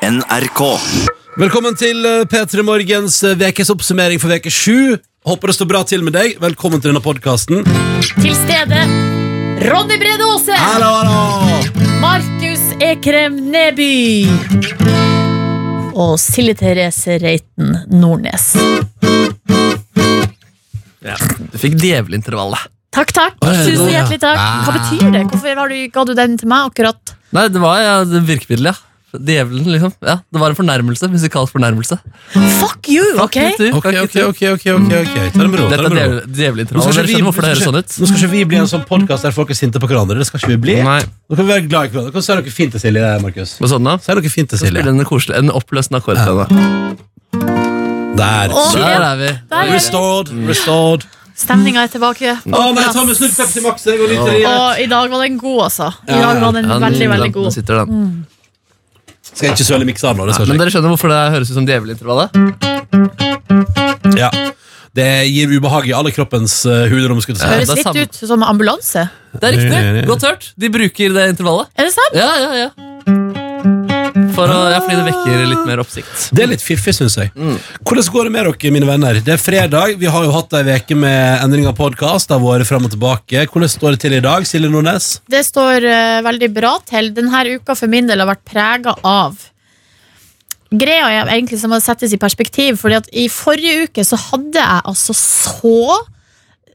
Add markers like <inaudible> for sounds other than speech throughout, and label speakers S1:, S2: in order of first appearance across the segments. S1: NRK.
S2: Velkommen til eh, P3 Morgens eh, vekes oppsummering for veke 7. Håper det står bra til med deg. Velkommen til denne podkasten.
S3: Til stede Ronny Brede Aase,
S2: Hallo, hallo!
S3: Markus Ekrem Neby og Silje Therese Reiten Nordnes.
S4: Du fikk djevelintervallet.
S3: Takk, takk.
S2: Oi, det var-
S3: Tusen hjertelig takk. Hva betyr det? Hvorfor har du, ga du den til meg akkurat?
S4: Nei, det var ja, det virkemiddelet, ja. Djevelen, liksom. Ja, det var en fornærmelse. Musikalsk fornærmelse.
S3: Fuck you,
S4: Fuck
S3: ok?
S4: you, du.
S2: Ok,
S4: Fuck you,
S2: ok,
S4: du.
S2: ok. ok, ok, Mm. ok Ta det med ro. ta
S4: Dette
S2: det med ro.
S4: er djevel-
S2: Nå skal
S4: djevelintervallet. Dere
S2: ikke vi-
S4: skjønner hvorfor det
S2: nå
S4: høres
S2: skal ikke-
S4: sånn ut.
S2: Nå skal ikke vi bli en sånn podkast der folk er sinte på hverandre. Det skal ikke vi bli.
S4: Nei.
S2: Nå kan vi være glad i hverandre. Hva sier dere fint til Silje? der, Markus?
S4: Med sånn, da.
S2: Sier dere fint til
S4: Så spiller
S2: Silje?
S4: den en, koselig, en oppløsende akkord til henne.
S2: Der.
S3: Å,
S2: Så-
S4: Der er vi.
S3: Der er vi.
S2: Restored. Restored.
S3: Stemninga er tilbake.
S2: Å nei, ta med slutt Pepsi Max. Jeg går litt til det.
S3: Og i dag var den god, altså. I dag var den veldig,
S4: Ja,
S3: veldig
S4: den- den
S3: god. Mm.
S4: Sitter, den.
S2: Skal jeg ikke søle mikseren nå? Det skal jeg
S4: Men dere skjønner hvorfor det høres ut som djevelintervallet?
S2: ikke. Ja. Det gir ubehag i alle kroppens uh, hulerom. skulle jeg til å si.
S4: Ja.
S3: Høres
S4: det er samme.
S3: litt ut som ambulanse.
S4: Det er riktig. Godt hørt. De bruker det intervallet.
S3: Er det sant?
S4: Ja, ja, ja. For å, ja, fordi det vekker litt mer oppsikt.
S2: Det er litt fiffig, syns jeg. Hvordan går det med dere, mine venner? Det er fredag. Vi har jo hatt ei uke med endring av podkast. Det har vært frem og tilbake. Hvordan står det til i dag, Silje Nordnes?
S3: Det står eh, veldig bra til. Denne uka for min del har vært prega av Greia er egentlig som må settes i perspektiv, Fordi at i forrige uke så hadde jeg altså så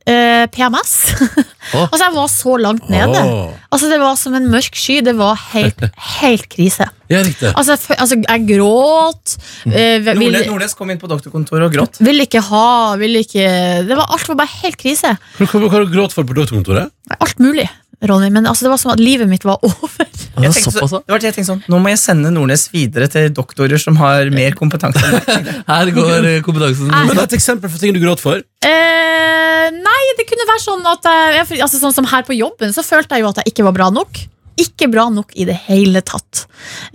S3: eh, PMS. <laughs>
S4: Åh.
S3: altså, jeg var så langt nede.
S2: Åh.
S3: Altså, det var som en mørk sky. Det var helt, helt krise.
S2: Ja, riktig.
S3: Altså, jeg, fø- altså, jeg gråt. eh, vil,
S5: Nordnes, Nordnes kom inn på doktorkontoret og gråt.
S3: vil ikke ha, vil ikke Det var alt var bare helt krise.
S2: Hva hva- hva har du grått for på doktorkontoret?
S3: Alt mulig, Ronny, men altså, det var som at livet mitt var <laughs> over.
S4: Ja,
S5: Jeg tenkte,
S4: såpass,
S5: så,
S4: ja.
S5: det var det jeg tenkte sånn, Nå må jeg sende Nordnes videre til doktorer som har mer kompetanse. enn meg.
S4: <laughs> Her går eh, kompetansen.
S3: Nei.
S2: Men Et eksempel for ting du gråt for.
S3: Eh, nei, det kunne være sånn at jeg, jeg- altså Sånn som her på jobben, så følte jeg jo at jeg ikke var bra nok. Ikke bra nok i det hele tatt.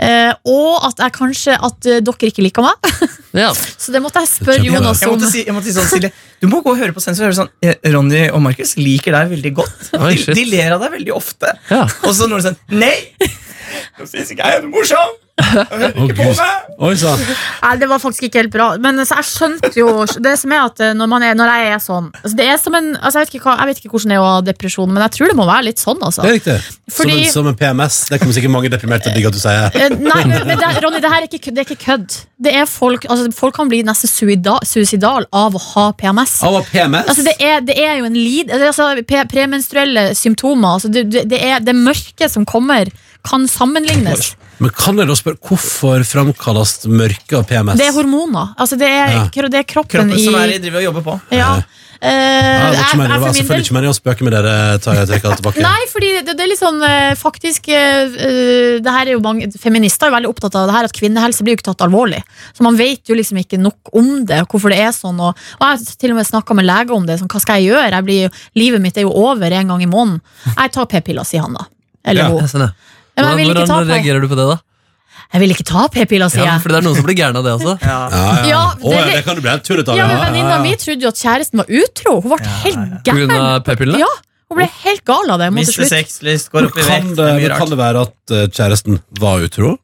S3: Eh, og at jeg kanskje At eh, dere ikke liker meg.
S4: Ja.
S3: Så det måtte jeg spørre
S2: Kjempebra.
S3: Jonas
S5: Jeg
S3: om.
S5: måtte si, jeg måtte si sånn, Silje, Du må gå og høre på sensor. og høre Sånn, eh, Ronny og Markus liker deg veldig godt.
S4: Oi,
S5: De,
S4: shit.
S5: de ler av deg veldig ofte.
S4: ja.
S5: Og så Nordnes sånn Nei! Nå syns ikke jeg er morsom! Jeg hører
S2: Å,
S5: ikke på
S2: Gud.
S5: meg!
S2: Oi sånn. sann.
S3: Nei, det var faktisk ikke helt bra. Men altså, jeg skjønte jo Det som er at eh, når, man er, når jeg er sånn altså, Det er som en altså, jeg, vet ikke hva, jeg vet ikke hvordan det er å ha depresjon, men jeg tror det må være litt sånn, altså.
S2: Det er riktig. Som,
S3: Fordi-
S2: en, som en PMS. Det kommer sikkert mange deprimerte til å digge at du sier.
S3: Eh, Nei, men men det, Ronny, det her er ikke, kø- det er ikke kødd. Det er folk, altså, folk kan bli nesten suida- suicidal av å ha PMS.
S2: Av og PMS?
S3: Altså, det, er, det er jo en lid altså, pre- Premenstruelle symptomer altså, det, det, det er det mørke som kommer Kan sammenlignes
S2: Men kan jeg da spørre, hvorfor framkalles mørke av PMS?
S3: Det er hormoner altså, det, er,
S2: Ja.
S3: kro- det er kroppen,
S5: Kroppen som er
S3: i
S5: i driver og jobber på.
S3: ja. Eh,
S2: Ja, det var
S3: jeg-
S2: ikke meningen, det
S3: jeg
S2: var
S3: for min del-
S2: selvfølgelig ikke meningen å spøke med dere. Tar jeg trekker det tilbake.
S3: Nei, fordi det, det er litt sånn eh, faktisk eh, eh, det her er jo mange, Feminister er jo veldig opptatt av det her at kvinnehelse blir jo ikke tatt alvorlig. Så man vet jo liksom ikke nok om det, og hvorfor det er sånn. Og, og jeg har til og med snakka med leger om det. Sånn, hva skal jeg gjøre? Jeg blir, jo- livet mitt er jo over en gang i måneden. Jeg tar p-piller, sier han da. Eller
S2: Ja.
S3: hun.
S4: Jeg skjønner.
S3: Ja, men jeg vil ikke ta
S4: Hvordan
S3: på
S4: reagerer du på det, da?
S3: Jeg vil ikke ta p-piller, sier
S4: Ja,
S3: jeg.
S4: fordi det er noen som blir gærne av det også.
S5: Ja.
S2: Ja, ja.
S3: Ja,
S2: Å, ja,
S3: det-
S2: det kan du bli en tull ut av.
S3: Ja, men
S2: ja, ja,
S3: Venninna
S2: ja.
S3: mi trodde jo at kjæresten var utro. Hun ble helt
S4: På grunn
S3: gæren.
S4: av p-pillene?
S3: Ja, hun ble helt gal av det. Måtte
S5: Mister
S3: slutte.
S5: sexlyst, går opp i
S2: Kan
S5: vekt. Det
S2: det,
S5: er mye
S2: men kan
S5: rart.
S2: det være at eh, kjæresten var utro?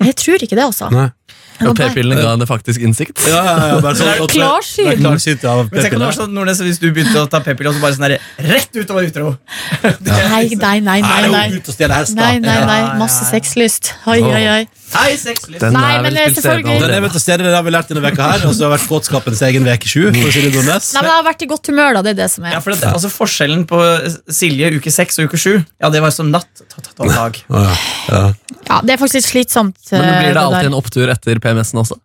S3: Jeg tror ikke det, altså.
S2: Nei.
S3: Det var
S4: Og
S3: bare-
S4: p-pillene ga henne faktisk innsikt.
S2: Ja, ja, ja, bare sånn, at-
S3: Klarsynt.
S2: Nei, klarsynt, ja,
S5: Men tenk om det var
S2: p-piller.
S5: sånn, Nordnes, Hvis du begynte å ta p-piller, og så bare sånn der, rett ut og var utro.
S3: Nei, nei, nei, nei,
S2: Nei,
S3: nei.
S2: ut og stjele hest, da.
S3: Nei, nei,
S5: Ja, ja,
S3: nei.
S5: ja.
S3: Masse sexlyst. Oi,
S4: Åh.
S3: oi, oi.
S5: Hei, sexlyst.
S4: Den
S3: Nei,
S4: er
S3: men
S4: vel
S3: det er
S4: til stede
S3: selvfølgelig-
S2: Den er vel
S4: allerede.
S2: til stede, det har vi lært denne veka her. Og så har vært kåtskapens egen veke sju. For Silje Nordnes.
S3: Nei, men Jeg har vært i godt humør, da. Det er det som
S5: Ja,
S3: er.
S5: for det, altså Forskjellen på Silje uke seks og uke sju Ja, det var som natt ta, ta, ta, dag.
S2: Å, ja.
S3: Ja, det er faktisk litt slitsomt.
S4: Men blir det alltid
S3: der.
S4: en opptur etter PMS-en også?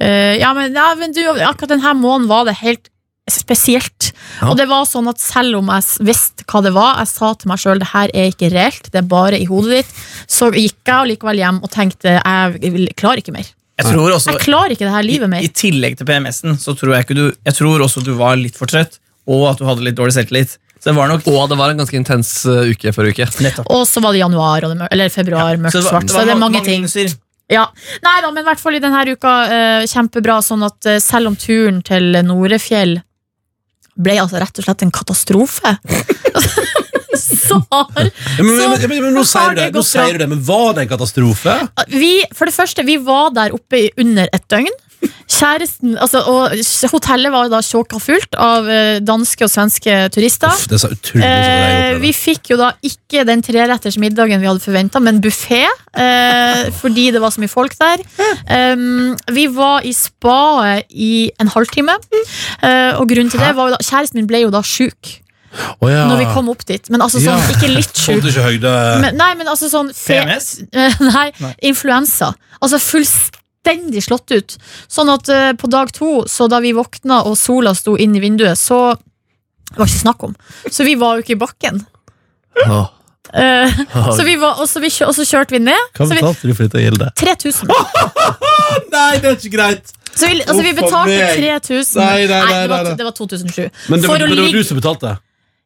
S3: Eh, ja, men, ja, men du, akkurat denne måneden var det helt spesielt.
S4: Ja.
S3: Og det var sånn at selv om jeg s- visste hva det var, jeg sa til meg sjøl det her er ikke reelt, det er bare i hodet ditt, så gikk jeg likevel hjem og tenkte jeg vil- klarer ikke mer.
S5: Jeg tror også
S3: Jeg klarer ikke det her
S5: i,
S3: livet mer.
S5: I tillegg til PMS-en Så tror jeg ikke du Jeg tror også du var litt for trøtt, og at du hadde litt dårlig selvtillit. Så det var nok
S4: Og det var en ganske intens eh, uke forrige uke.
S5: nettopp
S3: Og så var det januar, og det, mør- eller februar, mørkt,
S5: det var-
S3: svart.
S5: det
S3: Så
S5: var
S3: det er
S5: ma-
S3: mange ting.
S5: minuser.
S3: Ja, Nei da, men i hvert fall i denne uka eh, kjempebra. Sånn at eh, selv om turen til Norefjell ble altså rett og slett en katastrofe. <laughs> så har
S2: Ja, men,
S3: Så-
S2: men, men, men, nå
S3: så har
S2: sier du det,
S3: det
S2: nå
S3: gått bra.
S2: sier du det, men var det en katastrofe?
S3: vi, For det første, vi var der oppe i under et døgn. Kjæresten, altså, og Hotellet var da sjåka fullt av eh, danske og svenske turister.
S2: Uff, det er så utrolig
S3: Eh, vi
S2: eh,
S3: fikk jo da ikke den treretters middagen vi hadde forventa, men buffé.
S2: <laughs>
S3: Eh, fordi det var så mye folk der. Um, vi var i spaet i en halvtime, eh, og grunnen til det var jo da Kjæresten min ble jo da sjuk
S2: oh, ja.
S3: når vi kom opp dit. Men altså sånn,
S2: Ja.
S3: ikke litt sjuk.
S2: Holdt ikke høyde
S3: Men, nei, men altså sånn fe-
S5: PMS?
S3: Eh, <laughs> Nei,
S5: Nei.
S3: influensa. Altså fullstendig slått ut. Sånn at eh, på dag to, så da vi våkna og sola sto inn i vinduet, så det var ikke snakk om. Så vi var jo ikke i bakken.
S2: Åh.
S3: Eh,
S2: <laughs>
S3: så vi var, og, så vi, kjø- og så kjørte vi ned.
S2: Hva
S3: Så vi,
S2: betalte du for dette gilde?
S3: 3000.
S2: Nei, det er ikke greit!
S3: Så vi, altså, vi
S2: Uff, for
S3: betalte
S2: meg.
S3: 3000.
S2: Nei, nei, nei,
S3: det,
S2: nei, nei.
S3: var, det var 2007.
S2: Men det var,
S3: For å
S2: men det var
S3: ligge-
S2: du som betalte?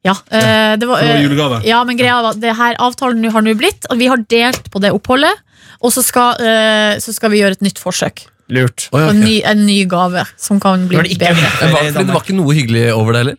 S3: Ja, eh, det var,
S2: Det var
S3: eh,
S2: julegave.
S3: Ja, men greia var at det her avtalen nå har nå blitt, og vi har delt på det oppholdet, og så skal, eh, så skal vi gjøre et nytt forsøk.
S5: Lurt.
S2: Å, ja,
S3: Og
S2: ok.
S3: en ny, en ny gave som kan bli
S5: Når det ikke er
S3: bedre.
S4: Det
S5: vinter
S4: var,
S5: i
S4: fordi det var
S5: Danmark.
S4: ikke noe hyggelig over det heller.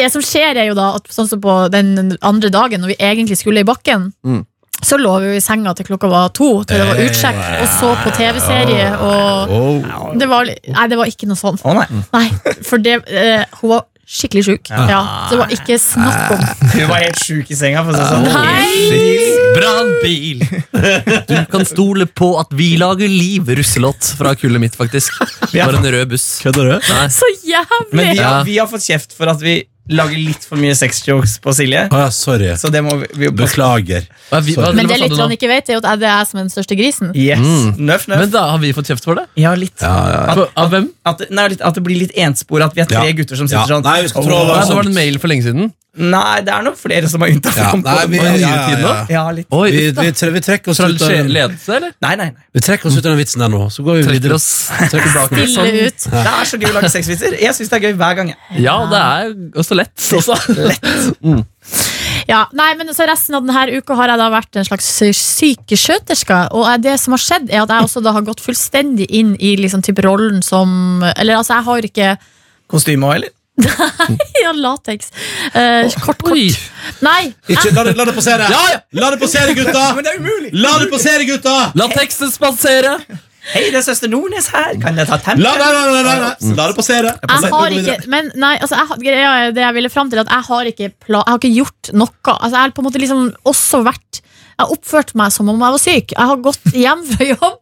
S3: Det som skjer, er jo da at sånn som på den andre dagen, når vi egentlig skulle i bakken,
S4: Mm.
S3: så lå vi jo i senga til klokka var to, til det var
S5: Eh,
S3: utsjekk, og så på TV-serie, og
S2: Åh.
S3: det var, Nei, det var ikke noe sånn.
S5: Å nei.
S3: Nei, for det eh, Hun var skikkelig sjuk. Ja, så det var ikke snakk om.
S5: Hun var helt sjuk i senga. For å si det sånn.
S3: Nei!
S4: Brannbil! Du kan stole på at vi lager liv, russelåt fra kullet mitt, faktisk.
S5: Ja.
S4: Bare en rød buss.
S2: Kødder du?
S4: Nei.
S3: Så jævlig!
S5: Men vi
S4: Ja.
S5: har, vi har fått kjeft for at vi lager litt for mye sexjokes på Silje.
S2: Å ja, sorry.
S5: Så det må vi, vi jo passe
S2: Beklager.
S4: Hva er vi- hva-
S3: Men
S4: hva
S3: det
S4: sa du nå?
S3: lytterne ikke vet, er jo at det er jeg som er den største grisen.
S5: Yes.
S4: Mm.
S5: Nøff,
S3: sånn-
S5: nøff.
S4: Men da har vi fått kjeft for det?
S5: ja, litt.
S2: Ja, ja,
S5: At,
S4: For, av hvem?
S5: at, det- nei, litt, at det blir litt enspor, at vi er tre
S2: Ja.
S5: gutter som
S2: Ja.
S5: sitter sånn.
S2: Nei, vi skal trå
S5: Åh.
S2: over.
S4: Nei, det var en mail for lenge siden.
S5: Nei, det er nok flere som er unntatt.
S2: ja.
S5: Kom på-
S2: Nei, vi,
S5: på-
S2: ja,
S5: på-
S2: ja, ja, ja.
S5: ja, litt.
S4: Oi,
S2: Vi,
S4: uff da.
S2: vi, tre- vi trekker oss
S4: Fra
S2: ut av
S4: skje- ledelse, eller?
S5: Nei, nei, nei.
S2: Vi trekker oss ut av den vitsen der nå, så går vi
S4: Trekker
S2: videre.
S4: oss tilbake. Sånn.
S3: Stille ut.
S5: Det sånn- er så gøy å lage sexvitser. Jeg syns det er gøy hver gang. jeg.
S4: Ja, og det er også lett. Også.
S3: Ja, nei, men så Resten av denne uka har jeg da vært en slags sykeskjøterske. Og jeg- det som har skjedd, er at jeg også da har gått fullstendig inn i liksom typ rollen som Eller altså, jeg har ikke <laughs>
S5: Kostyme òg, eller?
S3: Ja, lateks. Eh, kort, kort.
S4: Oi.
S3: Nei!
S2: Ikke, la, det, la det passere!
S4: Ja, ja.
S2: La det passere,
S5: Men
S2: gutta!
S5: det er umulig!
S2: La det passere, gutta!
S4: La teksten spasere!
S5: Hei, det er søster Nordnes her. Kan jeg ta tempen?
S2: La, nei, nei, nei, nei,
S4: Mm.
S2: nei. la det passere.
S3: Jeg har ikke Men nei, altså, jeg, har- greia er- det jeg ville fram til, er at jeg har ikke, pla, jeg har ikke gjort noe. Altså, jeg har på en måte liksom også vært Jeg har oppført meg som om jeg var syk. Jeg har gått hjem fra jobb,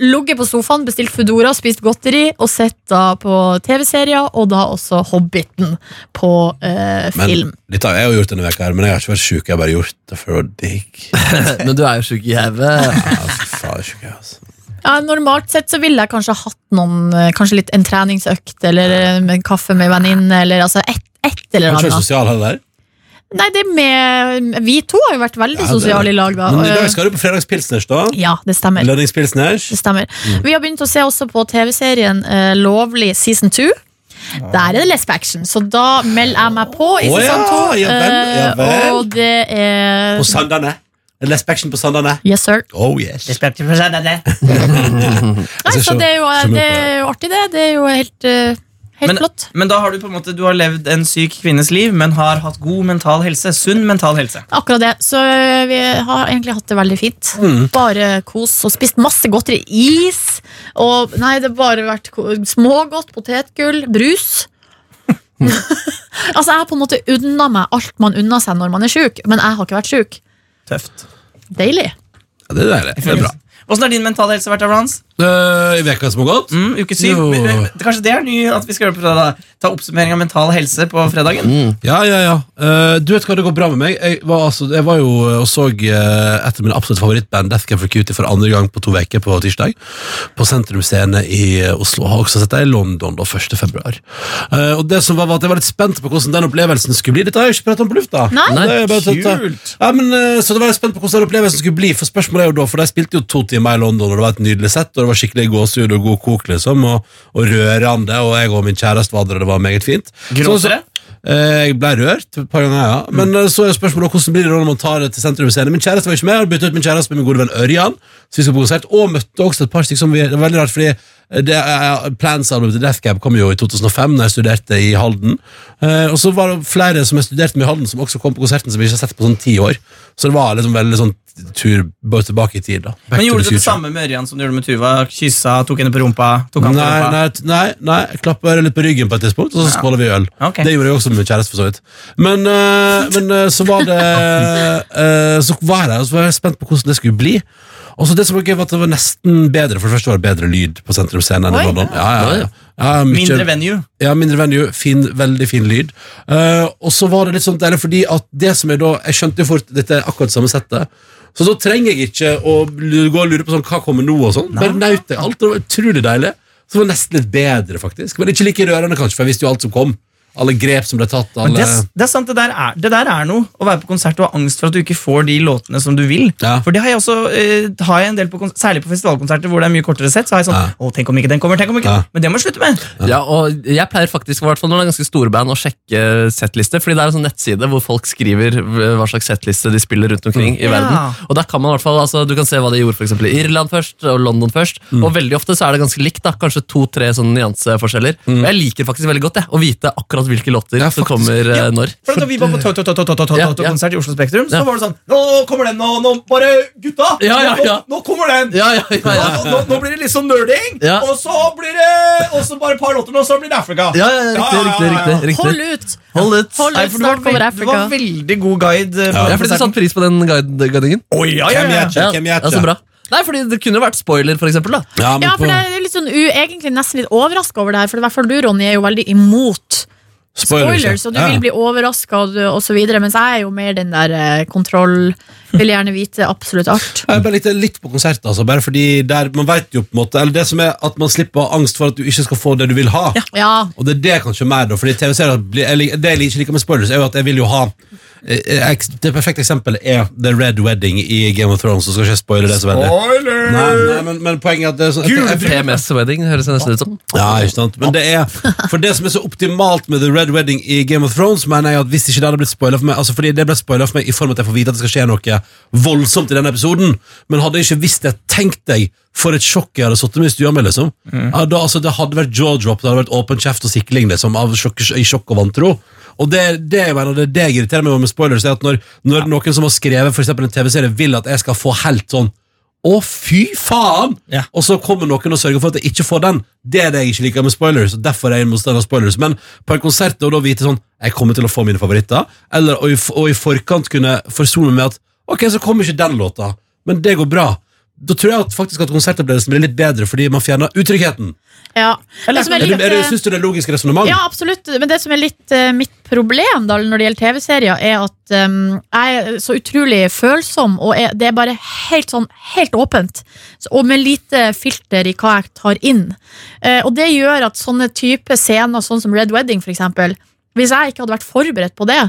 S3: ligget på sofaen, bestilt Foodora, spist godteri og sett da på TV-serier, og da også Hobbiten på eh, film.
S2: Men, dette har jeg jo gjort denne veka her, men jeg har ikke vært sjuk. Jeg har bare gjort det for å digge.
S4: Men du er jo sjuk i hodet.
S2: Ja, fy faen, sjuk jeg, altså.
S3: Ja, normalt sett så ville jeg kanskje hatt noen eh, Kanskje litt en treningsøkt eller eh, med en kaffe med venninne, eller altså et, et eller
S2: Kanskje jeg er
S3: annet.
S2: sosial heller.
S3: Nei, det med Vi to har jo vært veldig
S2: Ja, det-
S3: sosiale i lag, da.
S2: Men i
S3: Eh,
S2: dag skal du på fredagspilsners, da.
S3: Ja, det stemmer.
S2: Lønningspilsners.
S3: Det stemmer.
S2: Mm.
S3: Vi har begynt å se også på TV-serien eh, Lovlig season 2. Der er det lesbe action, så da melder jeg meg på i
S2: Ah. Å ja,
S3: sesong 2.
S2: ja vel, ja vel.
S3: og det er
S2: På Sandane. Lesbe action på Sandane.
S3: Yes, sir.
S2: Oh yes.
S5: Respekt for seg, det er det.
S3: Nei,
S2: ser
S3: så
S2: så-
S3: det er, jo,
S2: så mye
S3: det
S2: på det.
S3: er jo artig, det. Det er jo helt, eh, helt
S5: Men-
S3: flott.
S5: Men da har du på en måte Du har levd en syk kvinnes liv, men har hatt god mental helse. Sunn mental helse.
S3: Akkurat det. Så eh, vi har egentlig hatt det veldig fint.
S5: Mm.
S3: Bare kos og spist masse godteri. Is. Og nei, det har bare vært ko- smågodt, potetgull,
S5: <laughs>
S3: brus. altså, jeg har på en måte unna meg alt man unner seg når man er sjuk, men jeg har ikke vært sjuk.
S5: Tøft.
S3: Deilig.
S2: Ja, det er deilig. Det er bra.
S5: Åssen har din mentale helse vært, Avrans?
S2: Øh,
S4: Eh,
S2: I veka som har gått.
S5: Mm, uke syv.
S2: Jo.
S5: Men- men- Kanskje det er ny at vi skal gjøre på fredag? Ta oppsummering av mental helse på fredagen?
S2: Ja, ja, ja. Eh, du vet hva, det går bra med meg. Jeg var, altså, jeg var jo eh, og så eh, et av mine absolutt favorittband, Death Cab for Cutie, for andre gang på to uker på tirsdag. På Sentrum Scene i eh, Oslo. Har også sett deg i London da, 1. februar. Eh, og det som var, var at jeg var litt spent på hvordan den opplevelsen skulle bli. Dette har jeg jo ikke pratet om på lufta.
S3: Nei.
S2: Det er jo bare tøft, da.
S5: Kult.
S2: Ja, men, eh, så det var jeg spent på hvordan den opplevelsen skulle bli, for spørsmålet er jo da, for de spilte jo to timer i London, og det var et nydelig sett, og det var skikkelig gåsehud og god kok, liksom, og, og rørende, og jeg og min kjæreste var der, og det var meget fint. Så-
S5: Gråt dere?
S2: Eh, Jeg ble rørt et par ganger, ja. Men eh, så er spørsmålet hvordan blir det da når man tar det til sentrum scene. Min kjæreste var ikke med, jeg har byttet ut min kjæreste med min gode venn Ørjan. Så vi skal på konsert, Og møtte også et par stykker som vi Det var veldig rart, fordi eh, det er- Plans-albumet til Death Cab kom jo i 2005, da jeg studerte i Halden. Eh, Og så var det flere som jeg studerte med i Halden, som også kom på konserten, som vi ikke har sett på sånn ti år. Så det var liksom veldig sånn tur bare tilbake i tid, da. Back
S5: Men
S2: to
S5: gjorde
S2: the
S5: du det
S2: future.
S5: samme med Ørjan som du gjorde med Tuva? Kyssa, tok henne på rumpa? Tok han på
S2: Nei,
S5: rumpa?
S2: nei, t- nei, nei, jeg klapper litt på ryggen på et tidspunkt, og så skåler vi øl.
S5: Ok.
S2: Det gjorde jeg også med min kjæreste, for så vidt. Men, eh, men eh, så var det <laughs> eh, Så var jeg, og så var jeg spent på hvordan det skulle bli. Og så det som var gøy, var at det var nesten bedre. For det første var det bedre lyd på Sentrum Scene enn i
S3: Oi.
S2: London. Ja, ja, ja. Ja, mye-
S5: Mindre venue?
S2: ja, mindre venue, fin, veldig fin lyd. Eh, og så var det litt sånn deilig, fordi at det som er da Jeg skjønte jo fort dette er akkurat samme settet. Så da trenger jeg ikke å lu- gå og lure på sånn, hva kommer nå, og sånn. Bare naut det alt. og Det var utrolig deilig. Så det var nesten litt bedre, faktisk. Men ikke like rørende, kanskje, for jeg visste jo alt som kom. Alle grep som ble tatt. Alle...
S5: Men det, det er sant, det der er, det der er noe. Å være på konsert og ha angst for at du ikke får de låtene som du vil.
S2: Ja.
S5: For det har jeg også, eh, har jeg en del på, kons- Særlig på festivalkonserter hvor det er mye kortere sett. Så har jeg sånn,
S2: Ja.
S5: å, tenk om ikke den kommer, tenk om ikke
S2: Ja.
S5: Men det må jeg slutte med.
S4: Ja, og Jeg pleier faktisk, i hvert fall når det er ganske store band, å sjekke setlister. fordi det er en sånn nettside hvor folk skriver hva slags setliste de spiller rundt omkring i
S5: Ja.
S4: verden. Og der kan man i hvert fall, altså, Du kan se hva de gjorde for eksempel i Irland først, og London først.
S5: Mm.
S4: Og veldig ofte så er det ganske likt. da, Kanskje to-tre sånne nyanseforskjeller. Og jeg liker faktisk veldig godt jeg, å vite akkurat hvilke låter
S2: Ja,
S4: som
S2: faktisk.
S4: kommer eh,
S5: Mm. Ja.
S4: når.
S5: For at Da vi var på
S4: Ja, ja.
S5: Toto-konsert i Oslo Spektrum, så
S4: Ja.
S5: var det sånn Nå kommer den, nå, nå bare Gutta!
S4: Ja, ja,
S5: nå-
S4: ja.
S5: Nå, nå kommer den!
S4: Ja, ja, ja, ja.
S5: Nå, nå, nå blir det litt sånn nerding,
S4: Ja.
S5: og så blir det Og så bare et par låter, nå, så blir det Afrika.
S4: Ja, ja, ja, riktig, riktig, riktig, riktig.
S3: Hold ut!
S4: Hold ut.
S3: Hold
S5: Nei,
S3: ut,
S5: for du, var
S3: snart kommer
S5: veld- du var
S3: Afrika.
S5: veldig god guide. eh, på
S4: Ja,
S5: den
S4: fordi Du
S5: konserten.
S4: satte pris på den guide- guidingen?
S5: Å, ja, ja,
S2: Hvem
S5: ja.
S2: jeg- Hvem
S4: ja, så bra. Nei, fordi Det kunne jo vært spoiler, for eksempel. da.
S2: Ja, men
S3: Ja, for
S2: på
S3: det er litt sånn u, egentlig nesten litt overraska over det her, for i hvert fall du, Ronny, er jo veldig imot spoilers, og du
S2: ja.
S3: vil bli overraska og, du- og så videre, mens jeg er jo mer den der eh, kontroll, vil gjerne vite absolutt alt.
S2: Ja, Jeg bare likte litt på konsert, altså, bare fordi der, man vet jo på en måte Eller det som er at man slipper angst for at du ikke skal få det du vil ha.
S3: Ja,
S2: Og det er det kanskje mer da Fordi TV-serier blir- jeg lik- Det jeg ikke liker med spoilers Er jo at jeg vil jo ha eh, eh, eks- Det perfekte eksempelet er The Red Wedding i Game of Thrones Så skal jeg ikke spoile det så veldig
S5: Spoiler!
S2: sånn- Nei, nei men, men poenget er at det er sånn jeg- jeg-
S4: PMS Wedding høres det nesten ut som.
S2: ja, ikke sant Men det er For det som er så optimalt med The Red Wedding i Game of Thrones Mener jeg at hvis ikke det hadde blitt spoilet for meg Altså fordi det ble spoilet for meg I form av at jeg får vite at det skal skje noe voldsomt i denne episoden Men hadde jeg ikke visst det Tenk deg For et sjokk jeg hadde satt med i stua med liksom ja, da, altså, Det hadde vært jaw-drop Det hadde vært åpen kjeft og sikling liksom Av sjokk, i sjokk og vantro og det, det, jeg mener, det, er det jeg irriterer meg over med spoilers Er at når, når noen som har skrevet For eksempel en tv-serie Vil at jeg skal få helt sånn å, fy faen!
S5: Ja.
S2: Og så kommer noen og sørger for at jeg ikke får den. Det er det jeg ikke liker med spoilers. og derfor er jeg en motstander av spoilers Men på en konsert og da vite sånn Jeg kommer til å få mine favoritter. Eller, og, i, f- og i forkant kunne forsone meg med at Ok, så kommer ikke den låta, men det går bra. Da tror jeg at faktisk at konsertopplevelsen blir litt bedre fordi man fjerner utryggheten.
S3: ja. Det som er
S2: Er du,
S3: litt,
S2: er du,
S3: eh,
S2: synes du det er logisk resonnement?
S3: Ja, absolutt. Men det som er litt eh, mitt problem da, når det gjelder TV-serier, er at eh, jeg er så utrolig følsom, og er, det er bare helt sånn helt åpent. Så, og med lite filter i hva jeg tar inn. Eh, og det gjør at sånne type scener, sånn som Red Wedding for eksempel, hvis jeg ikke hadde vært forberedt på det,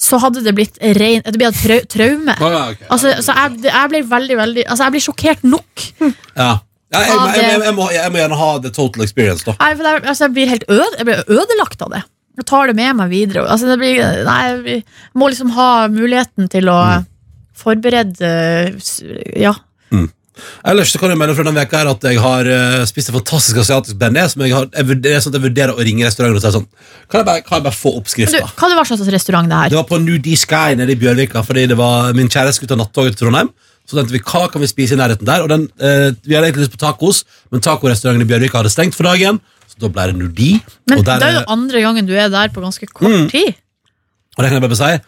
S3: så hadde det blitt rein, det ble et trau traume.
S2: Å, Ah, ja, ok.
S3: Altså, så jeg, jeg ble veldig, veldig Altså, jeg ble sjokkert nok.
S2: Ja. Ja, jeg, jeg,
S3: Ja,
S2: jeg,
S3: det-
S2: jeg, må, jeg må gjerne ha the total experience, da.
S3: Nei, for det, er- altså, jeg blir helt øde, jeg blir ødelagt av det. Jeg tar det med meg videre. og- Altså, det blir, nei, jeg må liksom ha muligheten til
S2: Mm.
S3: å forberede s- Ja.
S2: Ellers så kan jeg melde fra denne veka her at jeg har eh, spist en fantastisk asiatisk bearnés. Men jeg, har, jeg, vurderer, det er sånn at jeg vurderer å ringe restauranten og si sånn Kan jeg bare, kan jeg bare få
S3: Men Du,
S2: oppskrifta?
S3: hva det var slags restaurant det her?
S2: Det var på New D Sky nede i Bjørvika, fordi det var min kjæreste skulle ta nattoget til Trondheim. Så tenkte vi hva kan vi spise i nærheten der? Og den, eh, vi hadde egentlig lyst på tacos, men tacorestauranten i Bjørvika hadde stengt for dagen. Så da ble det Nudi.
S3: Men
S2: og der,
S3: det
S2: Mm.
S3: er jo andre gangen du er der på ganske kort tid.
S2: Og det kan jeg bare si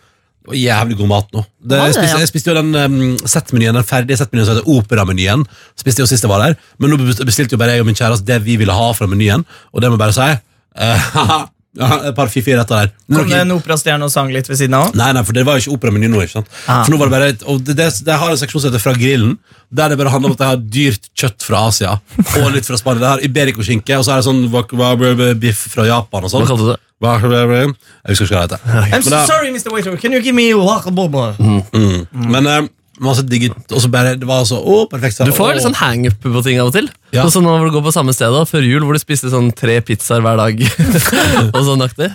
S2: det var jævlig god mat nå. Det,
S3: Var det,
S2: jeg, spiste,
S3: ja?
S2: jeg spiste jo den um, settmenyen, den ferdige settmenyen som heter operamenyen. Spiste jo sist jeg var der. Men nå bestilte jo bare jeg og min kjæreste det vi ville ha fra menyen. Og det må jeg bare si eh, <laughs> Et par fiffi retter der.
S5: Kom det
S2: Noe-
S5: en operastjerne og sang litt ved siden av?
S2: Nei, nei, for det var jo ikke operameny nå. ikke sant?
S5: Ah.
S2: For nå var det bare, et- og det, det, det har en seksjon som heter Fra grillen, der det bare handler om at jeg har dyrt kjøtt fra Asia og litt fra Spania. Det har Iberico-skinke, og så er det sånn wak- wak- biff fra Japan og sånn.
S4: Hva kalte du det?
S2: Wak- Jeg husker ikke hva det heter.
S5: I'm so
S2: Men da-
S5: sorry, Mr. Waiter, can you give me lakabobba? Mm.
S2: Men eh, det var så digg altså, Og så bare, det var så, å, perfekt så,
S4: Du
S2: å.
S4: får litt sånn hangup på ting av og til.
S2: Ja.
S4: Og så nå hvor du går på samme sted da, før jul, hvor du spiste sånn tre pizzaer hver dag. <laughs> og sånn aktig.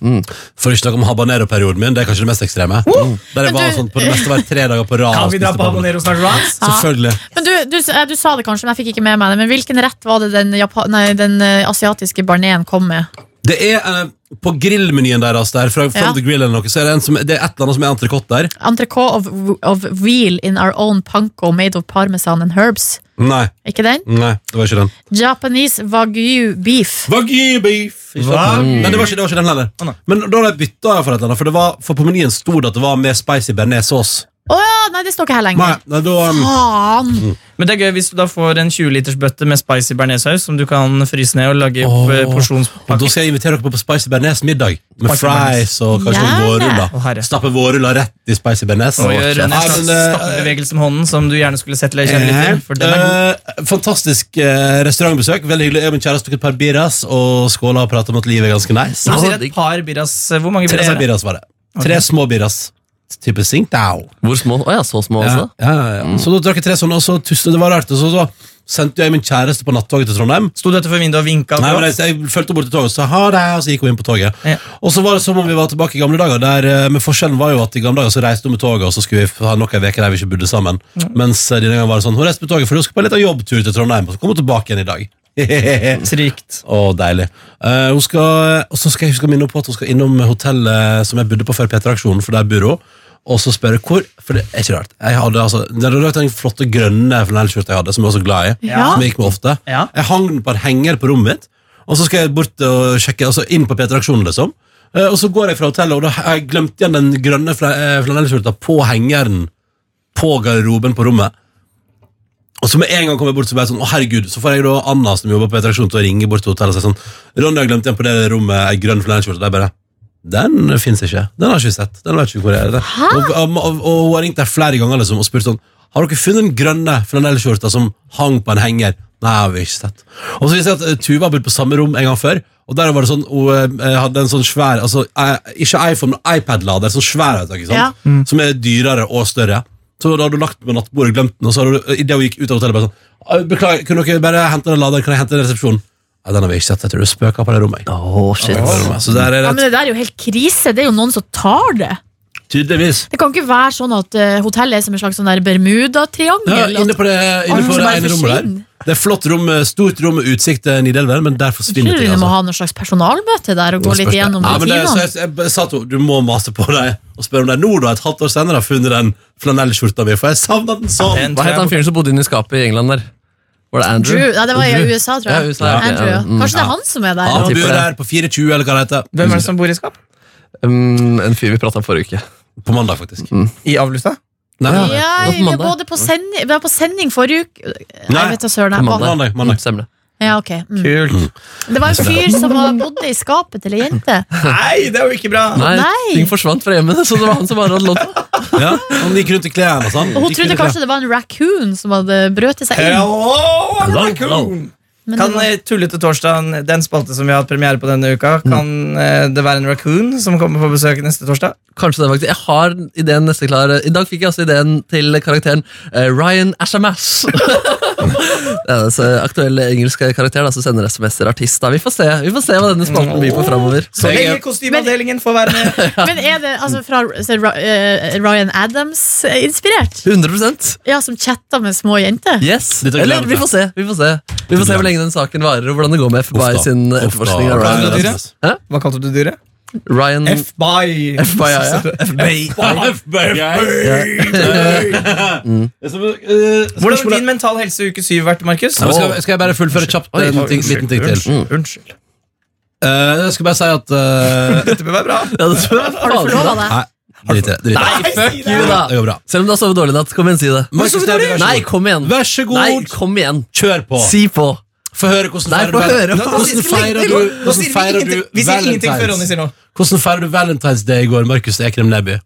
S4: Mm.
S5: sånn-
S2: For ikke å snakke om habanero-perioden min, det er kanskje det mest ekstreme. Der jeg
S3: Men
S2: var
S3: du-
S2: sånn på det meste var jeg tre dager på rad.
S5: Kan vi
S2: og
S5: dra
S2: spiste
S5: på Habanero snart, Rans?
S3: Ja.
S2: Selvfølgelig.
S3: Men du, du, eh, du sa det kanskje, men jeg fikk ikke med meg det. Men hvilken rett var det den, Japa nei, den eh, asiatiske barneen kom med?
S2: Det er eh, på grillmenyen deres der, fra From
S3: Ja.
S2: the Grill eller noe, så er det, en som, det er et eller annet som er entrecôte der.
S3: Entrecôte of, of veal in our own panko made of parmesan and herbs.
S2: Nei,
S3: Ikke den?
S2: nei, det var ikke den.
S3: Japanese wagyu beef.
S2: Wagyu beef! Ikke sant?
S5: Wagyu.
S2: Nei, det var ikke, det var ikke den heller.
S5: Å, nei.
S2: Men da har de bytta for et eller annet, for, det var, for på menyen sto det at det var med spicy bearnés-sauce.
S3: Å ja, nei, det står ikke her
S2: Nei,
S3: lenger.
S2: nei, da um,
S3: Faen!
S5: Men det er gøy hvis du da får en 20-liters bøtte med spicy bearnéssaus som du kan fryse ned og lage
S2: Åh.
S5: oh.
S2: Og da
S5: porsjonspakke.
S2: skal jeg invitere dere på, på Spicy Bernes middag. Med
S5: Spicy
S2: fries og kanskje noen
S3: Gjerne.
S5: Å,
S2: vårruller.
S5: herre.
S2: Stappe vårruller rett i Spicy Bernes.
S5: Og gjør en
S2: Nei,
S5: slags
S2: men, eh,
S5: stappebevegelse med hånden som du gjerne skulle sett eller kjenne litt til. For den er god.
S2: Eh, fantastisk eh, restaurantbesøk. Veldig hyggelig. Jeg og min kjæreste tok et par birras og skåla og prata om at livet er ganske nice.
S5: Så du sier et par birras, eh, Hvor mange
S2: Tre
S5: birras er det?
S2: birras var det. Tre små birras. Type Singdao.
S4: Hvor små? Å ja, så små
S2: Ja,
S4: også?
S2: ja, ja. Så da drakk jeg tre sånne, og så tuslet det var rart. Og så, så sendte jeg min kjæreste på nattoget til Trondheim.
S5: Sto du utenfor vinduet og vinka?
S2: Nei, men jeg, jeg fulgte bort til toget og sa ha det, og så gikk hun inn på toget.
S5: Ja.
S2: Og så var det som om vi var tilbake i gamle dager, der, eh, men forskjellen var jo at i gamle dager så reiste hun med toget, og så skulle vi ha nok ei uke der vi ikke bodde sammen. Mens eh, denne gangen var det sånn, hun reiste med toget, for hun skulle på en liten jobbtur til Trondheim, og så kom hun tilbake igjen i dag. <laughs> Hehehe.
S5: Trygt.
S2: Å, deilig. Eh, hun skal, og så skal jeg huske å minne henne på at hun skal innom hotellet som jeg bodde på før P3-aksjonen, for der bor hun. Og så spør jeg hvor, for det er ikke rart. Jeg hadde altså, det hadde vært den flotte grønne flanellskjorta jeg hadde, som jeg var så glad i.
S3: Ja.
S2: Som jeg gikk med ofte.
S5: Ja.
S2: Jeg hang den på en henger på rommet mitt, og så skal jeg bort og sjekke, altså inn på P3-aksjonen, liksom. Eh, og så går jeg fra hotellet, og da har jeg glemt igjen den grønne fla- eh, flanellskjorta på hengeren på garderoben på rommet. Og så med en gang kommer jeg bort så bare sånn, å herregud, så får jeg da Anna som jobber på Attraksjon til å ringe bort til hotellet og si sånn, Ronny har glemt igjen på det rommet, ei grønn flanellskjorte, der bare, den finnes ikke, den har ikke vi sett, den vet ikke hvor er det. Og, og, og, og hun har ringt der flere ganger liksom, og spurt sånn, har dere funnet den grønne flanellskjorta som hang på en henger? Nei, har vi ikke sett. Og så viser jeg at eh, Tuva har bodd på samme rom en gang før, og der var det sånn, hun eh, hadde en sånn svær, altså, eh, ikke iPhone, men iPad-lader, sånn svær, vet du, ikke sant?
S3: Ja.
S2: som er dyrere og større. Så da hadde du lagt den på nattbordet, glemt den, og så hadde du, eh, i det hun gikk ut av hotellet, bare sånn «Ah, Beklager, kunne dere bare hente den laderen? Kan jeg hente den i resepsjonen? Nei, den har vi ikke sett. Jeg tror du spøker på det rommet. jeg».
S4: Å, shit.
S2: På det rommet. Så der er
S3: Ja, men
S2: det
S3: det der er jo helt krise. Det er jo noen som tar det.
S2: tydeligvis.
S3: Det kan ikke være sånn at eh, hotellet er som en slags sånn der
S2: Ja,
S3: Bermuda-triangel.
S2: inne på det, inne på
S3: Alle som
S2: det
S3: bare
S2: ene rommet der.
S3: forsvinner.
S2: Det er flott rom, eh, stort rom med utsikt til Nidelven, men der
S3: Jeg
S2: forsvinner
S3: tror
S2: ting.
S3: du må
S2: altså.
S3: ha noe slags personalmøte der og gå litt
S2: Spørs det.
S3: gjennom
S2: Nei, men det-
S3: rutinene.
S2: så jeg, jeg sa til henne du må mase på deg og spørre om det er nå, da, et halvt år senere, har funnet den flanellskjorta mi, for jeg savna den sånn.
S5: Den
S4: Hva
S5: tror jeg-
S4: het han fyren som bodde inne i skapet i England der? Var det Andrew?
S3: Drew, nei, det var i USA, tror jeg.
S4: Ja, USA, ok,
S3: Andrew, ja.
S4: ja, mm,
S3: Kanskje det er han som er der?
S2: Han
S4: Ja,
S2: bor
S4: tipper det.
S2: der på 420, eller hva det heter.
S5: Hvem er det som bor i skap?
S4: Mm, en fyr vi prata om forrige uke.
S2: På mandag, faktisk.
S4: Mm.
S5: I avlufta?
S2: Nei, nei, nei.
S3: Ja,
S4: Det var på
S3: det var
S4: mandag.
S3: både på sending, det var på sending forrige uke Nei,
S2: Nei,
S3: vet da søren.
S4: på
S3: jeg var-
S2: Mandag, mandag.
S4: Mm, stemmer det.
S3: Ja, ok. mm.
S5: Kult.
S3: Det var en fyr som var- bodde i skapet til ei jente.
S5: Nei, det er jo ikke bra!
S4: Nei,
S3: Nei.
S4: ting forsvant fra hjemmet, så det var han som bare hadde lånt det.
S2: Ja, han gikk rundt i klærne og sånn.
S3: Og hun
S2: Gikk rundt
S3: trodde
S2: i
S3: kanskje det var en raccoon som hadde brøtet seg inn.
S5: Hello, I'm
S4: Hello,
S5: a raccoon.
S4: hello.
S3: Men det
S5: Kan
S3: var,
S5: eh, Tullete torsdag, den spalte som vi har hatt premiere på denne uka, kan eh, det være en raccoon som kommer på besøk neste torsdag?
S4: Kanskje det faktisk. Jeg har ideen neste klar. I dag fikk jeg også ideen til karakteren eh, Ryan Ashamas. <laughs> det er altså aktuell engelsk karakter da, som sender SMS-er artister. Vi får se Vi får se hva denne spalten byr på framover.
S5: Så
S2: Jeg-
S5: hele kostymeavdelingen får være med.
S3: men er det altså fra så, Ra- eh, Ryan Adams-inspirert?
S4: 100
S3: Ja, som chatta med små jenter?
S4: Yes.
S2: Dette gleder
S4: Eller
S2: jeg
S4: vi
S2: meg
S4: får se. Vi får se Vi får se hvor lenge den saken varer, og hvordan det går med FBI sin eh,
S2: Ofte,
S4: etterforskning. av
S2: ofte.
S4: Ryan,
S5: Ryan
S2: Adams.
S5: Hva kalte du dyret?
S4: Ryan
S5: FBI.
S4: FBI, ja.
S2: <laughs>
S4: FBI.
S2: Det er som, eh,
S5: Hvordan har
S2: spørsmålet-
S5: din mental helse uke syv vært, Markus?
S2: Ja, men skal, skal jeg bare fullføre kjapt
S4: Oi, Mm.
S2: en ting, liten ting til?
S5: Unnskyld. unnskyld.
S2: Eh, jeg skal bare si at eh,
S5: Dette bør være bra.
S4: <laughs> Ja, det tror jeg
S3: Har du
S4: faen da.
S3: forlova deg?
S2: Nei, drit i det. drit i det.
S4: Nei, fuck you,
S2: Det
S4: da!
S2: går bra.
S4: Selv om du har sovet dårlig i natt, kom igjen, si det.
S2: Markus
S5: sover
S2: Neby, vær så god.
S4: Nei, kom igjen.
S2: Vær så god.
S4: Nei, kom igjen.
S2: Kjør på.
S4: Si på.
S2: Få høre hvordan
S4: Nei,
S2: feirer
S4: få
S2: du
S4: høre.
S2: vel- Hvordan feirer du
S5: Nå
S2: Hvordan
S5: sier vi
S2: feirer du
S5: ingenting- Vi sier ingenting før Ronny
S2: Valentine's?
S5: sier noe.
S2: Hvordan feirer du Valentine's Day i går, Markus Ekrem Neby?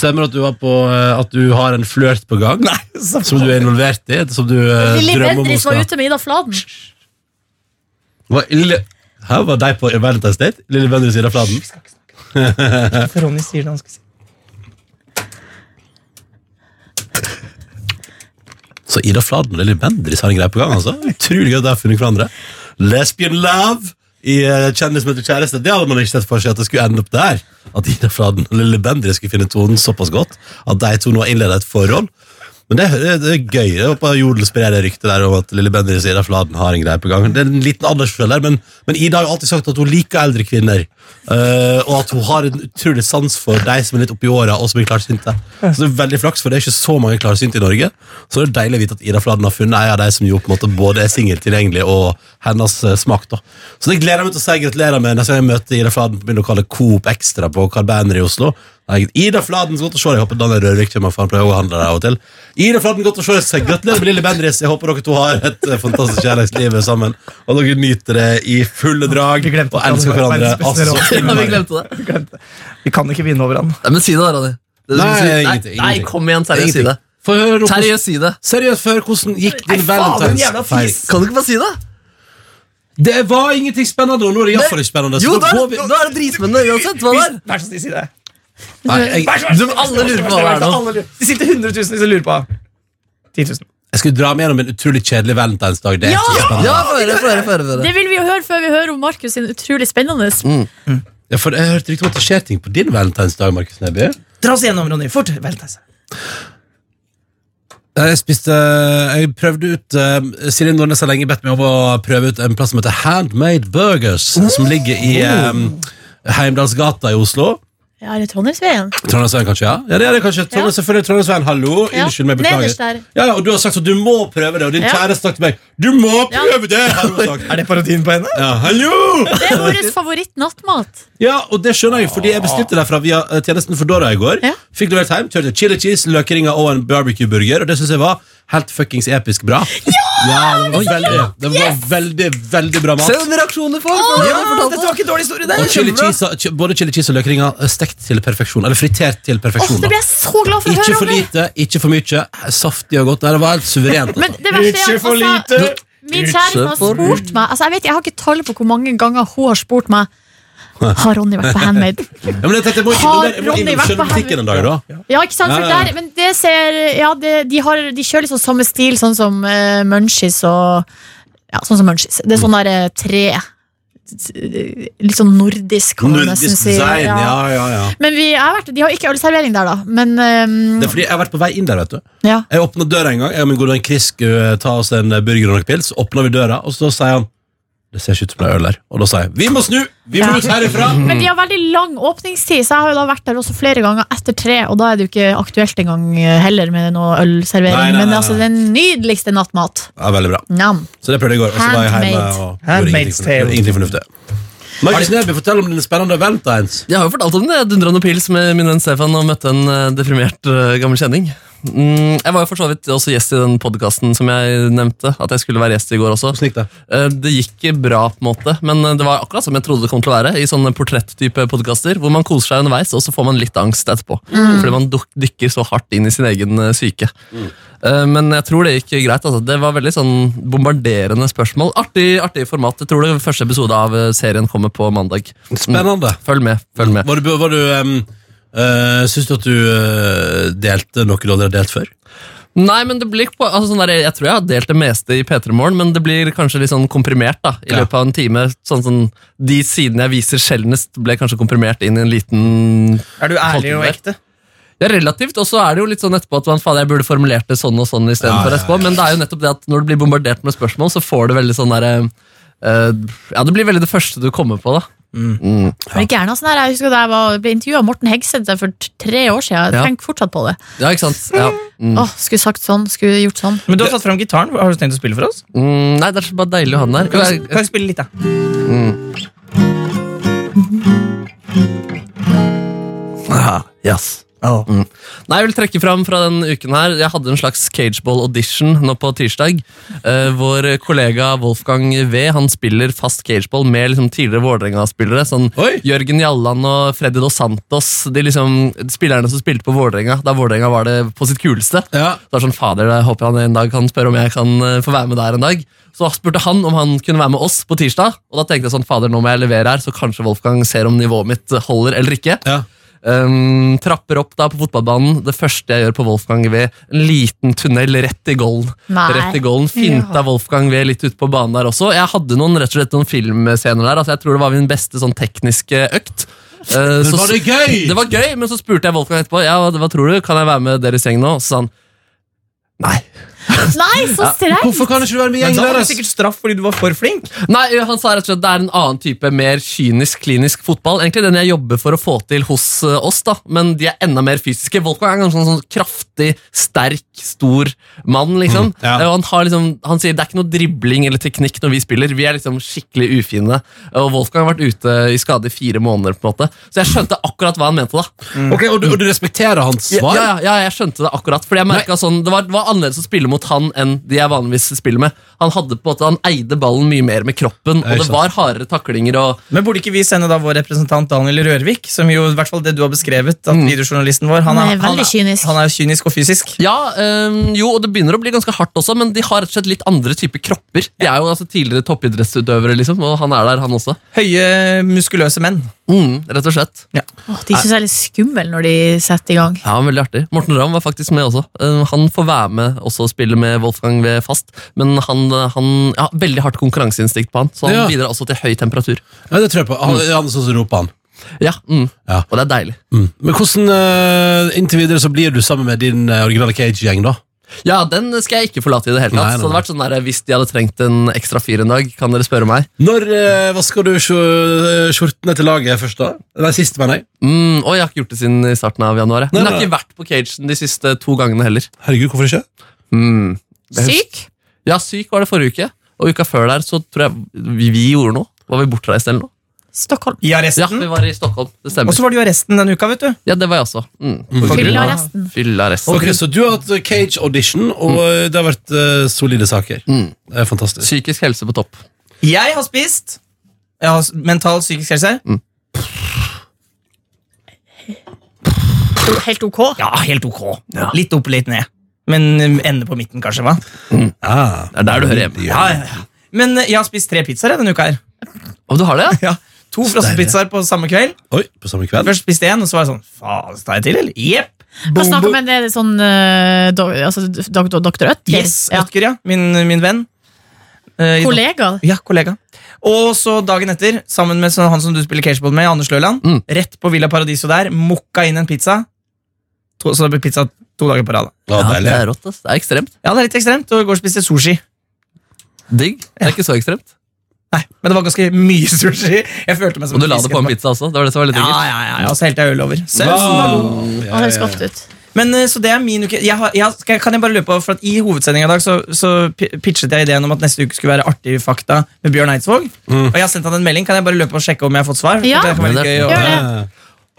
S2: Stemmer at du, var på, eh, at du har en flørt på gang?
S5: Nei, så-
S2: Som du er involvert i? Som du eh,
S3: Lilly
S2: drømmer om å
S3: Bendriss var
S2: skal
S3: ute med Ida Fladen.
S2: Hva, Lille... Hæ, var de på Valentine's Date? Lille Bendriss Ida Fladen?
S5: Før Ronny sier det han skal si.
S2: Så Ida Fladen og Lilly Bendriss har en greie på gang. altså. Utrolig gøy at de har funnet hverandre. Lesbian love i eh, Kjendis møter kjæreste. Det hadde man ikke sett for seg at det skulle ende opp der. At Ida Fladen og Lilly Bendriss skulle finne tonen såpass godt at de to nå har innleda et forhold. Men det, det, det er gøy. Jeg håper Jodel sprer det ryktet der om at Lille Bendriss og Ida Fladen har en greie på gang. Det er en liten aldersforskjell der, men, men Ida har jo alltid sagt at hun liker eldre kvinner. eh, og at hun har en utrolig sans for de som er litt oppi åra og som er klarsynte. Så det er veldig flaks, for det er ikke så mange klarsynte i Norge. Så det er deilig å vite at Ida Fladen har funnet ei av de som jo på en måte både er singel tilgjengelig og hennes eh, smak. da. Så det gleder jeg meg til å si gratulerer med neste gang jeg møter Ida Fladen på min lokale Coop Extra på Carl Berner i Oslo. Nei, Ida Fladen, så godt å se deg. Jeg håper Daniel Rørvik kommer, for han pleier å handle der av og til. Ida Fladen, godt å se deg. Gratulerer med lille Bendriss. Jeg håper dere to har et eh, fantastisk kjærlighetsliv sammen, og dere nyter det i fulle drag
S5: Vi glemte
S2: og elsker
S5: hverandre.
S2: hverandre.
S5: Verdens beste
S2: Altså,
S5: råd.
S4: <laughs> Ja, vi glemte det.
S5: Vi kan ikke vinne over han.
S4: Nei, men si det, da, Ronny. Det-
S2: Nei,
S4: si- nei,
S2: ingenting,
S4: nei,
S2: ingenting.
S4: kom igjen, seriøst si det.
S2: Få høre noe hvordan-
S4: Seriøst si det.
S2: Seriøst, før, hvordan gikk din
S5: faen, den jævla
S2: valentines? Nei.
S5: fis.
S4: Kan du ikke bare si det?
S2: Det var ingenting spennende, og nå er det iallfall ikke spennende. så
S4: Jo,
S2: nå
S4: da er
S2: går
S4: det,
S2: vi-
S4: da er det dritspennende uansett. Hva det er.
S5: Vær så snill, si det.
S2: Nei, jeg,
S5: Vær så snill,
S4: Du, men alle lurer på hva det er nå.
S5: Alle lurer. De sitter 100 000 som lurer på 10 000.
S2: jeg skulle dra meg gjennom en utrolig kjedelig valentinsdag. Det er
S3: Ja!
S2: ikke så spennende.
S4: Ja, få høre, få høre, få høre, få høre.
S3: eh, Det vil vi jo høre før vi hører om Markus sin utrolig spennende.
S2: Ja, for jeg hørte rykter om at det skjer ting på din valentinsdag, Markus Neby.
S5: Dra oss gjennom, Ronny. Fort. Vent, altså.
S2: Jeg spiste Jeg prøvde ut eh, Silje Nordnes har lenge bedt meg om å prøve ut en plass som heter Handmade Burgers, som ligger i um, Heimdalsgata i Oslo.
S3: Ja, er det Trondheimsveien?
S2: Trondheimsveien, kanskje? Ja, ja det er det kanskje. Trondheim, Selvfølgelig Trondheimsveien, hallo.
S3: Ja,
S2: Unnskyld meg,
S3: nederst der.
S2: beklager. Ja, ja, og du har sagt at du må prøve det, og din
S3: Ja.
S2: kjæreste har sagt til meg Du må prøve det! har hun sagt.
S5: Er det parodien på henne?
S2: Ja, hallo!
S3: Det er vår favoritt nattmat.
S2: Ja, og det skjønner jeg, fordi jeg bestilte derfra via eh, tjenesten for Dora i går.
S3: Ja.
S2: Fikk levert hjem, kjørte chili cheese, løkringer og en barbecue-burger, og det syns jeg var helt fuckings episk bra. Ja! det, var veldig, det var veldig, veldig bra
S4: Se
S2: mat.
S4: den reaksjonen du får. for det
S5: Ja,
S4: har jeg fortalt
S5: dette
S4: deg.
S5: var ikke en dårlig historie, det.
S2: Og chili cheese, ch- både chili cheese og løkringer eh, stekt til perfeksjon. Eller fritert til
S3: Åh,
S2: perfeksjon.
S3: det
S2: da.
S3: blir jeg så glad for å
S2: Ikke
S3: høre
S2: for
S3: om det.
S2: lite, ikke for mye. Saftig og godt. Nei, det var helt suverent. altså.
S3: Men det verste er
S5: Ikke
S3: at
S5: for
S3: altså,
S5: lite.
S3: min kjæreste har
S4: Ikke for
S3: spurt meg altså, jeg, vet, jeg har ikke tall på hvor mange ganger hun har spurt meg Har Ronny vært på Handmade?
S2: Ja, men jeg tenkte, jeg må
S3: Har
S2: innom, der- jeg må
S3: Ronny
S2: innom
S3: vært på
S2: selvbutikken en dag, da.
S3: Ja, ikke sant?
S2: Ja,
S3: For
S2: ja, ja.
S3: der, men det ser ja, det, de, har, de kjører liksom samme stil, sånn som eh, Munchies og Ja, sånn som Munchies. Det er sånn der eh, tre Litt sånn nordisk, kan man nesten
S2: Nordisk
S3: si.
S2: design,
S3: Ja.
S2: ja, ja, ja.
S3: Men vi jeg har vært, de har ikke ølservering der, da. Men ehm,
S2: Det er fordi jeg har vært på vei inn der, vet du.
S3: ja.
S2: Jeg åpna døra en gang. Jeg og min gode venn Chris skulle eh, ta oss en burger og noen pils. Åpna vi døra, og så sier han Det ser ikke ut som det er øl her. Og da sa jeg vi må snu! Vi må
S3: Ja.
S2: ut herifra!
S3: Men de har veldig lang åpningstid, så jeg har jo da vært der også flere ganger etter tre, og da er det jo ikke aktuelt engang eh, heller med noe ølservering.
S2: Nei, nei, nei,
S3: Men det er altså
S2: nei.
S3: den nydeligste nattmat.
S2: Ja, veldig bra.
S3: Nam.
S2: Så det prøvde jeg i går. Og så var jeg hjemme
S3: Handmade.
S2: og gjorde ingenting
S5: Handmaid's tale.
S2: fornuftig. Ingenting fornuftig. Markus Neby, fortell om dine spennende valentines.
S4: Jeg har jo fortalt om det. Jeg dundra noen pils med min venn Stefan og møtte en eh, deprimert eh, gammel kjenning. Mm, jeg var jo for så vidt også gjest i den podkasten som jeg nevnte. At jeg skulle være gjest i går også.
S2: Hvordan gikk det?
S4: Eh, Det gikk bra, på en måte, men eh, det var akkurat som jeg trodde det kom til å være. I sånne portretttype podkaster hvor man koser seg underveis, og så får man litt angst etterpå. Fordi man duk- dykker så hardt inn i sin egen eh, syke.
S2: Mm.
S4: Eh, Men jeg tror det gikk greit. Altså. Det var veldig sånn bombarderende spørsmål. Artig, artig format. Jeg tror det første episode av eh, serien kommer på mandag.
S2: Spennende.
S4: Følg med. følg med
S2: Var du, var du em, eh, Syns du at du eh, delte noe du aldri har delt før?
S4: Nei, men det blir på, altså sånn der, Jeg tror jeg har delt det meste i P3 Morgen, men det blir kanskje litt sånn komprimert da, i
S2: Ja.
S4: løpet av en time. Sånn, sånn, de sidene jeg viser sjeldnest, ble kanskje komprimert inn i en liten
S5: Er du ærlig og ekte?
S4: Ja, relativt. Og så er det jo litt sånn etterpå at man, faen, jeg burde formulert det sånn og sånn
S2: Ja, ja,
S4: istedenfor
S2: ja.
S4: etterpå. Men det er jo nettopp det at når du blir bombardert med spørsmål, så får du veldig sånn derre eh, Ja, det blir veldig det første du kommer på, da.
S3: Er det gærne, sånn her? Jeg husker da jeg var, ble intervjua av Morten Hegseth for t- tre år siden. Jeg
S4: Ja.
S3: tenker fortsatt på det.
S4: Ja, ikke sant? Ja. Mm.
S3: Åh, skulle sagt sånn, skulle gjort sånn.
S5: Men du har tatt fram gitaren. Har du tenkt å spille for oss?
S4: Mm, nei, det er så bare deilig å ha den der.
S5: Kan
S4: Jo,
S5: vi,
S4: jeg-
S5: kan vi spille litt, da?
S4: Ah, yes. Mm. Nei, jeg vil trekke fram fra den uken her. Jeg hadde en slags cageball audition nå på tirsdag. Eh, vår kollega Wolfgang V han spiller fast cageball med liksom tidligere Vålerenga-spillere. Sånn
S2: Oi!
S4: Jørgen Jalland og Freddy Dos Santos. De liksom, spillerne som spilte på Vålerenga da Vålerenga var det på sitt kuleste.
S2: Ja.
S4: Så det er sånn, fader, jeg håper han en dag kan spørre om jeg kan eh, få være med der en dag. Så spurte han om han kunne være med oss på tirsdag, og da tenkte jeg sånn, fader, nå må jeg levere her, så kanskje Wolfgang ser om nivået mitt holder eller ikke.
S2: ja.
S4: ehm, trapper opp da på fotballbanen. Det første jeg gjør på Wolfgang V, en liten tunnel rett i golden.
S3: Nei.
S4: Rett i golden, Finta
S3: Ja.
S4: Wolfgang V litt ute på banen der også. Jeg hadde noen, rett og slett, noen filmscener der. Altså, jeg tror det var min beste sånn tekniske økt. Eh,
S2: Men
S4: så-
S2: var det gøy?
S4: det var gøy, men så spurte jeg Wolfgang etterpå Ja, hva, hva tror du, kan jeg være med deres gjeng nå? Så sa han Nei.
S3: Nei, så strengt!
S2: Hvorfor kan ikke du være med i
S5: Men
S2: gjengen
S5: da var det
S2: deres?
S5: sikkert straff fordi du var for flink.
S4: Nei, Han sa rett og slett det er en annen type, mer kynisk, klinisk fotball. Egentlig den jeg jobber for å få til hos eh, oss, da men de er enda mer fysiske. Wolfgang er en ganske sånn, sånn kraftig, sterk, stor mann, liksom.
S2: Mm, ja.
S4: Eh, og han, har, liksom han sier det er ikke noe dribling eller teknikk når vi spiller. Vi er liksom skikkelig ufine. Og Wolfgang har vært ute i skade i fire måneder, på en måte. Så jeg skjønte akkurat hva han mente, da.
S2: Ok, og du, og du respekterer hans
S4: Ja,
S2: svar?
S4: ja, ja, jeg skjønte det akkurat. Fordi jeg merket sånn, det var, det var annerledes å spille mot han enn de jeg vanligvis spiller med. Han hadde på en måte, han eide ballen mye mer med kroppen,
S2: Ja, ikke
S4: og det
S2: sant.
S4: var hardere taklinger. og
S5: Men burde ikke vi sende da vår representant Daniel Rørvik, som jo i hvert fall det du har beskrevet, at videojournalisten vår han
S3: Han
S5: er,
S3: er veldig kynisk.
S5: han er kynisk og fysisk.
S4: Ja, øhm, jo, og det begynner å bli ganske hardt også, men de har rett og slett litt andre typer kropper. De er jo altså tidligere toppidrettsutøvere, liksom, og han er der, han også.
S5: Høye, muskuløse menn.
S4: Mm, rett og slett.
S3: Åh, de syns jeg er litt skummel når de setter i gang.
S4: Ja, veldig artig. Morten Ramm var faktisk med også. Eh, Han får være med også og spille med Wolfgang ved fast, men han, eh, han ja, veldig hardt konkurranseinstinkt på han, så han
S2: Ja.
S4: bidrar også til høy temperatur.
S2: Ja, det tror jeg på. Han, han er sånn som roper han.
S4: Ja, mm.
S2: Ja.
S4: og det er deilig.
S2: Mm. Men hvordan eh, inntil videre så blir du sammen med din eh, originale Cage-gjeng, da?
S4: Ja, den skal jeg ikke forlate i det hele tatt.
S2: Nei, nei,
S4: Så det hadde vært sånn der, Hvis de hadde trengt en ekstra fyr en dag, kan dere spørre meg?
S2: Når eh, vasker du skjo- skjortene til laget først, da? Nei, sist, mener jeg.
S4: Mm, og jeg har ikke gjort det siden i starten av januar. jeg.
S2: Nei,
S4: Men jeg har
S2: nei.
S4: ikke vært på cagen de siste to gangene heller.
S2: Herregud, hvorfor ikke?
S4: Mm. Det er-
S3: Syk?
S4: Ja, syk var det forrige uke. Og uka før der så tror jeg vi, vi gjorde noe. Var vi bortreist eller noe?
S3: Stockholm.
S5: I
S4: Ja, vi
S5: arresten.
S4: var i Stockholm. Det
S5: Og
S4: stemmer.
S5: så var det jo arresten denne uka, vet du.
S4: Ja, det var jeg også. Mm.
S2: Mm.
S3: Fylla resten.
S4: Fylla resten.
S2: Ok, Så du har hatt eh, Cage-audition, og eh, det har vært eh, solide saker.
S4: Mm.
S2: Det er fantastisk.
S4: Psykisk helse på topp.
S5: Jeg har spist. Jeg har s- mental psykisk helse.
S3: Helt ok.
S5: Ja, helt ok. Litt opp, litt ned. Men um, ende på midten, kanskje. hva?
S2: Ah,
S4: Det er der du hører hjemme.
S5: Ja, ja, ja. Men eh, jeg har spist tre pizzaer jeg, denne uka. her
S4: Å, du har det? ja?
S5: To frossenpizzaer på samme kveld.
S2: Oi, på samme kveld?
S5: Først spiste én, og så var jeg sånn Faen, tar jeg til, eller? Jepp.
S3: Hva snakker vi om? Er det sånn eh, do, altså, dok, dok, Dr. Ødger?
S5: Yes,
S3: Ja.
S5: Ødger, ja. Min, min venn. Eh, i-
S3: Kollega?
S5: Ja, kollega. Og så dagen etter, sammen med sånn- han som du spiller cageboard med, Anders Løland,
S4: Mm.
S5: rett på Villa Paradiso der, mokka inn en pizza. To, så det ble pizza to dager på rad. da.
S2: Ja,
S4: Ja, det
S2: deilig.
S4: er rått. ass. Det er ekstremt.
S5: Ja, det er litt ekstremt. Og i går spiste jeg sushi.
S4: Digg. Det er ikke så ekstremt.
S5: Nei, men det var ganske mye <laughs> sushi. Jeg følte meg som
S4: Og du la det på en pizza også. Det var det som var litt
S5: Ja,
S4: digg.
S5: ja, ja, ja. Og så helte jeg øl over. Sausen var god.
S2: Wow. Ja,
S3: Han
S2: ja,
S3: høres godt
S2: ja.
S3: ut.
S5: Men eh, så det er min uke jeg har, jeg, skal, jeg- Kan jeg bare løpe over, for at I hovedsendingen i dag så, så pi- pitchet jeg ideen om at neste uke skulle være artig fakta med Bjørn Eidsvåg. Og jeg har sendt han en melding. Kan jeg bare løpe og sjekke om jeg har fått svar?
S3: Ja.
S5: For det kan være litt gøy å-
S3: Gjør det.
S2: Ja.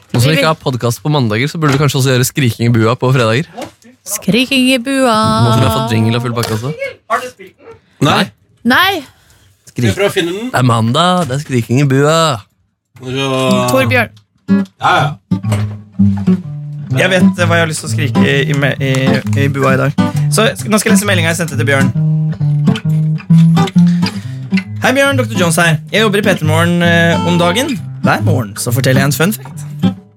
S4: Nå som vi
S3: Vi vil-
S4: ikke har podkast på mandager, så burde du kanskje også gjøre skriking i bua på fredager.
S3: Skriking i bua.
S4: Nå som vi har fått jingle og full pakke også. Det
S2: Nei,
S3: Nei,
S2: skal vi prøve å finne den?
S4: er mandag, det er skriking i bua.
S2: Ja,
S3: Torbjørn.
S2: ja.
S5: Jeg vet eh, hva jeg har lyst til å skrike i, i, me- i, i bua i dag. Så sk- Nå skal jeg lese meldinga jeg sendte til Bjørn. Hei, Bjørn. Dr. Jones her. Jeg jobber i Petermorgen eh, om dagen. Hver morgen så forteller jeg en fun fact.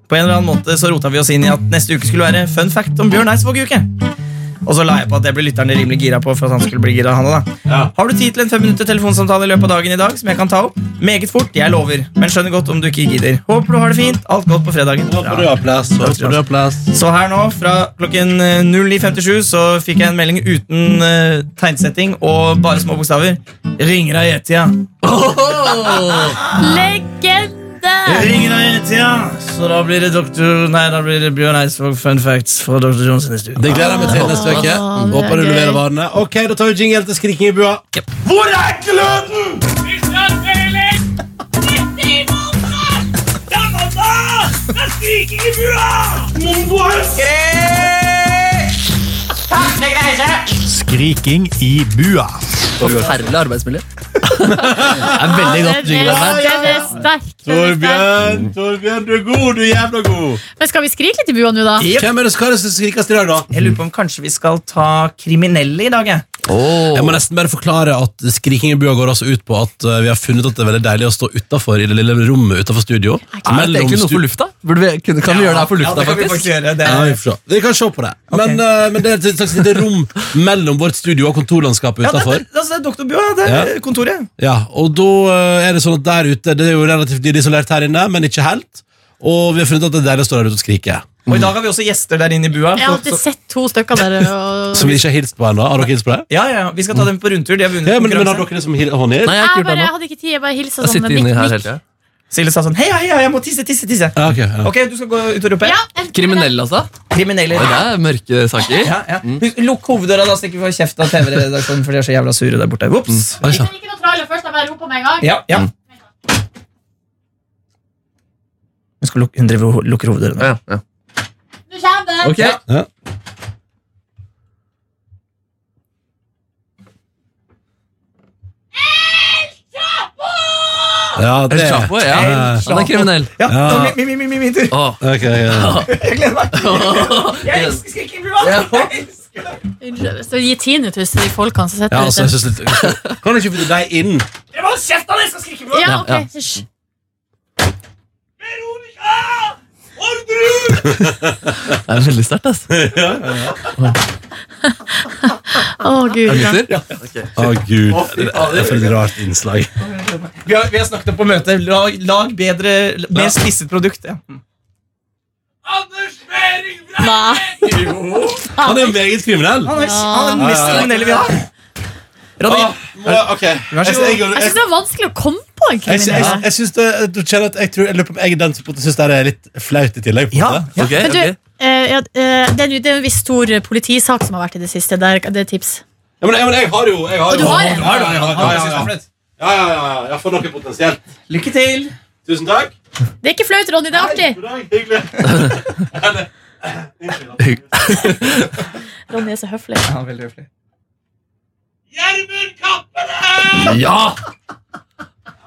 S5: På en eller annen måte så rota vi oss inn i at neste uke skulle være fun fact om Bjørn Eidsvåg-uke. Og så la jeg på at det ble lytterne rimelig gira på. for at han skulle bli gira han også, da.
S2: Ja.
S5: Har du tid til en fem minutter telefonsamtale i løpet av dagen i dag? som jeg kan ta opp? Meget fort, jeg lover. Men skjønner godt om du ikke gidder. Håper du har det fint. Alt godt på fredagen.
S2: Nå får du applaus. nå får du applaus.
S5: Så her nå, fra klokken eh, 09.57, så fikk jeg en melding uten eh, tegnsetting og bare små bokstaver. Ringer av E-tida.
S3: Legende!
S5: Ringer av E-tida! Så da blir det doktor Nei, da blir det Bjørn Eidsvåg fun facts fra Dr. Jones neste uke.
S2: Det gleder jeg meg til neste uke.
S3: Ah, det er
S2: Håper du
S3: gøy.
S2: leverer varene. Ok, da tar vi jingle til skriking i bua. Hvor er gløden?
S1: Skriking i bua.
S4: Forferdelig arbeidsmiljø. det er veldig
S3: Ja, den
S4: godt jingle.
S3: er-
S4: her.
S3: den er sterk, den er sterk.
S2: Torbjørn, Torbjørn, du er god, du er jævla god.
S3: Men skal vi skrike litt i bua nå, da?
S5: Jep.
S2: Hvem er det som skal skrikes i dag, da?
S5: Jeg lurer på om kanskje vi skal ta kriminelle i dag, jeg.
S4: Åh.
S2: Jeg må nesten bare forklare at Skriking i bua går altså ut på at eh, vi har funnet at det er veldig deilig å stå utenfor i det lille rommet utenfor studio.
S4: Er det egentlig noe
S2: stu-
S4: for lufta? Burde vi, kunne- kan vi gjøre det her for
S5: Ja,
S4: lufta,
S5: det kan vi
S4: faktisk?
S5: faktisk gjøre. Det
S2: Ja, vi
S5: er,
S2: får se. Vi kan se på det. Men, eh, men det er et slags lite rom mellom vårt studio og kontorlandskapet
S5: ja, det,
S2: utenfor.
S5: det, altså, det er doktorbua, det er
S2: Ja.
S5: kontoret.
S2: Ja, og da eh, er det sånn at der ute Det er jo relativt dyrt isolert her inne, men ikke helt. Og vi har funnet at det er deilig å stå der ute og skrike.
S5: Og i dag har vi også gjester der inne i bua.
S3: Jeg
S5: så-
S3: har alltid sett to stykker der. Og...
S2: Som vi ikke har hilst på ennå. Har dere hilst på det?
S5: Ja, ja, ja, Vi skal ta dem på rundtur. De har vunnet
S2: Ja, men, men har
S5: konkurransen.
S2: dere liksom hil- hånd i?
S4: Nei, jeg har
S3: Jeg,
S4: ikke gjort
S3: bare,
S4: det
S3: jeg
S4: nå.
S3: hadde ikke tid. Jeg bare hilsa
S4: Jeg
S3: sånn.
S4: sitter
S3: nikk,
S4: inni her hele
S3: nikk.
S4: tida.
S5: Silje sa sånn Hei, hei, hei, jeg må tisse, tisse, tisse.
S2: Ja, ok, ja.
S5: Ok, du skal gå ut og rope.
S3: Ja, jeg-
S4: Kriminell, altså?
S5: Kriminelle.
S4: Oi, det er mørke saker.
S5: Ja, ja. Husk, Lukk hoveddøra, da, så ikke vi får kjeft av TV-redaksjonen, for de er så jævla sure der borte. Whoops.
S2: Oi,
S3: Jeg
S2: sant.
S3: kan ikke noe trailer først. Jeg bare roper med en gang.
S5: Ja, ja. Mm. Hun skal lukke, hun driver og lukker hoveddøra. nå.
S4: Ja, ja.
S3: Nå kommer det.
S4: Ok,
S5: Ja.
S2: Ja. Ja, det
S4: El Chapo, ja.
S5: El
S4: Han er kriminell.
S5: Ja,
S2: Ja.
S5: da, min, min, min, min, min tur.
S4: Åh.
S2: Ok, ja.
S5: Jeg gleder meg. Jeg elsker skrikebua.
S4: Ja.
S5: Jeg elsker det.
S3: Unnskyld. Så gi tinnitus til de folkene som sitter
S2: ja altså, jeg
S3: ute.
S2: synes litt, Kan du ikke flytte deg inn?
S5: Dere må holde kjeft av det, jeg skal skrikebua.
S3: Ja,
S4: Ja,
S3: ok. Hysj.
S5: Veronica! Ordre!
S4: Det er veldig sterkt, ass. Er
S3: Å, gud.
S4: det
S3: ja.
S4: gutter?
S2: Å, gud. Det er for et rart innslag.
S5: Vi har, vi har snakket om på møtet. Lag, lag bedre, mer spisset produkt. Ja. Anders Behring
S3: Nei.
S2: <laughs> Han er jo meget kriminell.
S5: Han er, han er den mest kriminelle vi har. Radin.
S2: Ok.
S5: Vær så
S2: Jeg-
S5: god.
S2: jeg-
S3: Jeg syns det er vanskelig å komme på en
S2: Jeg, jeg,
S3: kriminell.
S2: jeg, synes det, du kjenner at jeg, tror, jeg lurer på om jeg er den som på en måte synes det her er litt flaut i tillegg. På en
S5: Ja,
S2: måte.
S5: ja.
S4: Ok,
S3: Men du,
S4: ok.
S3: eh, ja, eh, det er jo det er jo en viss stor eh, politisak som har vært i det siste. Der, det er tips.
S2: Ja, men, ja, men jeg har jo Jeg har
S3: Og du har en?
S2: Ja, ja, ja, ja, ja, ja,
S5: ja.
S2: ja, ja, ja, ja. Jeg får noe potensielt.
S5: Lykke til.
S2: Tusen takk.
S3: Det er ikke flaut, Ronny. Det er artig.
S2: God dag. Hyggelig.
S3: Ronny er så høflig.
S5: Ja, veldig høflig.
S2: Gjermund Cappelen!
S4: Ja!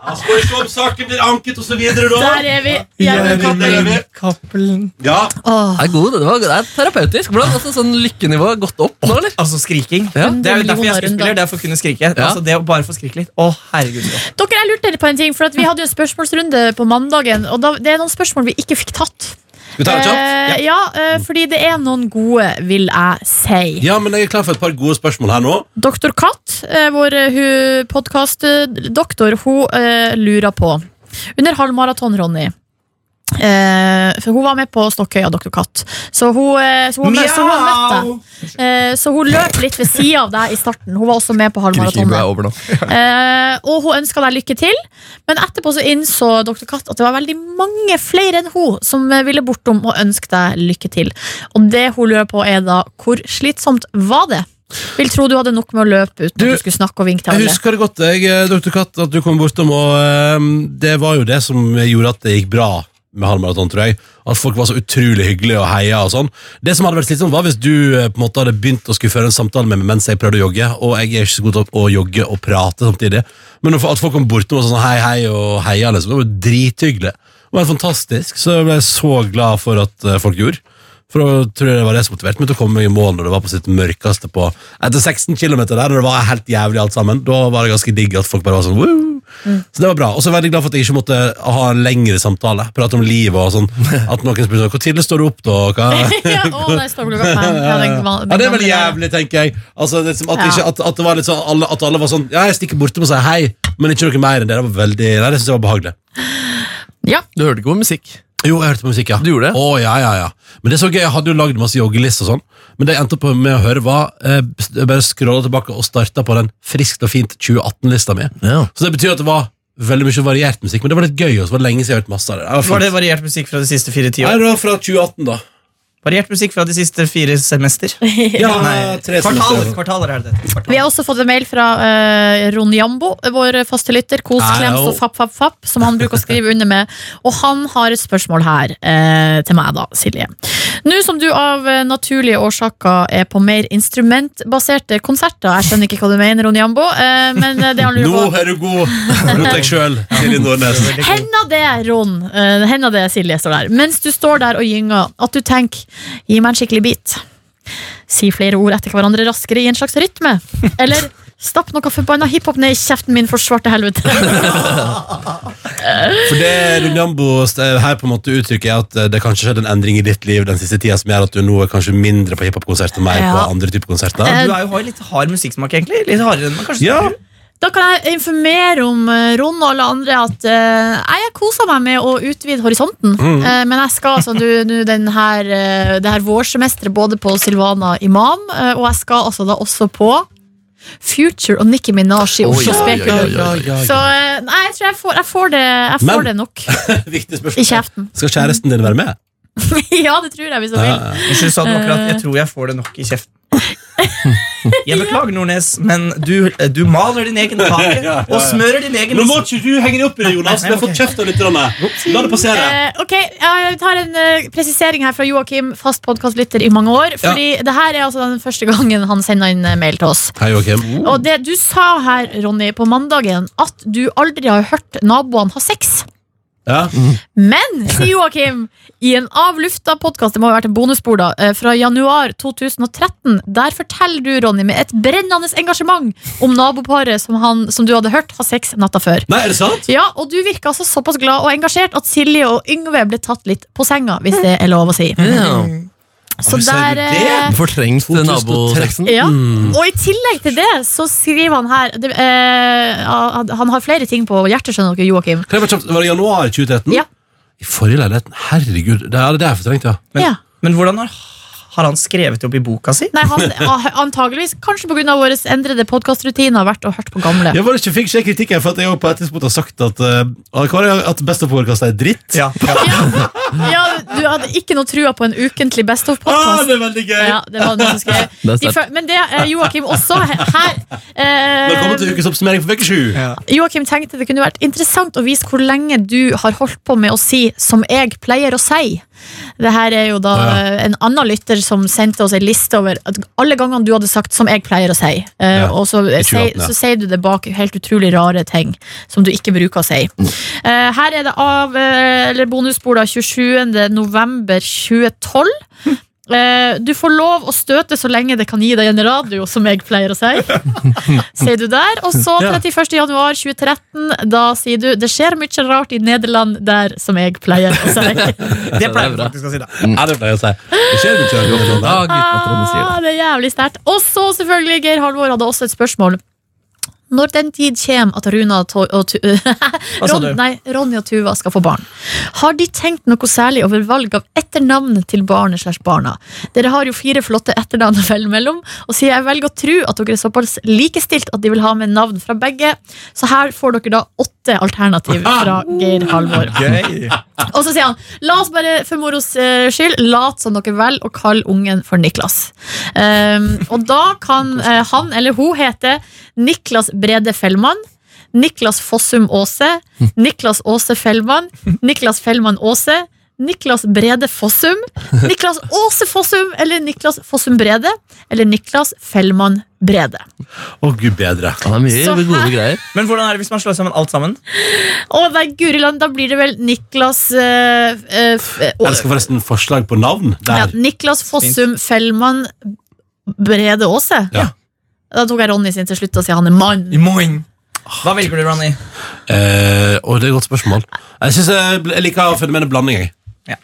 S2: Ja, skal vi se om saken blir anket, og så videre, da?
S3: Der er vi. Gjermund Kapp.
S5: Cappelen.
S2: Ja.
S3: Åh,
S4: Det er god, det, var, det er terapeutisk. Hvordan altså, sånn Lykkenivået har gått opp nå, eller?
S5: Altså skriking.
S4: Ja.
S5: Det er jo derfor jeg er
S3: Millioner
S5: skuespiller.
S3: runder.
S5: Det er for å kunne skrike. Altså det å bare få skrike litt. Å, herregud.
S3: Dere, jeg lurte på en ting, for at Vi hadde jo en spørsmålsrunde på mandagen, og da, det er noen spørsmål vi ikke fikk tatt.
S2: Skal vi ta det kjapt?
S3: Eh, ja, eh, fordi det er noen gode, vil jeg si.
S2: Ja, men jeg er klar for et par gode spørsmål her nå.
S3: Doktor Katt, eh, vår eh, hu- podkastdoktor, hun eh, lurer på Under halvmaraton, Ronny eh, For hun var med på Stokkøya, doktor Katt. Så hun, eh, så hun, så hun møtte deg.
S5: Mjau!
S3: Eh, så hun løp litt ved sida av deg i starten. Hun var også med på halvmaratonet.
S4: Lykkenivået er over nå.
S3: Eh, og hun ønska deg lykke til, men etterpå så innså Dr. Katt at det var veldig mange flere enn hun som eh, ville bortom og ønske deg lykke til. Og det hun lurer på, er da hvor slitsomt var det? Vil tro du hadde nok med å løpe uten
S2: Du,
S3: at du skulle snakke og vinke til
S2: Jeg
S3: alle.
S2: husker det godt, jeg, eh, Dr. Katt, at du kom bortom, og ehm, det var jo det som gjorde at det gikk bra med halvmaraton, tror jeg. At folk var så utrolig hyggelige og heia og sånn. Det som hadde vært slitsomt, var hvis du eh, på en måte hadde begynt å skulle føre en samtale med meg mens jeg prøvde å jogge, og jeg er ikke så god til å jogge og prate samtidig. Men at folk kom bortom og sa sånn hei, hei og heia, liksom, det var jo drithyggelig. Det var fantastisk, så jeg ble så glad for at eh, folk gjorde. For da tror jeg det var det som motiverte meg til å komme meg i mål når det var på sitt mørkeste på Etter 16 km der, når det var helt jævlig alt sammen, da var det ganske digg at folk bare var sånn Woo! Så det var bra. Og så er jeg veldig glad for at jeg ikke måtte ha en lengre samtale. Prate om livet og sånn. At noen spurte sånn Hvor tidlig står du opp, da? Hva?
S3: <laughs> ja, å, der står klokka fem. Ja, den van-
S2: Ja, det er vel
S3: den gamle der.
S2: jævlig, tenker jeg. Altså, det, er som at,
S3: Ja.
S2: ikke, at, at det var litt sånn alle, At alle var sånn Ja, jeg stikker bortom og sier hei, men ikke noe mer enn det. Det var veldig Nei, det syns jeg var behagelig.
S3: Ja,
S4: Du hørte ikke på musikk?
S2: Jo, jeg hørte på musikk, ja.
S4: Du gjorde det?
S2: Å, ja, ja, ja. Men det er så gøy, jeg hadde jo lagd masse joggelist og sånn, men det jeg endte opp med å høre var, eh, jeg bare scrollet tilbake og startet på den friskt og fint 2018-lista mi.
S4: Ja.
S2: Så det betyr at det var veldig mye variert musikk, men det var litt gøy, og så var det lenge siden jeg hørte masse av det.
S5: Var det variert musikk fra de siste fire
S2: Nei,
S5: tiår?
S2: det var fra 2018 da.
S5: Variert musikk fra de siste fire semester?
S2: Ja,
S5: Nei,
S2: tre
S5: kvartaler.
S2: semester.
S5: Kvartaler er det. Kvartaler.
S3: Vi har også fått en mail fra uh, Ron Jambo, vår faste lytter. Kos,
S2: Nei,
S3: klems
S2: jo.
S3: og fapp, fapp, fapp, som han bruker å skrive under med. Og han har et spørsmål her eh, til meg, da, Silje. Nå som du av eh, naturlige årsaker er på mer instrumentbaserte konserter Jeg skjønner ikke hva du mener, Ron Jambo, eh, men eh, det han
S2: Nå
S3: lurer på
S2: er du god mot deg selv, Silje Nordnes.
S3: Hender det, Ron, eh, hender det, Silje, står der, mens du står der og gynger, at du tenker 'gi meg en skikkelig bit'. si flere ord etter hverandre raskere i en slags rytme. Eller stapp noe forbanna hiphop ned i kjeften min for svarte helvete.
S2: For det Runambo her på en måte uttrykker er at eh, det kanskje skjedde en endring i ditt liv den siste tida som gjør at du nå er kanskje mindre på hiphop-konsert og mer på
S3: Ja.
S2: andre typer konserter.
S3: Eh,
S5: Du er jo, har jo litt hard musikksmak, egentlig. Litt hardere enn man kanskje
S2: Ja.
S5: tror.
S3: Da kan jeg informere om eh, Ron og alle andre at eh, nei, jeg koser meg med å utvide horisonten.
S4: Mm.
S3: Eh, men jeg skal altså nå nå den her, eh, det her vårsemesteret både på Silvana Imam, eh, og jeg skal altså da også på Future og Nicki Minaj i
S4: Oi,
S3: Oslo
S4: oi, oi,
S3: Speaker.
S4: oi, oi.
S3: Så eh, nei, jeg tror jeg får, jeg får, det, jeg
S2: Men-
S3: får det nok
S2: Viktig
S3: i
S2: spørsmål.
S3: kjeften.
S2: Skal kjæresten din være med?
S3: ja, det tror jeg, hvis du vil.
S2: Ja.
S5: Unnskyld, sa den akkurat. Jeg tror jeg får det nok i
S3: <laughs>
S5: kjeften. Jeg beklager, Nordnes, men du, du maler din egen kake
S2: ja, ja.
S5: og smører din egen
S2: Nå må ikke du henge deg opp i det, Jonas. Vi har fått kjeft av lytterne. La det passere.
S3: Eh, ok, Jeg tar en eh, presisering her fra Joakim, fast podkastlytter i mange år. Fordi det her er altså den første gangen han sender inn eh, mail til oss.
S2: Hei, Joakim.
S3: Og det du sa her, Ronny, på mandagen, at du aldri har hørt naboene ha sex.
S2: Ja.
S3: Men, sier Joakim, i en av lufta podkast, det må ha vært en bonusspor, da, eh, fra januar 2013, der forteller du, Ronny, med et brennende engasjement om naboparet som, han, som du hadde hørt ha sex natta før.
S2: Nei, er det sant?
S3: Ja, og du virka altså såpass glad og engasjert at Silje og Yngve ble tatt litt på senga, hvis det er lov å si.
S4: Ja.
S3: Så
S2: Oi, sier du
S3: der eh,
S4: Fortrengt
S2: 2013.
S4: nabosexen.
S3: ja. Og i tillegg til det så skriver han her det, eh, han- Han har flere ting på hjertet, skjønner dere, Joakim.
S2: Kan jeg bare kjapt, Var det januar 2013?
S3: Ja.
S2: I forrige leiligheten? Herregud, det er det der jeg fortrengte, ja. Men,
S3: Ja.
S5: Men hvordan har, har han skrevet det opp i boka si?
S3: Nei, han, a- antageligvis, kanskje pga. våre endrede podkastrutiner, har vært og hørt på gamle.
S2: Jeg var ikke, fikk ikke kritikk her, for at jeg også på et tidspunkt har sagt at, uh, at Best of Podcast er dritt.
S5: Ja, ja.
S3: Ja, Du hadde ikke noe trua på en ukentlig Best
S2: Ah,
S3: of-podkast.
S2: det er veldig gøy!
S3: Ja, det var noe som
S2: <laughs>
S3: skrev.
S4: Det er
S3: De
S4: sterkt.
S3: fø- Men det eh, Joakim også her
S2: Velkommen
S3: eh,
S2: til ukes oppsummering for uke sju.
S3: Joakim tenkte det kunne vært interessant å vise hvor lenge du har holdt på med å si 'som jeg pleier å si'. Det her er jo da
S2: Ja.
S3: eh, en annen lytter som sendte oss ei liste over at alle gangene du hadde sagt 'som jeg pleier å si', eh,
S2: Ja,
S3: og så, eh, si-
S2: 2018, ja.
S3: så sier du det bak helt utrolig rare ting som du ikke bruker å si. Eh, her er det av eh, eller bonusspor da 27. november 2012. Eh, du får lov å støte så lenge det kan gi deg en radio, som jeg pleier å si. sier du der. Og så
S2: Ja.
S3: 31. januar 2013, da sier du det skjer mye rart i Nederland der, som jeg pleier å si.
S5: Det pleier vi
S4: bra.
S5: faktisk å si, da.
S2: Ja, det pleier jeg å si. Det skjer jo ikke akkurat noe sånt der.
S4: Ja, gutten at Ronny sier det.
S3: Ah, det er jævlig sterkt. Og så selvfølgelig, Geir Halvor hadde også et spørsmål. Når den tid kommer at Runa og, to og tu <laughs>
S5: Hva sa
S3: Ron
S5: du?
S3: nei, Ronny og Tuva skal få barn, har de tenkt noe særlig over valg av etternavn til barnet slash barna? Dere har jo fire flotte etternavn å velge mellom, og siden jeg velger å tro at dere er såpass likestilt at de vil ha med navn fra begge, så her får dere da åtte alternativ fra Geir Halvor.
S5: Gøy.
S3: Og så sier han La oss bare for moros eh, skyld Lat som dere vel og kall ungen for Niklas Ehm, Og da kan eh, han eller hun hete Niklas Brede Fellmann Niklas Fossum Åse Niklas Åse Fellmann Niklas Fellmann Åse Niklas Brede Fossum Niklas Åse Fossum Eller Niklas Fossum Brede Eller Niklas Fellmann Brede
S2: Å, gud bedre.
S4: Ja, det er mye
S3: Så
S4: gode
S3: her-
S4: greier.
S5: Men hvordan er det hvis man slår sammen alt sammen?
S3: Å nei, Guriland, da blir det vel Niklas eh, eh, f- eh,
S2: Jeg elsker forresten forslag på navn
S3: Ja,
S2: der.
S3: Niklas Fossum Fellmann Brede Aase.
S2: Ja.
S3: Da tok jeg Ronny sin til slutt og sier han er mann.
S5: I morgen. Hva velger du, Ronny?
S2: Eh, og det er et godt spørsmål. Jeg synes jeg, jeg liker fenomenet blanding, jeg.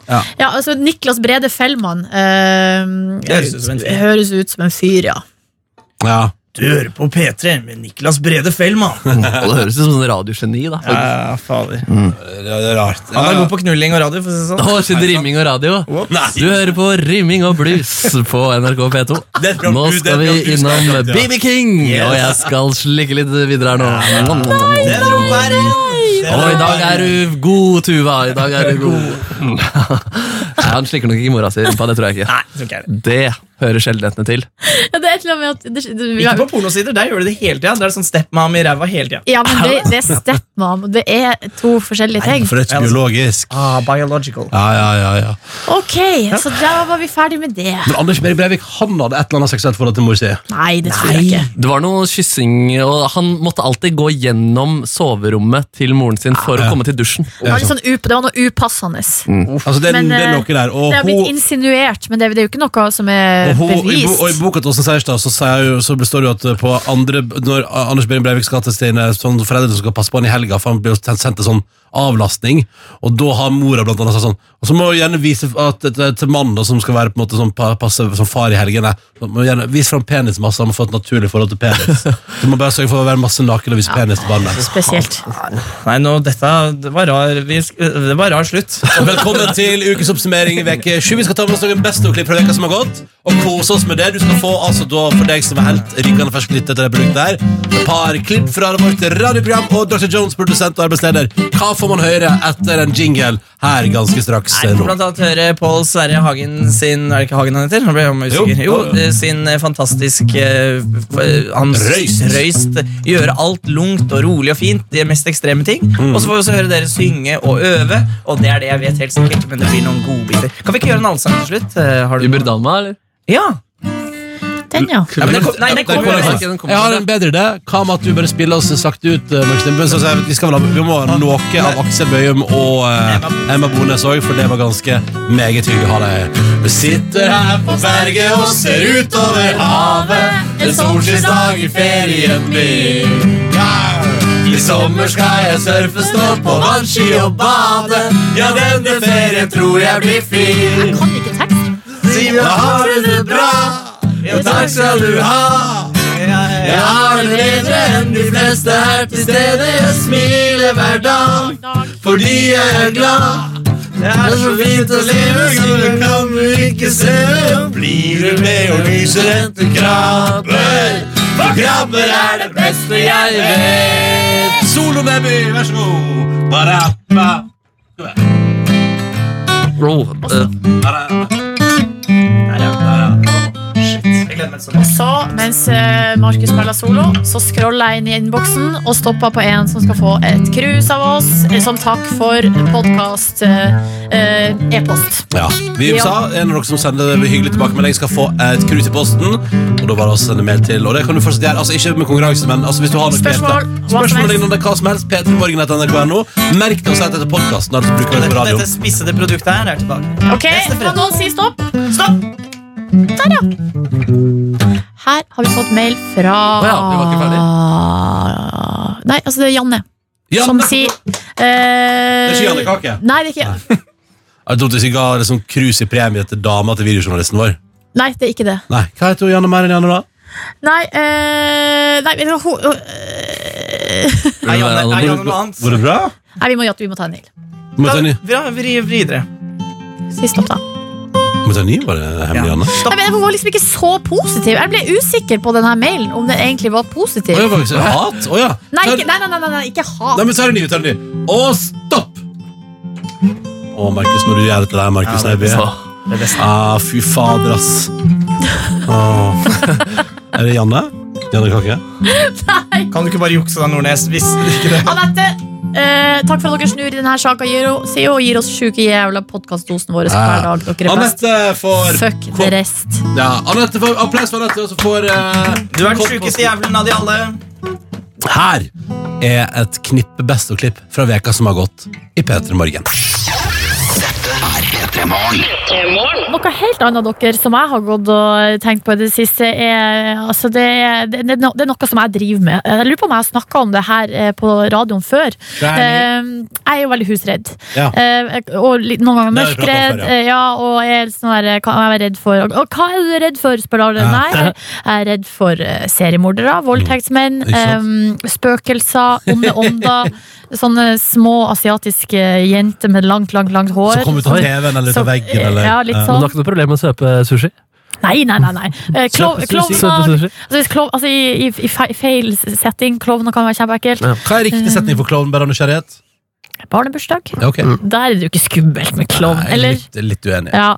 S3: Ja, altså Niklas Brede Fellmann eh,
S5: Det høres ut som en fyr.
S3: høres ut som en fyr, ja.
S2: Ja.
S5: Du hører på P3 med Niklas Brede Fellman.
S4: Og det høres ut som sånn radiogeni. da
S5: <laughs>
S4: faktisk.
S5: Ja, fader.
S2: Det er rart.
S5: Han er god på knulling og radio. for å si det sånn.
S4: Å, siden rimming og radio. Du hører på Rimming og blues på NRK P2.
S2: Det er et program
S4: Nå
S2: du- det er
S4: skal
S2: et program
S4: vi
S2: du skal
S4: innom
S2: ha klart, ja.
S4: BB King, og jeg skal slikke litt videre her nå. Og i dag er du god, Tuva. I dag er du god. <laughs> Nei, han slikker nok ikke mora si i rumpa, det tror jeg ikke.
S5: Nei, jeg tror ikke jeg er det.
S4: Det hører sjeldenhetene til.
S3: ja det er et eller annet med at det, det,
S5: Ikke på pornosider. Der gjør du det hele tida. Der er det sånn stepmom i ræva hele tida.
S3: Ja, men det, det er stepmom. Det er to forskjellige ting.
S2: For det er ikke biologisk.
S5: Ah, biological.
S2: Ja, ja, ja, ja.
S3: Ok, så da var vi ferdig med det.
S2: Men Anders Behring Breivik han hadde et eller annet seksuelt forhold til mor si.
S3: Nei, det tror jeg ikke.
S4: Det var noe kyssing, og han måtte alltid gå gjennom soverommet til moren sin for å komme til dusjen.
S3: Det var, litt sånn up, det var noe upassende.
S2: Altså, det, er-
S3: Men,
S2: det er
S3: eh,
S2: noe der. Og
S3: Det har blitt
S2: hun,
S3: insinuert, men det, det er jo ikke noe som er eh,
S2: Hun, i, bo, og I
S3: bevist.
S2: boka til Åsen Seierstad så, sier jo- så består det jo at eh, på andre, når Anders Behring Breivik skal til sine sånn foreldre som skal passe på han i helga, for han blir jo sen- sendt til sånn avlastning, og da har mora blant annet sagt sånn Og så må hun gjerne vise at, til, til mannen da, som skal være på en måte sånn, pa- passe som far i helgene så må hun gjerne Vis fram penismasse, han må få et naturlig forhold til <laughs> penis. Du må bare sørge for å være masse naken og vise penis til barnet.
S3: Spesielt.
S5: Nei, nå, dette det var rar, vi, sk- det var rar slutt.
S2: Og velkommen til ukens oppsummering i veke 7. Vi skal ta med oss noen beste og klipp fra veka som har gått. Og kose oss med det. Du skal få altså da, for deg som er helt rykkende fersk lytter til det produktet her, et par klipp fra vårt radioprogram og Dr. Jones, produsent og arbeidsleder. Hva får man høre etter en jingle her ganske straks eh,
S5: Nei,
S2: nå?
S5: blant annet høre Pål Sverre Hagen sin Er det ikke Hagen han heter? Nå ble jeg usikker. Jo,
S2: Jo.
S5: eh, sin eh, fantastisk eh, f- eh, hans
S2: Røyst.
S5: røyst. Gjøre alt lungt og rolig og fint. De mest ekstreme ting. Og så får vi også høre dere synge og øve, og det er det jeg vet helt sikkert. Men det blir noen godbiter. Kan vi ikke gjøre en allsang til slutt? Eh, Har du
S4: Uber Dalma, eller?
S5: Ja!
S3: Den, ja.
S5: ja men den kom, nei, den
S2: Der
S5: kommer
S2: kommer
S5: jo.
S4: ikke, den
S2: den.
S4: kommer
S2: Jeg har
S4: ikke.
S2: en bedre idé. Hva med at du bare spiller oss sakte ut? eh, Markus Neby? Så sier jeg at Vi, skal vel ha, vi må ha noe av Aksel Bøyum og eh, Emma Bones òg, for det var ganske meget hyggelig å ha deg Vi sitter her på berget og ser utover havet. En solskinnsdag i ferien min. Ja. I sommer skal jeg surfe, stå på vannski og bade. Ja, denne ferien tror jeg blir fin.
S3: Jeg kan ikke teksten.
S2: Da har du det bra. Ja, takk skal du ha. Jeg har det bedre enn de fleste her til stede. Jeg smiler hver dag fordi jeg er glad. Det er så fint å leve, så det kan du ikke se. Blir du med og lyser etter krabber? For krabber er det beste jeg vet. Solo baby, vær så god. Barappa.
S4: Bro, eh,
S5: Jeg gleder meg sånn.
S3: Så mens eh, Markus spiller solo, så scroller jeg inn i innboksen og stopper på en som skal få et krus av oss eh, som takk for podkast e-post.
S2: Ja, Vi
S3: Ja.
S2: sa en av dere som sender det hyggelig tilbakemelding, skal få et krus i posten. Og da bare å sende mail til. Og det kan du fortsatt gjøre. Altså Ikke med konkurranse, men altså, hvis du har noe
S3: Spørsmål,
S2: Peter.
S3: hva som
S2: Spørsmål
S3: helst.
S2: lignende hva som helst. P3morgen.nrk.no. Merk det og sett etter podkasten. Altså, bruker vi det på
S5: Dette,
S2: radio.
S5: dette spissede produktet her er tilbake.
S3: Ok,
S5: Neste
S3: Kan
S5: fredag.
S3: noen si stopp?
S5: Stopp!
S3: Her har vi fått mail fra
S4: Å ja, vi var ikke
S3: Nei, altså det er Janne
S2: Ja,
S3: som
S2: det
S3: sier
S2: er ikke Janne
S3: eh,
S2: Kake.
S3: Nei, det er ikke
S2: Jeg trodde vi ga liksom krus i premie til dama til videojournalisten vår.
S3: Nei, det er ikke det.
S2: Nei, Hva heter hun Janne mer enn Janne, da?
S3: Nei, eh, nei, vet du hva, ho- eh,
S5: Er Janne, er Janne noe annet?
S2: Går det bra?
S3: nei, vi må, ja, vi må ta en mail.
S2: Må jeg ta en ny?
S5: Bra, vri vri videre.
S3: Si stopp, da.
S2: Må jeg ta en ny? Var det hemmelig, Janne?
S3: Nei, men jeg var liksom ikke så positiv. Jeg ble usikker på denne mailen om den egentlig var positiv.
S2: Å, jeg bare- Hat? Å ja.
S3: Nei,
S2: Ta-
S3: ikke, nei, nei, nei, nei, nei, ikke hat.
S2: Nei, men ta en ny, ta en ny. Og stopp! Å, Markus, når du gjør dette der, Markus
S5: Ja, det er
S2: Neby.
S4: så.
S5: Det er best.
S2: Ah, fy fader, ass.
S3: <laughs>
S2: Åh. Er det Janne? Janne Kake?
S5: Kan du ikke bare jukse da, Nordnes? Hvis ikke det
S3: Anette, eh, takk for at dere snur i denne saka, sier hun, og gir oss sjuke jævla podkastdosen vår hver dag. Dere er best.
S2: Anette får
S3: Fuck the rest.
S2: Ja, Anette får applaus for Anette, og så får eh,
S5: Du er den
S2: kopp-
S5: sjukeste jævelen av de alle.
S2: Her er et knippe beste klipp fra veka som har gått i P3 Morgen.
S3: Noe helt annet dere som jeg har gått og tenkt på i det siste, er, altså det, er- det, er no- det er noe som jeg driver med. Jeg lurer på om jeg har snakka om det her eh, på radioen før. Eh, Jeg er jo veldig husredd.
S2: Ja.
S3: Eh, Og litt, noen ganger
S2: Det har vi pratet om før,
S3: mørkredd.
S2: ja.
S3: eh, Ja, og jeg er litt sånn der, eh, hva er jeg redd for? Og, og hva er du redd for, spør alle.
S2: Ja.
S3: Nei, jeg er redd for eh, seriemordere, voldtektsmenn,
S2: Mm. Ikke sant?
S3: eh, spøkelser, onde ånder. <laughs> Sånne små asiatiske jenter med langt, langt, langt hår.
S2: Som kom ut av TV-en eller ut
S3: Som-
S2: av veggen eller
S3: Ja, litt
S2: Ja.
S6: Men
S3: sånn.
S6: du har ikke noe problem med å søpe sushi?
S3: Nei, nei, nei. nei. Eh, klo-
S6: Søpe sushi? Søpe
S3: Klovner
S6: sushi?
S3: altså, hvis klov, altså, i, i, i fe- feil setting. Klovner kan være kjempeekkelt.
S2: Hva er riktig setning for klovn, bare av nysgjerrighet?
S3: Barnebursdag.
S2: Ja, ok.
S3: Der er det jo ikke skummelt med klovn.
S2: Nei, jeg er
S3: Eller
S2: litt, litt uenig.
S3: ja.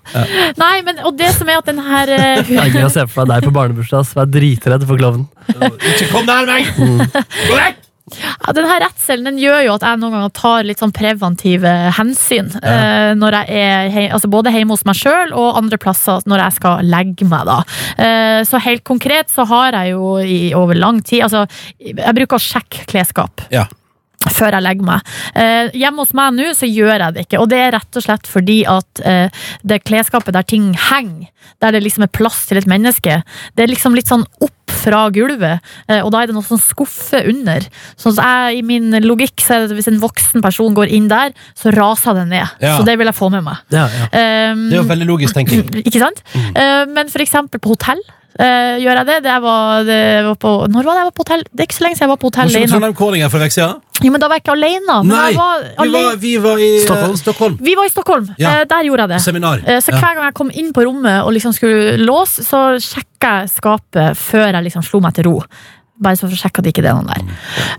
S3: Nei, men og det som er at den her eh,
S6: Jeg kan se for meg deg på barnebursdag som er dritredd for klovnen.
S2: Ikke kom nær meg!
S3: Ja, den her redselen den gjør jo at jeg noen ganger tar litt sånn preventive hensyn. eh, når jeg er hei, altså både hjemme hos meg sjøl og andre plasser når jeg skal legge meg. da. Eh, så helt konkret så har jeg jo i, over lang tid altså, Jeg bruker å sjekke klesskap.
S2: Ja.
S3: før jeg legger meg. Eh, hjemme hos meg nå så gjør jeg det ikke, og det er rett og slett fordi at eh, det klesskapet der ting henger, der det liksom er plass til et menneske, det er liksom litt sånn opp fra gulvet, eh, og da er det noe sånn skuffe under. Sånn at jeg, i min logikk, så er det at hvis en voksen person går inn der, så raser det ned.
S1: Ja.
S3: Så det vil jeg få med meg.
S6: Ja, ja.
S3: Um,
S1: Det er jo Mm. veldig logisk tenking.
S3: ikke sant? Eh, men for eksempel på hotell eh, gjør jeg det. det, jeg var, det var på, når var det jeg var på hotell? Det er ikke så lenge siden jeg var på
S2: Var
S3: hotell.
S2: ikke på
S3: alene.
S2: Trondheim Calling her for en uke siden?
S3: Jo, men da var jeg ikke alene. Men
S2: Nei,
S3: jeg var
S2: Vi
S3: alene.
S2: var, vi var i eh,
S6: Stockholm.
S2: Stockholm.
S3: Vi var i Stockholm.
S2: Ja.
S3: Eh, Der gjorde jeg det.
S2: Seminar.
S3: Eh, Så
S2: Ja.
S3: hver gang jeg kom inn på rommet og liksom skulle låse, så sjekka jeg skapet før jeg liksom slo meg til ro. Bare så for å sjekke at det ikke er noen der.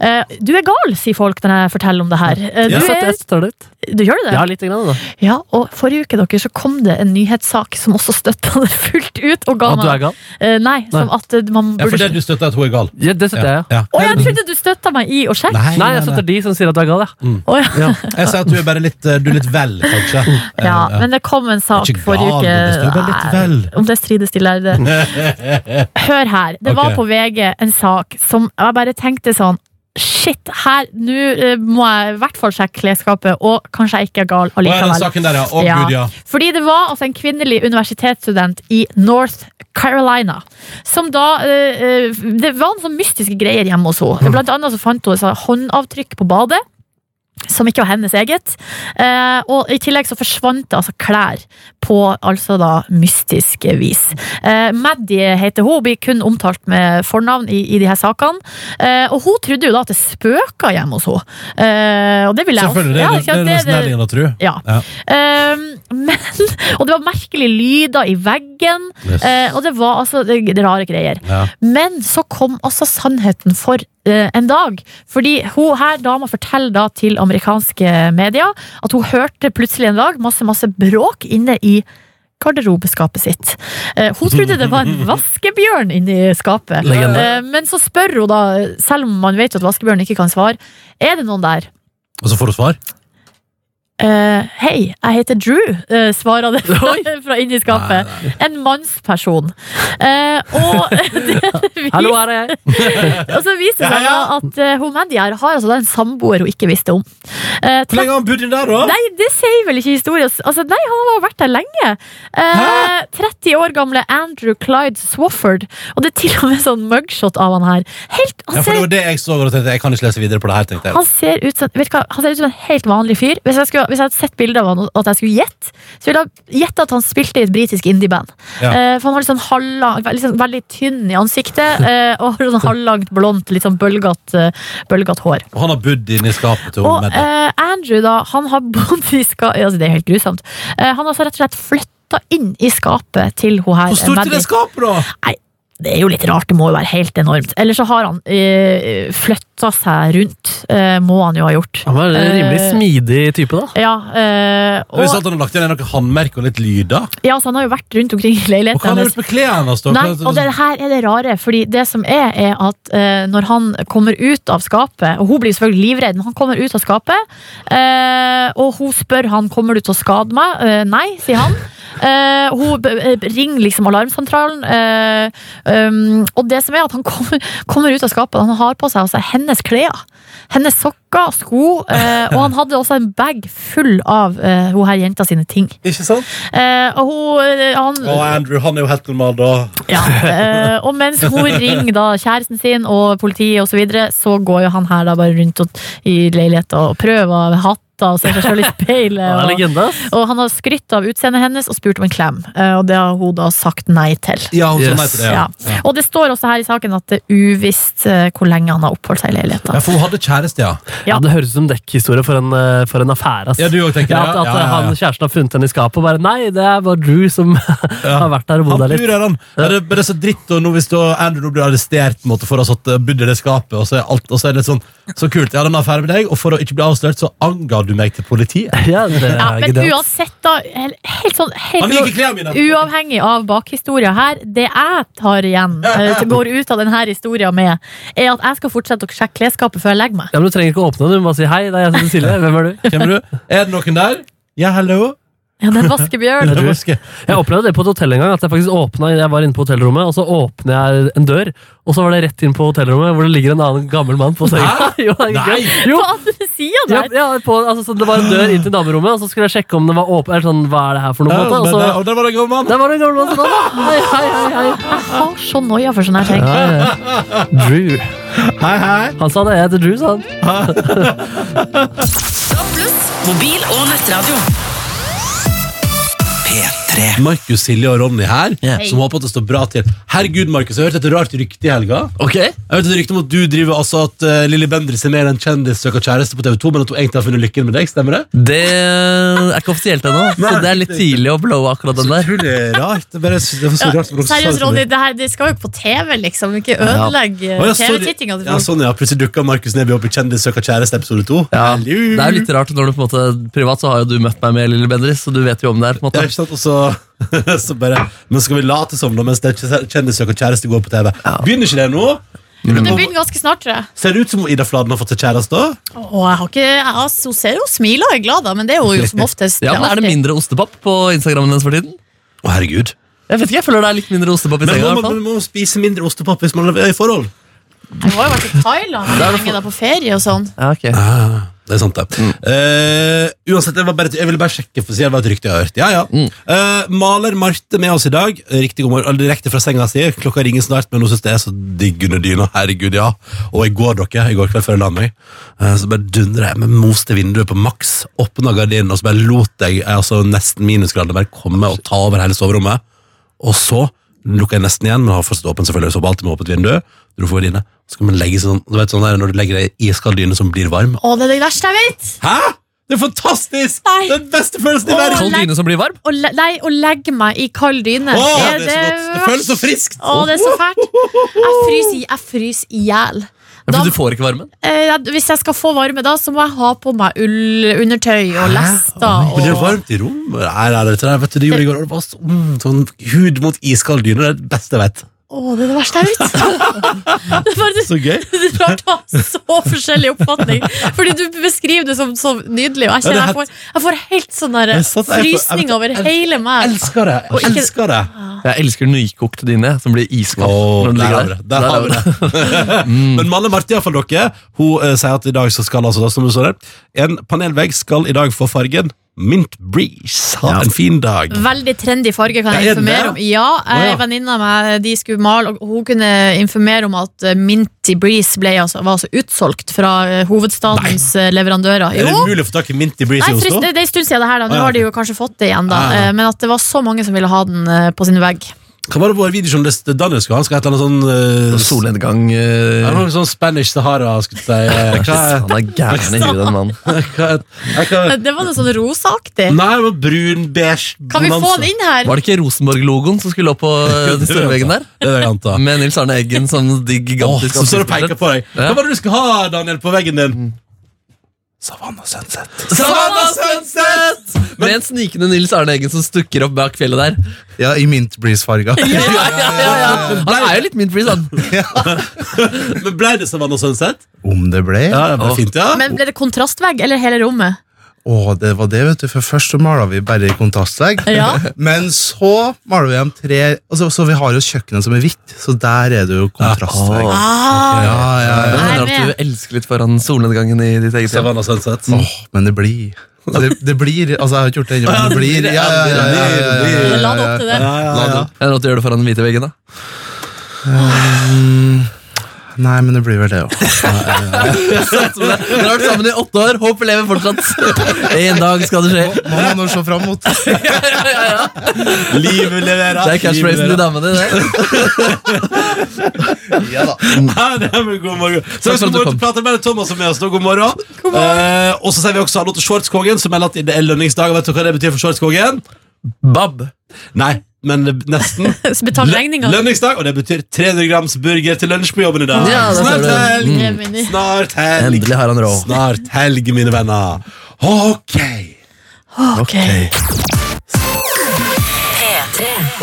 S3: Eh, Du er gal, sier folk når jeg forteller om det her. Eh, Du,
S6: Jeg satt-
S3: er,
S6: jeg støtter litt.
S3: du gjør det?
S6: Ja, lite grann, da.
S3: Ja, og forrige uke dere, så kom det en nyhetssak som også støtta det fullt ut. Og ga
S6: At du er
S3: meg,
S6: gal?
S3: Eh, nei, som
S6: Nei.
S3: at eh, man
S2: Ja, for
S3: burde
S2: det du støtter at hun er gal.
S6: Ja, det støtter jeg, ja.
S2: Ja.
S3: Å, jeg trodde du støtta meg i å sjekke!
S2: Nei,
S6: Nei, jeg støtter de som sier at du er gal,
S4: Mm.
S6: ja.
S3: Å, ja.
S6: ja.
S2: Jeg sier at du er bare litt, eh, du er litt vel, kanskje. Eh,
S3: Ja, men det kom en sak
S2: Ikke gal,
S3: forrige uke.
S2: men det står bare litt
S3: Nei,
S2: vel. Mm.
S3: Om det strides til lærde. Hør her. Det var
S2: Ok.
S3: på VG en sak som jeg bare tenkte sånn Shit, her, nå eh, må jeg i hvert fall sjekke klesskapet, og kanskje jeg ikke er gal
S2: Å, ja, den
S3: allikevel.
S2: saken der, ja. Å,
S3: Ja.
S2: Gud, ja.
S3: Fordi det var altså en kvinnelig universitetsstudent i North Carolina som da eh, eh, Det var noen sånne mystiske greier hjemme hos henne. Blant annet så fant hun et sånt håndavtrykk på badet. Som ikke var hennes eget. Eh, og i tillegg så forsvant det altså klær på altså da mystisk vis. Eh, Maddie heter hun, blir kun omtalt med fornavn i, i de her sakene. Eh, og hun trodde jo da at det spøka hjemme hos henne. Eh, og det ville jeg også-
S2: Selvfølgelig. Det,
S3: Ja,
S2: er-
S3: ikke sant?
S2: det er nesten nærliggende å tro.
S3: Ja.
S2: Ja.
S3: Ehm, men, <laughs> og det var merkelige lyder i veggen,
S2: Yes.
S3: eh, og det var altså det, det er rare greier.
S2: Ja.
S3: Men så kom altså sannheten for eh, en dag. Fordi hun her dama forteller da til amerikanske medier at hun hørte plutselig en dag masse, masse bråk inne i garderobeskapet sitt. Eh, hun trodde det var en vaskebjørn inni skapet.
S6: Legende.
S3: Eh, men så spør hun da, selv om man vet jo at vaskebjørn ikke kan svare, er det noen der?
S2: Og så får du svar.
S3: Eh, Hei, jeg heter Drew, eh, svarer
S2: <laughs>
S3: det fra, fra inni skapet. En mannsperson. Eh, og, <laughs> det,
S6: Hallo, her er jeg.
S3: og så viser det seg da at eh, hun Mandy her har altså da en samboer hun ikke visste om. Eh,
S2: Hvor lenge har han bodd inn der, da?
S3: Nei, det sier vel ikke historien. Altså, nei, han har vært der lenge. Eh, 30 år gamle Andrew Clyde Swafford. Og det er til og med sånn mugshot av han her. Helt,
S2: Ja,
S3: han
S2: for det
S3: ser
S2: var det jeg så og tenkte, jeg kan ikke lese videre på det her, tenkte jeg.
S3: han ser, ut som, vet du hva, han ser ut som en helt vanlig fyr. Hvis jeg, skulle, hvis jeg hadde sett bilder av han og at jeg skulle gjette, så ville jeg gjette at han spilte i et britisk indieband.
S2: Ja.
S3: Eh, for han har litt sånn halvlang, ve- litt sånn veldig tynn i ansiktet
S2: <laughs>
S3: eh, og har sånn halvlangt, blondt, litt sånn bølgete hår.
S2: Og han har bodd inne i skapet til
S3: Og
S2: Mette.
S3: eh, Andrew, da, han har bodd i ska... Altså, det er helt grusomt. Eh, han har så rett og slett flytta inn i skapet til hun her.
S2: Hvor stort er
S3: Maddie.
S2: det skapet, da?
S3: Det er jo litt rart, det må jo være helt enormt. Eller så har han eh, flytta seg rundt, eh, må han jo ha gjort.
S6: Han var en rimelig
S3: Eh,
S6: smidig type, da.
S3: Ja, eh,
S2: Og,
S3: og,
S2: sånn at han har lagt igjen noen håndmerker og litt lyder.
S3: ja, så han har jo vært rundt omkring i
S2: Og hva har
S3: leiligheten
S2: han
S3: hennes.
S2: gjort med klærne hans? da?
S3: Nei,
S2: Hva-
S3: og det her er det rare, fordi det som er, er at eh, når han kommer ut av skapet, og hun blir selvfølgelig livredd, men han kommer ut av skapet, eh, og hun spør han, kommer du til å skade meg? Eh, nei, sier han. Eh, hun b- b- ringer liksom alarmsentralen, eh, um, og det som er at han kommer, kommer ut av skapet, han har på seg altså hennes klær, hennes sokker, sko, eh, og han hadde også en bag full av eh, hun her jenta sine ting.
S2: Ikke sant?
S3: Eh, og hun, eh, han...
S2: Og Andrew, han er jo helt normal, da.
S3: Ja, eh, og mens hun ringer da kjæresten sin og politiet og så videre, så går jo han her da bare rundt og, i leiligheten og prøver hatter og ser seg selv i
S6: Han er
S3: speilet. Og,
S6: legende, ass.
S3: og han har skrytt av utseendet hennes og spurt om en klem, eh, og det har hun da sagt nei til.
S2: Ja, hun sa
S6: Yes.
S2: nei til det, ja.
S3: Ja. Og det står også her i saken at det er uvisst eh, hvor lenge han har oppholdt seg i
S2: Ja,
S3: leiligheten.
S2: for hun hadde kjæreste, ja.
S3: Ja.
S6: Ja, det høres ut som dekkhistorie for en, eh, for en affære, ass.
S2: Ja, du òg tenker det?
S6: Ja, at, at
S2: Ja, ja, ja.
S6: han kjæresten har funnet henne i skapet og bare Nei, det er bare Drew som <laughs> har vært der og bodd
S2: Han
S6: der litt.
S2: lurer han. Ja, det, det er så dritt og nå hvis da Andrew nå blir arrestert på en måte, for å ha satt eh, budd i det skapet, og så er, alt, og så er det litt sånn Så kult, jeg hadde en affære med deg, og for å ikke bli avslørt, så anga du meg til politiet.
S6: <laughs> Ja, det er
S3: Ja, men
S6: genialt.
S3: uansett, da. hel- Helt sånn
S2: Han liker
S3: helt
S2: klærne mine!
S3: Uavhengig av bakhistoria her, det jeg tar igjen, eh, som går ut av denne historia med, er at jeg skal fortsette å sjekke klesskapet før jeg legger meg.
S6: Ja, men Du trenger ikke å åpne den, du må bare si 'hei, det er jeg som er Silje'. Hvem er du?
S2: Hvem er du? Er det noen der? Ja, hello?
S3: Ja, det er en vaskebjørn.
S2: Det er Vaske.
S6: Jeg opplevde det på et hotell en gang. at Jeg faktisk åpnet, jeg var inne på hotellrommet, og så åpner jeg en dør, og så var det rett inn på hotellrommet, hvor det ligger en annen gammel mann på senga. <laughs>
S2: Hæ?
S6: Jo, det er
S2: Nei!
S6: gøy. jo,
S3: På andre sida
S6: Ja,
S3: der.
S6: ja, på, altså, så det var en dør inn til damerommet, og så skulle jeg sjekke om den var åpen. Eller sånn, hva er det her for noe? på en måte,
S2: men,
S6: og så,
S2: eh, og der var det en gammel mann.
S6: der var det en gammel mann som kom, da. Hei, hei, hei, hei.
S3: Jeg har så noia for sånne her ting.
S6: Ja, ja. Drew.
S2: Hei, hei.
S6: Han sa det. Jeg heter Drew, sa han.
S7: Pluss mobil og nettradio.
S5: P3.
S2: Markus, Silje og Ronny her,
S4: Ja.
S2: som håper at det står bra til. Herregud, Markus, jeg har hørt et rart rykte i helga.
S4: Ok,
S2: Jeg vet et rykte om at du driver altså at uh, Lilly Bendriss er mer en kjendis søker kjæreste på TV 2, men at hun egentlig har funnet lykken med deg. Stemmer det?
S4: Det er ikke offisielt ennå, så det er litt tidlig å blowe akkurat den der.
S2: utrolig rart. Det, bare, det var så rart som Roxy sa det
S3: Seriøst,
S2: til meg.
S3: Ronny, det, her, det skal jo ikke på TV, liksom. Ikke ødelegge
S2: Å, ja, sorry.
S3: TV-tittinga til
S2: ja,
S3: folk.
S2: sånn, ja. Plutselig dukka Markus Neby opp i Kjendis søker kjæreste episode 2.
S4: Ja, det er jo litt rart når du på en måte Privat så har jo du møtt meg med Lille Bendriss, så du vet jo om det her. på
S2: Ja,
S4: en måte
S2: ikke sant? Og så, <laughs> så bare Men skal vi late som, da, mens det er Kjendis søker kjæreste går på TV? Begynner ikke det nå?
S3: Det begynner ganske snart, tror jeg.
S2: Ser det ut som Ida Fladen har fått seg kjæreste? da?
S3: Å, jeg har ikke, jeg har, hun ser jo smiler og er glad, da, men det er hun jo som oftest.
S4: Ja, men Er det
S3: alltid.
S4: mindre ostepop på Instagrammen hennes for tiden?
S2: Å, herregud.
S4: Jeg vet ikke, jeg føler det er litt mindre ostepop i
S2: Men
S4: senga. i
S2: må
S4: hvert
S2: man
S4: fall
S2: må man spise mindre ostepop hvis man er i forhold?
S3: Hun har jo vært i Thailand
S4: Der er det
S3: lenge, da, på ferie og sånn.
S4: ja, ok.
S2: Ah, det er sant, det. Eh, uansett, jeg, var bare, jeg ville bare sjekke, for å si det var et rykte jeg har hørt. Ja, ja. Eh, maler Marte med oss i dag. Riktig god morgen, eller direkte fra senga si. Klokka ringer snart, men hun syns det er så digg under dyna. Herregud, ja. Og i går, dere, i går kveld før jeg la meg, eh, så bare dundra jeg med moste vinduet på maks, åpna gardinen, og så bare lot jeg eh, altså nesten minusgrader bare komme og ta over hele soverommet. Og så lukka jeg nesten igjen, men har fortsatt åpen selvfølgelig, så var alltid med åpent vindu. Dro for gardina. Så kan man legge seg sånn, du vet sånn der, når du legger deg i iskald dyne som blir varm.
S3: Å, det er det verste jeg vet!
S2: Hæ?! Det er fantastisk!
S3: Nei.
S2: Den beste følelsen i verden!
S3: Åh,
S4: Kald dyne som blir varm?
S3: Å, le, nei, å legge meg i kald dyne
S2: Åh,
S3: er
S2: det er så godt. Det føles så friskt.
S3: Å, det er så fælt. Jeg fryser i- jeg fryser i hjel.
S4: Ja,
S3: Da-
S4: for du får ikke varmen?
S3: Eh, jeg- hvis jeg skal få varme, da, så må jeg ha på meg ull, undertøy og lester.
S2: Men det er
S3: Og...
S2: varmt i rommet. Nei, nei, dette der, vet du, det gjorde jeg i går. og Det var så, mm, sånn hud mot iskald dyne. Det er det beste jeg vet.
S3: Å, det er det
S2: <laughs>
S3: verste jeg vet! det er bare <laughs>
S2: Så gøy.
S3: det er rart å ha så forskjellig oppfatning. Fordi du beskriver det som så nydelig, og jeg kjenner
S2: Ja,
S3: jeg
S2: det er
S3: får, jeg får helt sånn der
S2: Jeg satt- jeg- jeg-
S3: frysning over
S2: jeg-
S3: hele meg.
S2: Elsker det.
S3: Og ikke- Ah.
S2: Elsker det.
S4: Jeg elsker nykokt dyne som blir iskald.
S2: Åh,
S4: når den
S2: der
S4: ligger
S2: har vi det. Der har vi det. Men Malle Marte, iallfall dere, hun eh, sier at i dag så skal altså, da, som du så der, en panelvegg skal i dag få fargen Mint Breeze. Ha en fin dag.
S3: Veldig trendy farge kan jeg
S2: Er den det?
S3: informere om. Ja,
S2: Å, ja.
S3: ei venninne av meg de skulle male, og hun kunne informere om at eh, Minty Breeze ble, altså, var altså utsolgt fra eh, hovedstadens eh, leverandører.
S2: Er det
S3: Jo!
S2: mulig å få tak i Minty Breeze
S3: Nei,
S2: i
S3: frist,
S2: Oslo?
S3: det, det er en stund siden det her, da.
S2: Å,
S3: Nå
S2: ja, Ah,
S3: har de jo kanskje fått det igjen, da.
S2: Ja, ja.
S3: Eh, Men at det var så mange som ville ha den eh, på sin vegg.
S2: Kan bare være video som det Daniel skal ha. Han skal ha et eller annet sånn eh,
S4: Solnedgang
S2: Ja,
S4: eh,
S2: noe sånn Spanish Sahara, skulle jeg si. Eh,
S4: Han er gæren i huet, den mannen.
S2: Hva, hva, hva,
S3: Eh, Det var noe sånn rosaaktig.
S2: nei, altså, det var brun, beige
S3: Kan vi få den inn her?
S4: Var det ikke Rosenborg-logoen som skulle opp på eh, den store veggen der?
S2: Det vil jeg
S4: <laughs>
S2: anta.
S4: Med Nils Arne Eggen som de
S2: Åh,
S4: gigantiske
S2: som står og peker på deg. Hva
S4: Ja.
S2: var det du skulle ha, Daniel, på veggen din? Savannah Sunset.
S4: Savannah Sunset! Med en snikende Nils Arne Eggen som stukker opp bak fjellet der.
S8: Ja, i Mint Breeze-farga.
S4: Ja, ja, ja, ja. Han er jo litt min freeze, han.
S2: Men ble det Savannah Sunset?
S8: Om det ble?
S2: Ja, det ble fint, ja.
S3: Men ble det kontrastvegg eller
S2: <laughs>
S3: hele rommet?
S8: Å, det var det, vet du. For først så maler vi bare i kontrastvegg.
S3: Ja.
S8: Men så maler vi dem tre altså, Så vi har jo kjøkkenet som er hvitt, så der er det jo kontrastvegg. Ja,
S3: Ah,
S8: ja,
S4: Jeg
S8: ja.
S3: Nei,
S4: hører at
S3: men-
S4: du elsker litt foran solnedgangen i ditt eget hjem.
S2: Savannah Sunset.
S8: Åh, men det blir det, det blir Altså, jeg har ikke gjort det ennå, men det blir Ja, ja, ja. ja, ja, ja, ja, ja,
S3: la det opp til det.
S2: Ja, ja, ja.
S4: Jeg hører at du gjør det foran den hvite veggen, da.
S8: Nei, men det blir vel det òg.
S4: Dere har vært sammen i åtte år, håpet lever fortsatt. En dag skal det skje.
S8: Man må nå se fram mot.
S2: Livet leverer.
S4: Det er catchphrasen til damene. det.
S8: Ja da.
S2: Ja, det er vel god morgen. Så
S4: Takk
S2: vi
S4: for at du
S2: skal
S4: kom.
S2: prate med Thomas og med oss nå. God morgen. Eh, og så sier vi også hallo til Shortskongen, som melder at det er lønningsdag. Vet du hva det betyr for Shortskongen?
S4: Bab.
S2: Nei, men det-
S4: <laughs>
S2: nesten.
S3: Så betal regninga.
S2: Lønningsdag, og det betyr 300 grams burger til lunsj på jobben i dag.
S4: Ja, det ser
S2: Snart
S4: du.
S2: helg!
S3: Det er mini.
S2: Snart helg!
S4: Endelig har han råd.
S2: Snart helg, mine venner. Ok!
S3: Ok.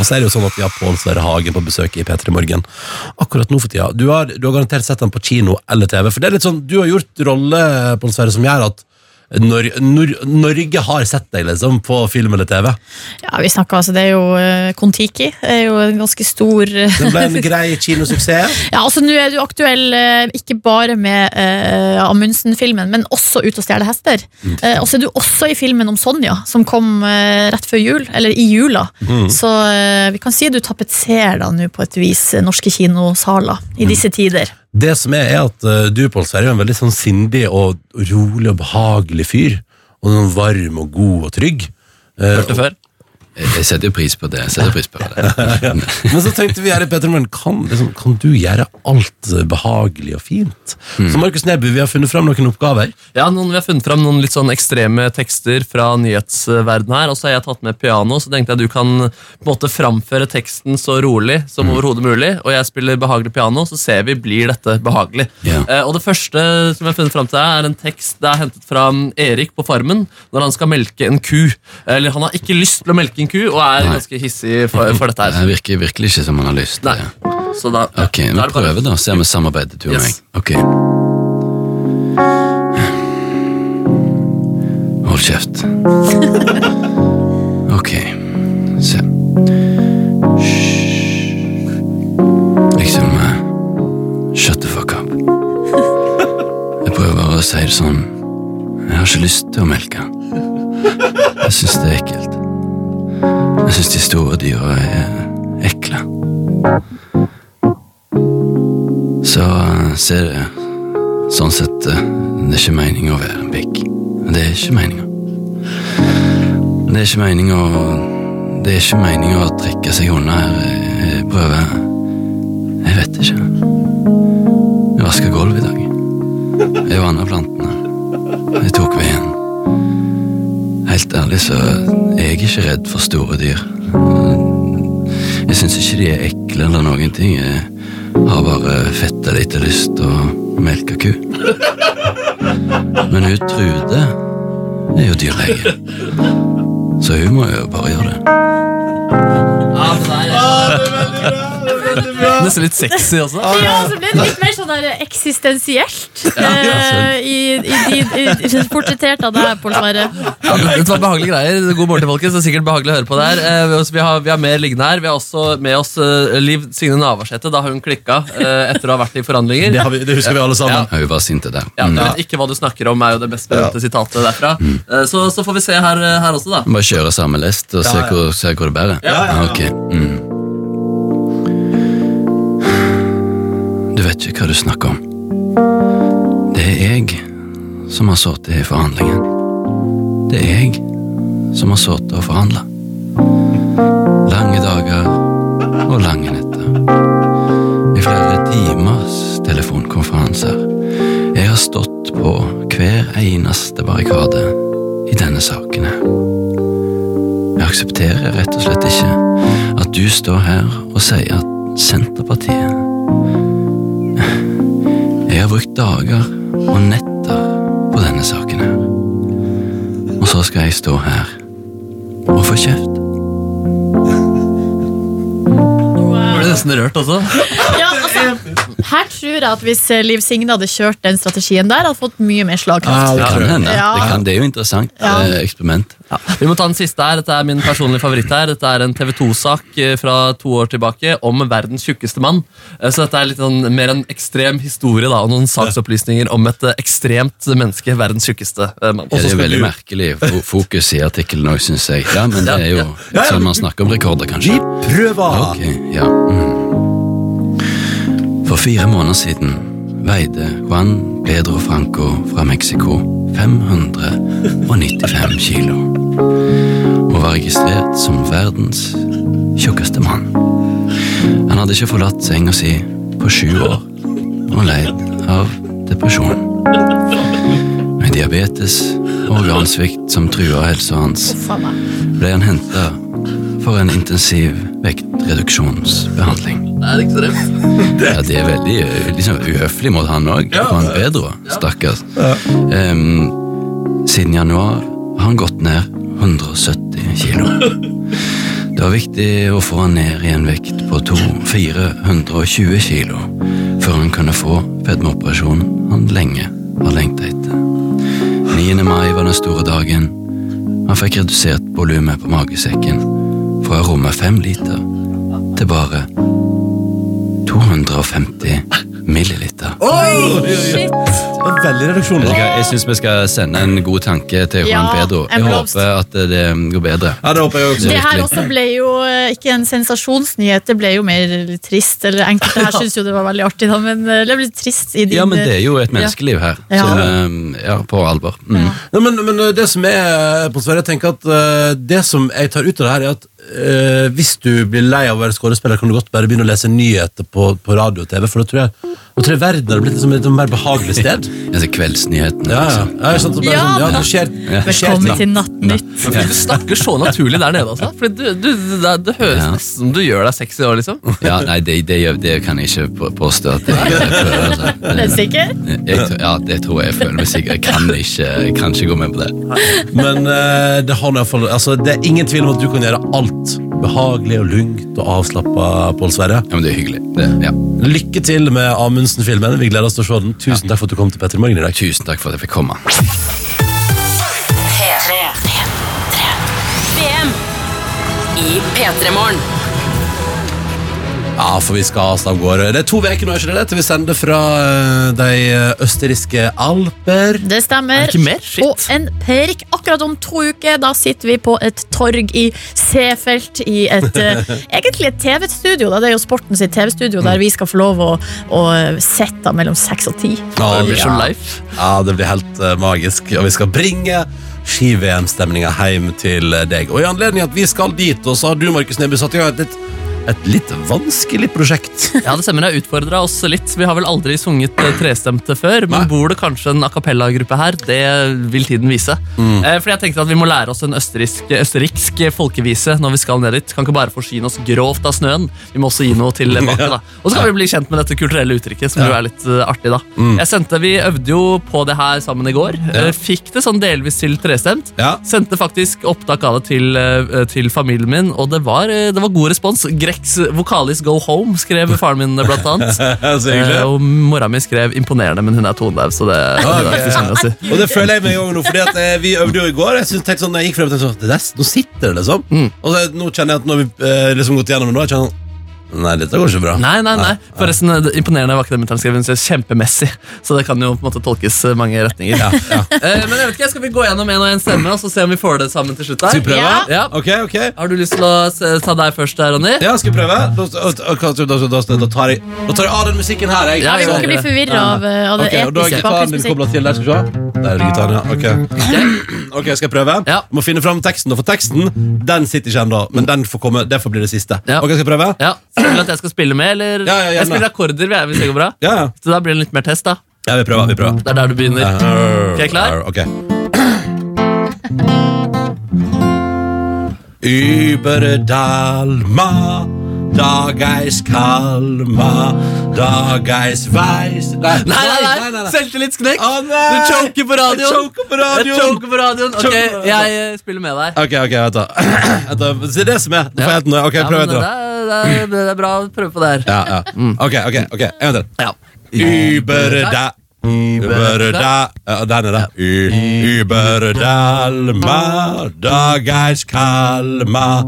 S2: Og så er det jo sånn at vi har Pål Sverre Hagen på besøk i P3 Morgen akkurat nå for tida. Du har, du har garantert sett han på kino eller TV, for det er litt sånn, du har gjort rolle, Pål Sverre, som gjør at Nor Nor Norge har sett deg, liksom, på film eller TV.
S3: Ja, vi snakker, altså, det er jo eh, Kon-Tiki. er jo en ganske stor eh,
S2: Den ble en grei kinosuksess.
S3: Ja, altså Nå er du aktuell eh, ikke bare med eh, Amundsen-filmen, men også Ut og stjele hester. Eh, og så er du også i filmen om Sonja, som kom eh, rett før jul, eller i jula. Så eh, vi kan si du tapetserer da nå på et vis eh, norske kinosaler i disse tider.
S2: Det som er, er at eh, du, Pål Sverre, er en veldig sånn sindig og rolig og behagelig fyr. Og sånn varm og god og trygg. Eh,
S4: Hørt det før?
S9: Jeg setter jo pris på det. Jeg setter pris
S2: <laughs>
S9: på det.
S2: Men så tenkte vi her i Petremorgen, kan, liksom, kan du gjøre alt eh, behagelig og fint?
S9: Mm.
S2: Så Markus Neby, vi har funnet fram noen oppgaver.
S4: Ja, noen, Vi har funnet fram noen litt sånn ekstreme tekster fra nyhetsverdenen her. Og så har jeg tatt med piano, så tenkte jeg du kan på en måte framføre teksten så rolig som overhodet mulig. Og jeg spiller behagelig piano, så ser vi blir dette behagelig.
S9: Ja.
S4: Eh, og det første som jeg har funnet fram til, her, er en tekst det er hentet fra Erik på Farmen når han skal melke en ku. Eller han har ikke lyst til å melke en ku, og er
S9: Nei.
S4: ganske hissig for,
S2: <laughs>
S4: for dette
S9: Det
S4: her.
S9: virker virkelig ikke som man har lyst eh. til.
S4: Nei. Så da,
S9: Ok,
S4: da er
S9: vi
S4: det bare-
S9: prøver da, se om vi samarbeider du og meg.
S4: Yes.
S9: Ok. Hold kjeft. Ok, se. Hysj. Liksom, eh, shut the fuck up. Jeg prøver bare å si det sånn, jeg har ikke lyst til å melke. Jeg synes det er ekkelt. Jeg synes de store dyra er ekle. Så eh, ser det sånn sett eh, Det er ikke meningen å være en pikk. Det er ikke meningen. Det er ikke meningen å Det er ikke meningen å trekke seg unna her. Jeg prøver Jeg vet ikke. Jeg vaska gulvet i dag. Jeg vanna plantene. Jeg tok veien. Helt ærlig så er jeg ikke redd for store dyr. Jeg syns ikke de er ekle eller noen ting. Jeg har bare fetta lite lyst til å melke ku. Men hun Trude er jo dyrlege, så hun må jo bare gjøre det.
S4: Ja, det der- Nesten litt sexy også.
S3: Ja, så ble det litt mer sånn der eksistensielt eh, i, i, i, i, i portrettert av deg, Pål Sverre.
S4: Ja, det- Dette var behagelige greier. God morgen til folkens. Det er sikkert behagelig å høre på det her. Eh, vi- Vi har, vi har mer liggende her. Vi har også med oss eh, Liv Signe Navarsete. Da har hun klikka eh, etter å ha vært i forhandlinger.
S2: Det, har vi, det husker vi alle sammen.
S9: Hun var sint til det.
S4: Ja, du vet ikke hva du snakker om, er jo det best berømte sitatet derfra. Eh, Så, så får vi se her, eh, her også, da.
S9: Bare kjøre samme lest og se
S2: Ja, ja.
S9: hvor, se hvor det bærer?
S2: ja, ja.
S9: Ok. Mm. Du vet ikke hva du snakker om. Det er jeg som har sittet i forhandlingen. Det er jeg som har sittet og forhandla. Lange dager og lange netter. I flere timers telefonkonferanser. Jeg har stått på hver eneste barrikade i denne saken her. Jeg aksepterer rett og slett ikke at du står her og sier at Senterpartiet Jeg har brukt dager og netter på denne saken her. Og så skal jeg stå her og få kjeft.
S4: Ble nesten rørt også.
S3: Ja, altså, her tror jeg at hvis eh, Liv Signe hadde kjørt den strategien der, hadde fått mye mer slagkraft.
S9: Det kan hende.
S3: Ja.
S9: Det, kan, det er jo interessant
S3: Ja.
S9: eh, eksperiment.
S4: Vi må ta den siste her. Dette er min personlige favoritt her. Dette er en TV 2-sak eh, fra to år tilbake om verdens tjukkeste mann. Eh, Så dette er litt sånn, mer en ekstrem historie da, og noen saksopplysninger om et eh, ekstremt menneske, verdens tjukkeste eh, mann.
S9: Det er
S2: skal
S9: veldig
S2: du-
S9: merkelig fo- fokus i artikkelen òg, syns jeg. Ja, men det er jo sånn man snakker om rekorder, kanskje.
S2: Vi prøver!
S9: Ok, ja. Mm. For fire måneder siden veide Juan Pedro Franco fra Mexico 595 kilo og var registrert som verdens tjukkeste mann. Han hadde ikke forlatt senga si på sju år og leid av depresjon. Med diabetes og organsvikt som trua helsa hans,
S3: Faen meg.
S9: ble han henta for en intensiv vektreduksjonsbehandling.
S4: Det er ekstremt.
S9: Ja, det er veldig eh, liksom, uhøflig mot han òg, Juan Pedro. Stakkars. Em, siden januar har han gått ned 170 kilo. Det var viktig å få han ned i en vekt på 2-420 kilo før han kunne få fedmeoperasjonen han lenge har lengta etter. Ni 10. mai var den store dagen. Han fikk redusert volumet på magesekken fra rommet fem liter til bare 250 milliliter.
S3: Shit.
S2: Veldig reduksjon.
S9: Jeg, jeg syns vi skal sende en god tanke til Juan
S3: Ja,
S9: Pedro.
S3: en
S9: Jeg
S3: blomst.
S9: håper at det går bedre.
S2: Ja, det håper jeg også.
S3: Det her
S9: Virkelig.
S3: også ble jo eh, ikke en sensasjonsnyhet, det ble jo mer litt trist. Eller enkelte her syns jo det var veldig artig, da, men eh, det ble litt trist i din eh,
S9: Ja, men det er jo et menneskeliv her,
S3: Ja.
S9: som eh, ja, på alvor. Mm.
S2: Nei, men, men uh, det som er uh, på Sverre, jeg tenker at uh, det som jeg tar ut av det her, er at uh, hvis du blir lei av å være skuespiller, kan du godt bare begynne å lese nyheter på, på radio og TV, for da tror jeg, da tror jeg verden har blitt liksom et mer behagelig sted.
S9: Altså Kveldsnyhetene.
S2: Ja, ja.
S9: liksom.
S2: ja, ikke sant? Så bare
S3: Ja,
S2: sånn, ja det skjer, det skjer ting.
S3: Velkommen til Nattnytt.
S9: Ja.
S4: Du snakker så naturlig der nede, altså. Fordi du, du, det, det høres
S9: Ja.
S4: nesten som du gjør deg sexy år, liksom.
S9: Ja, nei, det, det, gjør- det kan jeg ikke på- påstå at jeg, jeg føler. Altså.
S3: Er du sikker?
S9: Jeg, tror- ja, det tror jeg jeg føler meg sikker. Jeg kan ikke, jeg kan ikke gå med på det.
S2: Men eh, det, har nå i hvert fall, altså, det er ingen tvil om at du kan gjøre alt behagelig og lungt og avslappa, Pål Sverre.
S9: Ja, men det er hyggelig. Det, ja.
S2: Lykke til med Amundsen-filmen. Vi gleder oss til å se den. Tusen takk for at du kom til Petter Morgen i dag.
S9: Tusen takk for at jeg fikk komme.
S7: P3. VM i P3-morgen.
S2: Ja, for vi skal altså av gårde. Det er to uker nå, er ikke det? Til vi sender fra eh, de østerrikske alper.
S3: Det stemmer.
S4: Er det ikke mer? Shit.
S3: Og en prikk akkurat om to uker. Da sitter vi på et torg i Seefeld, i et eh, egentlig et TV-studio. da. Det er jo sporten sitt TV-studio, der vi skal få lov å, å sitte mellom seks og ti.
S2: Ja,
S4: Det blir så
S2: ja.
S4: life.
S2: Ja, det blir helt eh, magisk. Og vi skal bringe ski-VM-stemninga hjem til eh, deg. Og i anledning at vi skal dit, og så har du, Markus Neby, satt i gang et litt, et litt vanskelig prosjekt.
S4: <laughs> Ja, det stemmer. Jeg utfordra oss litt. Vi har vel aldri sunget eh, trestemte før, men
S2: Nei.
S4: bor det kanskje en a cappella-gruppe her? Det vil tiden vise. Eh, fordi jeg tenkte at vi må lære oss en østerriksk, østerriksk folkevise når vi skal ned dit. Kan ikke bare forsyne oss grovt av snøen, vi må også gi noe til baket. da. Og så kan vi bli kjent med dette kulturelle uttrykket, som jo er litt eh, artig, da. Jeg sendte, Vi øvde jo på det her sammen i går. Eh, fikk det sånn delvis til trestemt.
S2: Ja.
S4: Sendte faktisk opptak av det til, eh, til familien min, og det var, eh, det var god respons. Greks vokalist Go Home skrev faren min, eh, blant
S2: <laughs> <laughs>
S4: annet.
S2: Så
S4: Eh,
S2: hyggelig.
S4: og mora mi skrev 'imponerende', men hun er tonedaud, så det, det er ikke så mye å si.
S2: Eh, Og det føler jeg meg òg nå, fordi at eh, vi øvde jo i går. Jeg synes, tenkte sånn, når jeg gikk frem og tenkte sånn, det der, Nå sitter det, liksom. Og så, nå kjenner jeg at når vi eh, liksom gått gjennom det nå, jeg kjenner sånn Nei, dette går ikke bra.
S4: Nei, nei, nei. Forresten, eh, det imponerende var ikke det mutter'n skrev. Hun skrev 'kjempemessig', så det kan jo på en måte tolkes eh, mange retninger.
S2: Ja, <laughs> ja.
S4: Eh, men jeg vet ikke, skal vi gå gjennom en og en stemme, og så se om vi får det sammen til slutt?
S2: Skal vi
S4: her?
S2: prøve?
S3: Ja.
S4: Ja.
S2: Ok, ok.
S4: Har du lyst til å se- ta deg først, eh, Ronny?
S2: Ja, skal vi prøve? Da, da, da, da, da, da, tar, jeg, da tar jeg av den musikken her, jeg.
S4: Ja,
S3: Vi må ikke bli forvirra av, eh, av det
S2: Ok, og da er
S3: episke
S2: gitaren din
S3: bakgrunnsmusikk.
S2: koblet til der, skal vi se. Der er det gitaren, ja. Ok, Ok, skal jeg prøve?
S4: Ja.
S2: Må finne fram teksten, da, for teksten den sitter ikke ennå. Men den får komme, det får bli det siste.
S4: Ja.
S2: Ok, skal jeg prøve?
S4: Ja, så Vil du at jeg skal spille med,
S2: Ja,
S4: eller?
S2: ja, gjerne.
S4: jeg spiller akkorder, vi er- hvis det går bra.
S2: Ja, ja.
S4: Så da blir det litt mer test, da.
S2: ja vi prøver. vi prøver
S4: Det er der du begynner.
S2: Ok,
S4: Ok, klar?
S2: Uh-huh. Ok. Über Dalma, Dageis Kalma, Dageis Veis Nei,
S4: Nei, nei, nei, selvtillitsknekk!
S2: Å, nei!
S4: Du choker på radioen!
S2: Jeg choker på radioen!
S4: Jeg choker på radioen. Ok,
S2: Choker på radioen.
S4: jeg eh, spiller med deg.
S2: Ok, ok, vent da. <clears throat> Vent da, Se det som er. Nå får jeg helt noe. Ok,
S4: Ja,
S2: prøv
S4: men
S2: etter.
S4: det,
S2: da.
S4: er, Mm. det, er, det er bra å prøve på det her.
S2: Ja, ja. Ok, ok, ok. En gang til.
S4: Ja.
S2: Über da Über da Ja, Der nede. Ü- Über Dalma, Dageis Kalma,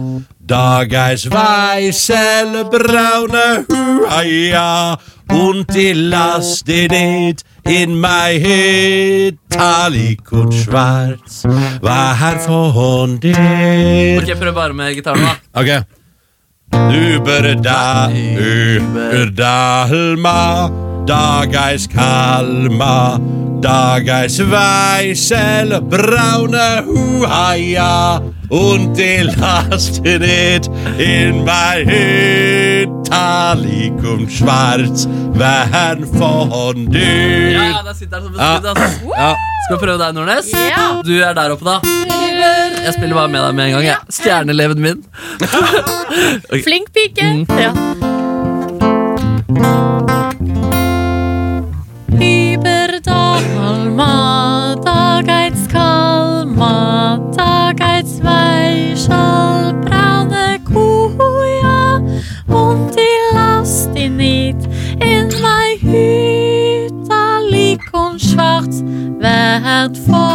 S2: Dageis Weißel, braune Huaia, und die Last nicht in my head. Talikot schwarz, war her von dir.
S4: Ok, Prøv bare med gitaren, da.
S2: Ok Über da Über Dalma Dageis Kalma Dageis Weisel Braune Huhaia Und die Last in it In my head Talikum Schwarz Wenn von dir
S4: Ja, ja, der sitter den som beskudd, ass.
S2: Ja.
S4: Skal vi prøve deg, Nordnes?
S3: Ja.
S4: Du er der oppe, da. Jeg spiller bare med deg med en gang. jeg. Stjerneleven min.
S3: Flink pike!
S4: Mm.
S3: Ja. Über Dalma, da geht's kalma, da geht's weichal, braune Kuja, und die Last die nicht in mein Hüter liegt und schwarz, vært for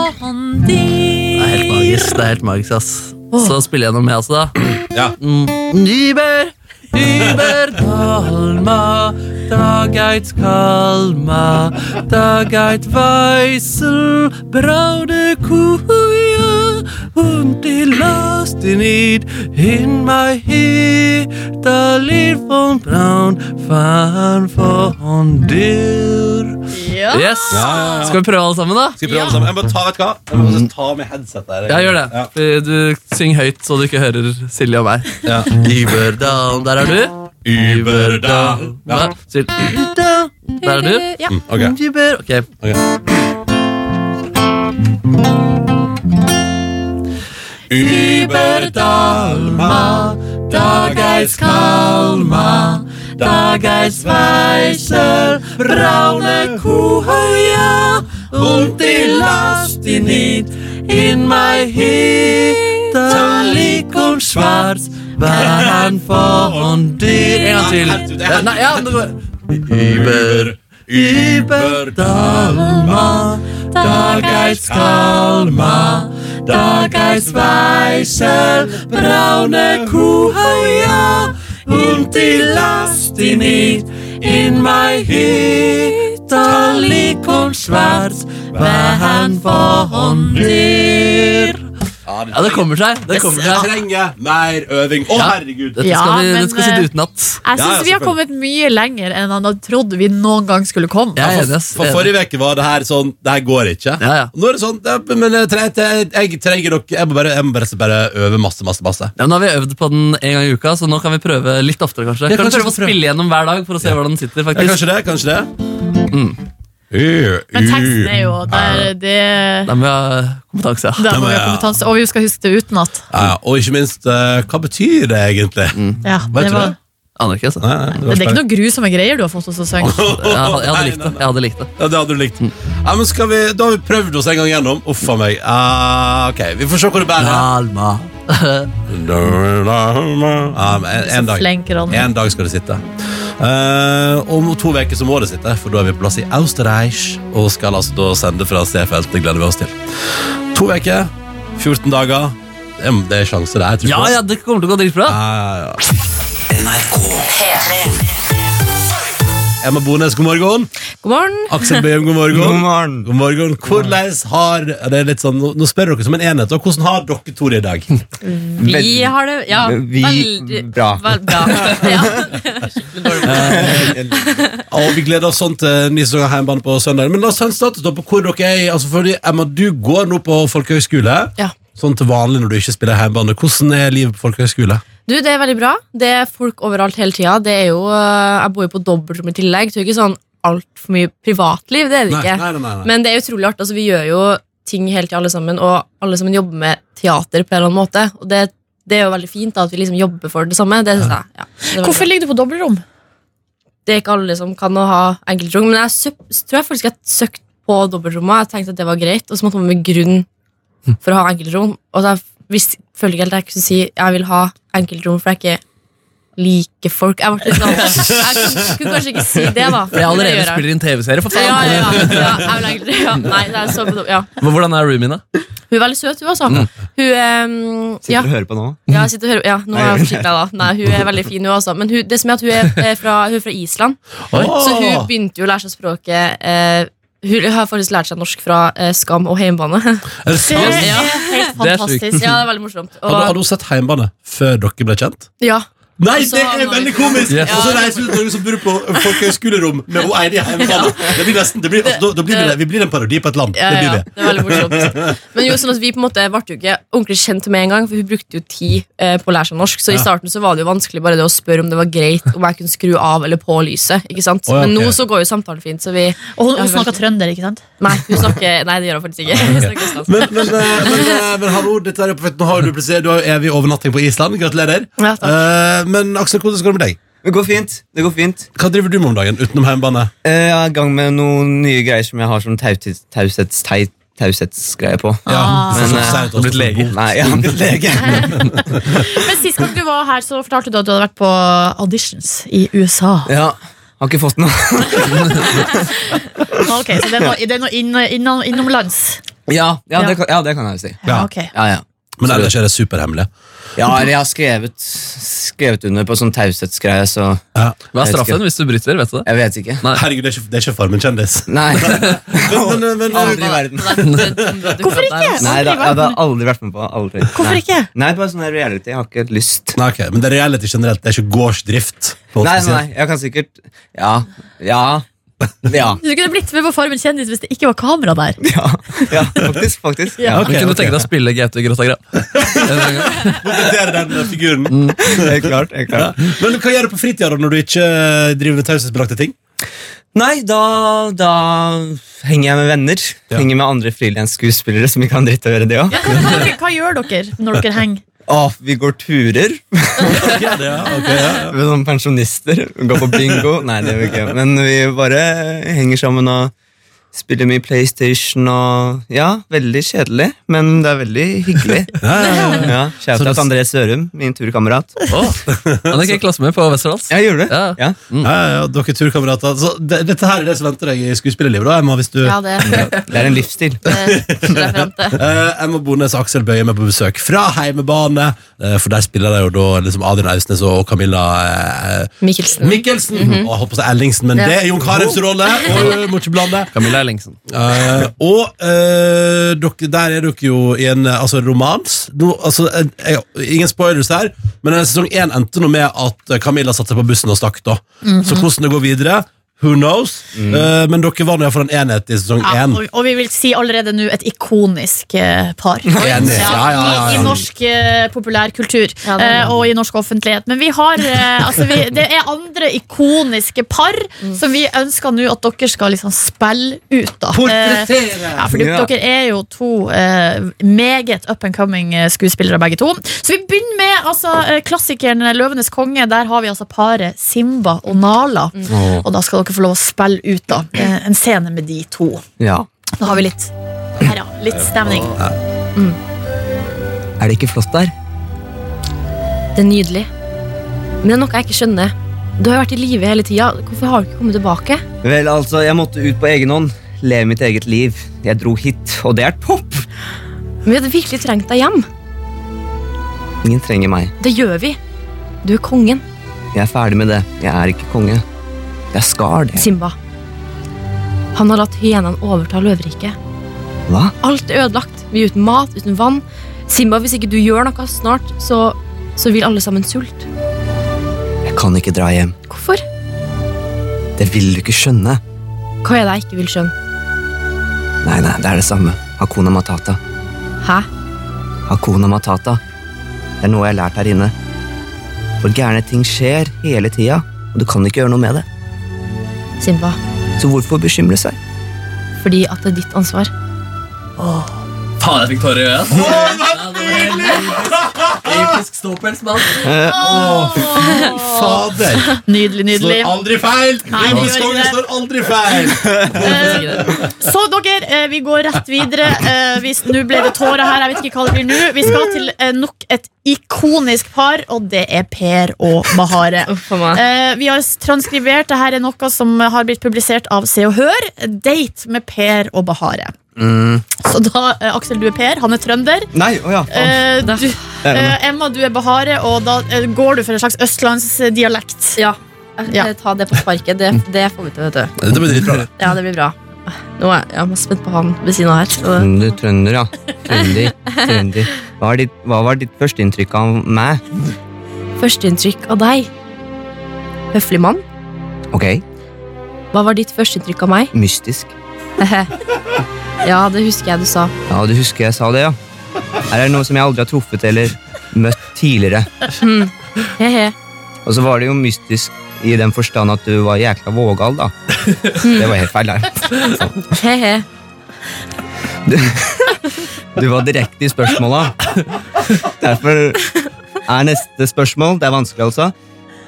S4: Det er helt
S3: dyr.
S4: magisk. det er helt magisk, ass. Så spiller jeg gjennom jeg også, da.
S2: Ja.
S4: Mm. Nyber, Nyber, Dalma, Dageit Kalma, Dageit Weissel, Braude Kuja, und die Last in it, in my head, da liv von Braun, fan von dir.
S3: Ja.
S4: Yes!
S2: ja, ja.
S4: Skal vi prøve alle sammen, da?
S2: Skal vi prøve alle sammen? Jeg må ta, vet du hva? Jeg må også ta med headset der.
S4: Ja, gjør det. Eh, Du syng høyt, så du ikke hører Silje og meg.
S2: Ja.
S4: Überdal, der er du. Überdal. Ja. Sier Überdal. Der er du.
S3: Ja.
S2: Mm, ok.
S4: Über. Ok.
S2: Ok.
S4: Überdalma, Dageis Kalma, Dageis Weichel, braune Kuhøya, und die Last die nicht in mein Hitter liegt und schwarz, waren von dir. En gang til. Ja, nei, ja, det går. Über, Überdalma, Dageis Kalma, Dageis Weichel, braune Kuhheuer und die Last, die nicht in mein Hütter liegt und schwarz, waren von dir. Ja, det kommer seg. Det kommer
S2: Jeg
S4: seg.
S2: trenger mer øving. Å,
S4: Ja.
S2: herregud!
S4: Dette skal, vi,
S3: Ja, men,
S4: dette skal
S10: eh,
S4: sitte utenat.
S3: Jeg
S2: Ja, ja,
S3: syns vi har
S2: selvfølgelig.
S3: kommet mye lenger enn han hadde trodd vi noen gang skulle komme.
S4: Jeg er enig,
S2: For,
S4: ass.
S2: for forrige uke var det her sånn Det her går ikke.
S4: Ja, ja.
S2: Nå er det sånn ja, Men jeg trenger, jeg trenger nok Jeg må bare, jeg må bare, bare øve masse, masse, masse.
S4: Ja, men Nå har vi øvd på den en gang i uka, så nå kan vi prøve litt oftere. kanskje
S2: Ja,
S4: Kan vi
S2: kanskje
S4: prøve
S2: vi skal
S4: å
S2: prøve.
S4: spille gjennom hver dag for å se hvordan den sitter?
S2: Ja,
S4: faktisk
S2: kanskje det? Kanskje det?
S4: Mm.
S2: Uh,
S3: Men
S2: uh.
S3: teksten er jo der, det,
S4: Da må vi ha kompetanse, ja.
S3: der må vi ha
S2: ja.
S3: kompetanse, og vi skal huske det utenat.
S2: Ja, ja. Og ikke minst, eh, hva betyr det egentlig?
S4: Mm.
S3: Ja,
S2: Vet
S3: det,
S2: du
S3: var,
S2: det?
S4: Aner ikke, altså.
S2: Nei, nei, var
S3: det er ikke
S2: spennende.
S3: noen grusomme greier du har fått oss å synge.
S4: Jeg hadde, jeg hadde
S2: Nei,
S4: likt
S2: nei,
S4: det.
S2: nei.
S4: Jeg hadde likt det.
S2: Ja, det hadde du likt. Ja, men skal vi, da har vi prøvd oss en gang gjennom. Uff a meg. Ah, ok, Vi får se hvor det bærer.
S4: Dalma.
S2: Ja, men en, en
S3: Så
S2: <laughs> dag.
S3: flink Ronny.
S2: En dag skal det sitte. Eh, om to uker så må det sitte, for da er vi på plass i Austerreich og skal altså da sende fra C-feltet. Det gleder vi oss til. To uker, 14 dager. Det er- Det er sjanse, det. er, Jeg tror
S4: Ja,
S2: på
S4: ja, det kommer til å gå dritbra.
S2: ja. Emma Bones, god morgen.
S3: God morgen.
S2: Aksel Bøhm, god
S4: <laughs>
S2: morgen.
S5: God morgen.
S2: God morgen. Hvordan har det er litt sånn, Nå nå spør dere som en enhet. og Hvordan har dere to det i dag?
S3: Vi har det ja, veldig
S5: bra.
S3: Vel, bra. Ja.
S2: Og vi gleder oss sånn til ny sesong av Heimbane på søndag. Men la oss ta en status da på hvor dere er. i- Altså fordi, Emma, du går nå på folkehøyskole.
S10: Ja.
S2: Sånn til vanlig når du ikke spiller heimbane. Hvordan er livet på folkehøyskole?
S10: Du, Det er veldig bra. Det er folk overalt hele tida. Det er jo, øh, Jeg bor jo på dobbeltrom i tillegg. Det er jo ikke sånn altfor mye privatliv. det er det
S2: Nei,
S10: ikke.
S2: nei, nei, nei.
S10: Men det er utrolig artig. Altså, vi gjør jo ting hele tida, alle sammen. Og alle sammen jobber med teater på en eller annen måte. Og det, det er jo veldig fint da, at vi liksom jobber for det samme. Det synes jeg, ja, det, er veldig
S3: Hvorfor
S10: bra.
S3: ligger du på dobbeltrom?
S10: det er ikke alle som kan å ha enkeltrom. Men jeg søp, tror jeg faktisk jeg søkte på dobbeltrommet. Jeg tenkte at det var greit, og så måtte man med grunn
S4: Hm.
S10: for å ha enkeltrom. Og så jeg visste, følte ikke helt at jeg kunne si jeg vil ha enkeltrom, for jeg er ikke liker folk. Jeg, ble litt sånn, jeg kunne, kunne kanskje ikke si det, da.
S4: Jeg
S10: Det
S4: allerede
S10: gjør jeg.
S4: spiller inn TV-serie, for
S10: Ja,
S4: faen.
S10: ja, ja, ja, jeg vil egentlig, ja. Nei, det er så på dobbel- ja.
S4: Hvordan er roomien, da?
S10: Hun er veldig søt, hun, altså.
S4: Mm.
S10: Hun ehm, ja.
S5: og hører på nå?
S10: Ja, jeg sitter og hører Ja, nå er jeg forsiktig, da. Nei, hun er veldig fin, hun også. Men hun, det som er at hun er, eh, fra, hun er fra Island, så hun begynte jo å lære seg språket eh, Hun har faktisk lært seg norsk fra eh, Skam og Heimbane. <laughs>
S2: Er det
S3: Det
S2: sant?
S3: er
S10: Ja.
S3: helt
S4: Det er
S3: fantastisk.
S10: ja, det er veldig morsomt.
S2: Hadde,
S10: Og,
S2: hadde hun sett heimbane før dere ble kjent?
S10: ja,
S2: Nei,
S10: Og så
S2: det
S10: har
S2: er
S10: man-
S2: veldig komisk!
S4: Yes.
S2: Og så reiser vi ut noen som bor på folkehøyskolerom med hun ene i heimbane. Det blir nesten, det blir, altså, da, da blir vi, det- vi blir en parodi på et land.
S10: ja,
S2: Det
S10: ja,
S2: blir vi.
S10: det er veldig morsomt. Men jo, sånn at vi på en måte ble jo ikke ordentlig kjent med en gang, for hun brukte jo tid eh, på å lære seg norsk. Så i starten så var det jo vanskelig bare det å spørre om det var greit om jeg kunne skru av eller på lyset. ikke sant?
S2: Å, ja, ok.
S10: Men nå så går jo samtalen fint, så vi
S3: Og hun,
S10: Ja,
S3: hun snakker
S10: veldig.
S3: trønder, ikke sant?
S10: Nei, hun snakker, nei <laughs> det gjør hun faktisk ikke.
S2: <laughs>
S10: Hun snakker islandsk.
S2: Men, men, eh, men, eh, men hallo, dette er jo perfekt. Nå har jo du plutselig du har jo evig overnatting på Island. Gratulerer.
S10: Ja, takk.
S2: Eh, men Aksel, hvordan går det med deg?
S5: Det går fint. det går fint
S2: Hva driver du med om dagen utenom hjemmebane?
S5: Eh, Jeg er i gang med noen nye greier som jeg har sånn tautids- taushets- tei- taushetsgreie på.
S3: Ah.
S5: Men, eh,
S2: Du har blitt lege.
S5: Nei, jeg har blitt lege.
S3: Men Sist gang du var her, så fortalte du at du hadde vært på auditions i USA.
S5: Ja, Har ikke fått noe. <laughs>
S3: Ok, Så det er noe, det er noe inn, innom, innomlands?
S11: Ja, ja,
S3: Ja.
S11: Det, kan- ja, det kan jeg jo si.
S3: Ja, Ah, ok.
S11: ja, ja.
S2: Men ellers er det superhemmelig.
S11: Ja, eller jeg har skrevet, skrevet under på sånn taushetsgreie, så
S4: Hva er straffen hvis du bryter? Vet du det?
S11: Jeg vet ikke.
S2: Herregud, det er ikke, det er ikke Farmen kjendis.
S11: Nei.
S2: men, eh, men, men,
S11: <laughs> Aldri i verden.
S3: Hvorfor ikke?
S11: Nei, da, jeg hadde aldri vært med på aldri.
S3: Hvorfor
S11: Nei.
S3: ikke?
S11: Nei, bare sånn her reality. Jeg har ikke lyst.
S2: Nei, ok, Men det er reality generelt, det er ikke gårdsdrift? på en måte
S11: Nei,
S2: spesielt.
S11: nei, jeg kan sikkert Ja. Ja. Ja,
S3: Du kunne blitt med på Farmen kjendis hvis det ikke var kamera der.
S11: ja faktisk. faktisk
S3: Ja.
S11: ja.
S4: Men kunne du tenke deg å spille Gaute Grottagra?
S2: Komplettere den eh, figuren.
S11: Helt klart. Helt klart.
S2: Men hva gjør du på fritida da, når du ikke eh, driver med taushetsbelagte ting?
S11: Nei, da, da henger jeg med venner.
S2: Ja.
S11: Henger med andre frilansskuespillere som ikke har en dritt å gjøre det òg.
S3: Ja, hva, hva, hva gjør dere når dere henger?
S11: vi går turer
S2: Ja, det er, ok, ja, ja.
S11: med sånne pensjonister. Vi Går på <laughs> bingo. Nei, det gjør vi ikke. Men vi bare henger sammen og spiller mye PlayStation og Ja, veldig kjedelig, men det er veldig hyggelig. Ja, Shout out André Sørum, min turkamerat.
S4: Oh, han er ikke i klasse med på Westerdals.
S11: Ja, gjorde du?
S4: Ja.
S11: Ja.
S2: Ja, ja, ja, dere turkamerater. Så det, dette her er det som venter deg i skuespillerlivet, da, Emma. Hvis du,
S10: Ja, det er
S11: Det er en livsstil.
S10: referente.
S2: Eh, Emma Bones og Aksel Bøye med på besøk fra heimebane. eh, for der spiller de jo da liksom Adrian Ausnes og Camilla eh,
S10: Mikkelsen.
S2: Mikkelsen. Og jeg holdt på å si Ellingsen, men
S10: Mm. Mhm. Ja.
S2: det er Jon Carews rolle!
S10: <laughs>
S2: Og, må ikke blande.
S4: Camilla Ellingsen.
S2: Eh, og eh, dere, der er dere jo i en eh, altså, romans. Nå, altså, en- jeg, ingen spoilers her, men eh, sesong én endte nå med at eh, Camilla satte seg på bussen og stakk. da Så hvordan det går videre, who knows? Eh, men dere var nå iallfall en enhet i sesong
S3: Mhm. Ja,
S2: én.
S3: og, og vi vil si allerede nå et ikonisk eh, par.
S2: Enig. Ja, ja, ja, ja.
S3: I, I norsk eh, populærkultur
S10: Ja, det er det.
S3: eh, og i norsk offentlighet. Men vi har eh, altså vi, Det er andre ikoniske par
S10: Mm.
S3: som vi ønsker nå at dere skal liksom spille ut. da Portrettere! ja, for
S11: Ja.
S3: dere er jo to eh, meget up and coming eh, skuespillere, begge to. Så vi begynner med altså, eh, klassikeren 'Løvenes konge'. Der har vi altså paret Simba og Nala.
S2: Mm.
S3: Og da skal dere få lov å spille ut da eh, en scene med de to.
S11: Ja.
S3: Da har vi litt her, ja. Litt stemning.
S11: Er det ikke flott der?
S10: Det er nydelig. Men det er noe jeg ikke skjønner. Du har jo vært i live hele tida. Hvorfor har du ikke kommet tilbake?
S11: Vel, altså, jeg måtte ut på egen hånd. Leve mitt eget liv. Jeg dro hit, og det er topp!
S10: Vi hadde virkelig trengt deg hjem.
S11: Ingen trenger meg.
S10: Det gjør vi. Du er kongen,
S11: Jeg er ferdig med det. Jeg er ikke konge. Jeg skal det.
S10: Simba. Han har latt hyenene overta løveriket.
S11: Hva?
S10: Alt er ødelagt. Vi er uten mat, uten vann. Simba, hvis ikke du gjør noe snart, så, så vil alle sammen sulte.
S11: Jeg kan ikke dra hjem.
S10: Hvorfor?
S11: Det vil du ikke skjønne.
S10: Hva er det jeg ikke vil skjønne?
S11: Nei, nei, det er det samme. Hakuna matata.
S10: Hæ?
S11: Hakuna matata. Det er noe jeg har lært her inne. For gærne ting skjer hele tida, og du kan ikke gjøre noe med det.
S10: Simba,
S11: Så hvorfor bekymre seg?
S10: fordi at det er ditt ansvar.
S4: Faen, jeg fikk tårer i Episk ståpels, mann.
S2: Fader!
S3: <laughs> Nydelig, nydelig.
S2: Står aldri feil!
S3: Nei, det gjør
S2: Løvenes konge
S3: ikke det.
S2: står aldri
S3: <laughs>
S2: feil!
S10: Eh,
S3: Så dere, eh, vi går rett videre. Eh, hvis- Nå ble det tårer her. Jeg vet ikke hva det blir nå. Vi skal til eh, nok et ikonisk par, og det er Per og Mahare.
S10: Uff a meg.
S3: Eh, vi har transkribert. Dette er noe som har blitt publisert av Se og Hør. Date med Per og Bahare. Så da, eh, Aksel, du er Per. Han er trønder.
S11: Nei, å ja.
S3: Eh, du, eh, Emma, du er Bahare, og da eh, går du for en slags østlandsdialekt.
S10: Ja. Jeg-
S3: Ja.
S10: jeg tar Eh, det på sparket. Det, det får vi til, vet du.
S2: Dette blir dritbra. det.
S10: Ja, det blir bra. Nå er jeg, jeg er spent på han ved siden av her. Så.
S11: Mm, Du trønder, ja. Trønder. trønder. Hva, er ditt, hva var ditt førsteinntrykk av meg?
S10: Førsteinntrykk av deg. Høflig mann.
S11: Ok,
S10: Hva var ditt førsteinntrykk av meg? <laughs>
S11: mystisk.
S10: ja, det husker jeg du sa.
S11: Ja, du husker jeg sa det, ja. Her er det noe som jeg aldri har truffet eller møtt tidligere.
S10: He-he.
S11: Og så var det jo mystisk i den forstand at du var jækla vågal, da. Det var helt feil, der.
S10: He-he.
S11: Du var direkte i spørsmåla. Derfor er neste spørsmål Det er vanskelig, altså.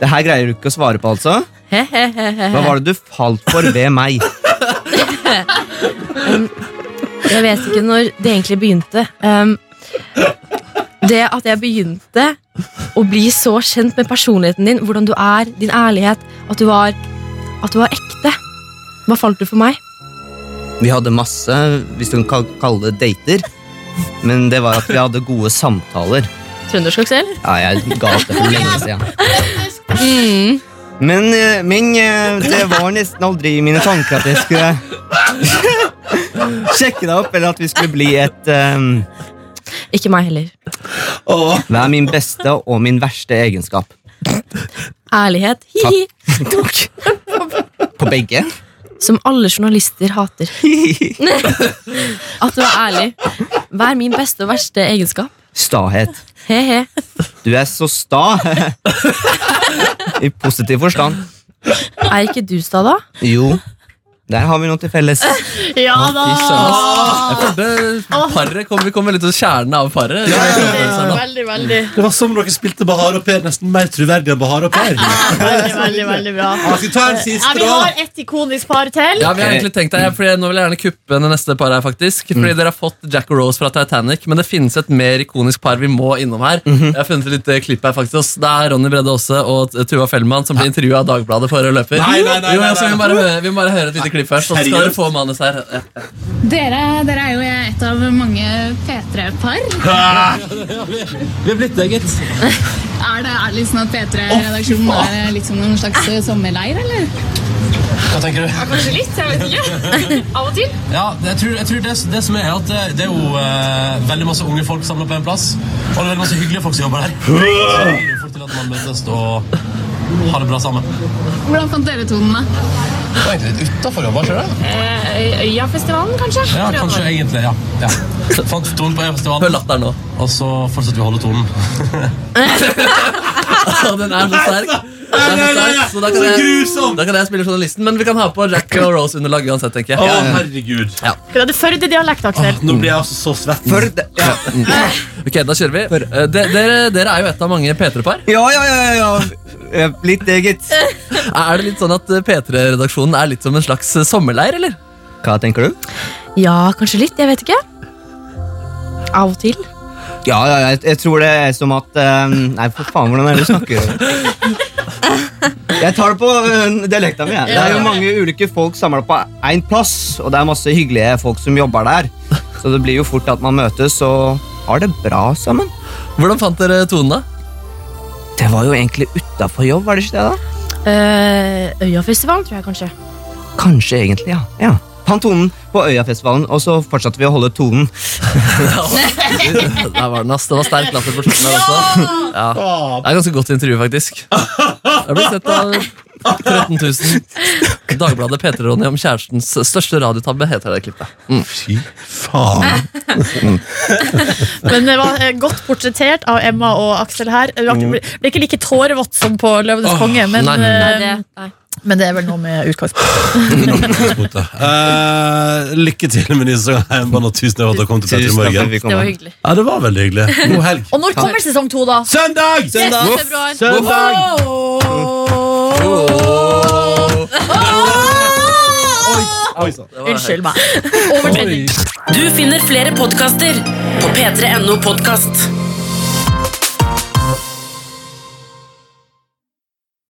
S11: Det her greier du ikke å svare på, altså.
S10: He-he-he-he.
S11: Hva var det du falt for ved meg?
S10: Jeg vet ikke når det egentlig begynte. Um, det at jeg begynte å bli så kjent med personligheten din, hvordan du er, din ærlighet, at du var at du var ekte. Hva falt du for meg?
S11: Vi hadde masse, hvis du kan kalle det dater, men det var at vi hadde gode samtaler.
S10: Trøndersk selv?
S11: Ja, jeg ga opp det for lenge siden.
S10: Mm.
S11: Men, eh, men eh, det var nesten aldri i mine tanker at jeg skulle <laughs> sjekke deg opp, eller at vi skulle bli et eh,
S10: Ikke meg heller.
S11: Hva er min beste og min verste egenskap?
S10: Ærlighet. Hihi. Takk.
S11: På begge?
S10: Som alle journalister hater. <laughs> At du er ærlig. Hva er min beste og verste egenskap?
S11: Stahet.
S10: He-he.
S11: Du er så sta. <laughs> I positiv forstand.
S10: Er ikke du sta, da?
S11: Jo, der har vi noe til felles.
S3: Ja
S4: da! Paret kom, vi kom veldig til kjernen av paret.
S3: Veldig, veldig.
S2: Det var som om dere spilte Bahar og Per nesten mer troverdig enn Bahar og Per.
S3: Veldig, veldig, veldig bra.
S2: Ja, skal vi ta en siste,
S3: Ja, vi
S2: da?
S3: har et ikonisk par til.
S4: Ja, vi har egentlig tenkt det, jeg- fordi Nå vil jeg gjerne kuppe det neste paret her, faktisk.
S2: Mm.
S4: Fordi Dere har fått Jack og Rose fra Titanic, men det finnes et mer ikonisk par vi må innom her.
S2: Mhm.
S4: Jeg har funnet et lite klipp her, faktisk. ass. Det er Ronny Bredde Aase og Tuva Fellmann som blir intervjua av Dagbladet for rød løper.
S2: Nei, nei, nei,
S4: Jo,
S2: nei,
S4: altså, vi, må
S2: nei.
S4: bare, høre- vi må bare høre et lite klipp først, så skal dere
S2: Seriøst?
S4: få manus her. Ja.
S12: Dere, dere er jo et av mange <laughs> P3-par.
S4: Ah!
S12: Vi er blitt det, gitt. Er det ærlig sånn at P3-redaksjonen er litt som noen slags eh, sommerleir, eller?
S13: Hva tenker du?
S12: kanskje litt. Jeg vet ikke. Av og til.
S13: Ja, jeg tror, jeg tror det, det som er, er at det, det er jo eh, veldig masse unge folk samla på en plass. Og det er veldig masse hyggelige folk som jobber der. Så det blir jo fort til at man møtes og har det bra sammen.
S12: Hvordan fant dere tonen, da?
S13: Det var egentlig litt utafor jobb, var ikke det?
S12: Øyafestivalen, kanskje?
S13: Ja, kanskje egentlig. ja. ja. Fant tonen på E-festivalen. Hør
S4: latteren
S2: <laughs>
S4: nå.
S13: Og så fortsetter vi å holde tonen.
S4: Å, Den er så sterk. Den er så sterk, så da kan jeg, da kan jeg spille journalisten, men vi kan ha på Jack og Rose-underlag uansett, tenker jeg.
S2: Å, herregud.
S4: Ja.
S3: Det er Førde-dialekt, Aksel.
S2: Nå blir jeg altså så svett.
S4: Ok, da kjører vi. Eh, de- Dere, dere er jo et av mange P3-par.
S11: Ja, ja, ja, ja. Litt eh, eget.
S4: Er det litt sånn at eh, P3-redaksjonen er litt som en slags eh, sommerleir, eller?
S11: Hva tenker du?
S10: Ja, kanskje litt. Jeg vet ikke. Av og til.
S11: Ja, ja, jeg, jeg tror det er som at eh, Nei, for faen, hvordan er det du snakker? Jeg tar det på eh, dialekta mi. jeg. Det er jo mange ulike folk samla på én plass, og det er masse hyggelige folk som jobber der. Så det blir jo fort at man møtes og har det bra sammen.
S4: Hvordan fant dere tonen, da?
S11: Det var jo egentlig utafor jobb, var det ikke det? da?
S10: Eh, Øyafestivalen, tror jeg kanskje.
S11: Kanskje egentlig, ja. ja. Fant tonen på Øyafestivalen, og så fortsatte vi å holde tonen.
S4: Der var den, ass. Det var sterk latter på slutten der også. Ja. Det er et ganske godt intervju, faktisk. Jeg ble sett av 13 000. Dagbladet P3-Ronny om kjærestens største radiotabbe, heter det klippet.
S2: Fy faen.
S3: Men det var eh, godt portrettert av Emma og Aksel her. Det var- det ble ikke like tårevått som på Løvenes
S2: Mm. Åh,
S3: konge, men,
S2: nei.
S3: eh,
S2: Nei,
S3: men det er vel noe med utgangspunktet.
S2: Eh, lykke til med ny sesong av Heimbane, og tusen takk for at du kom til Petter i
S11: Tusen takk for
S2: morgen.
S11: at vi kom. Det var hyggelig.
S2: Ja, det var veldig hyggelig. God helg.
S3: Og når kommer sesong to, da?
S2: Søndag!
S11: Søndag!
S3: februar.
S11: Søndag!
S3: Unnskyld meg.
S7: Du finner flere podkaster på p3.no podkast.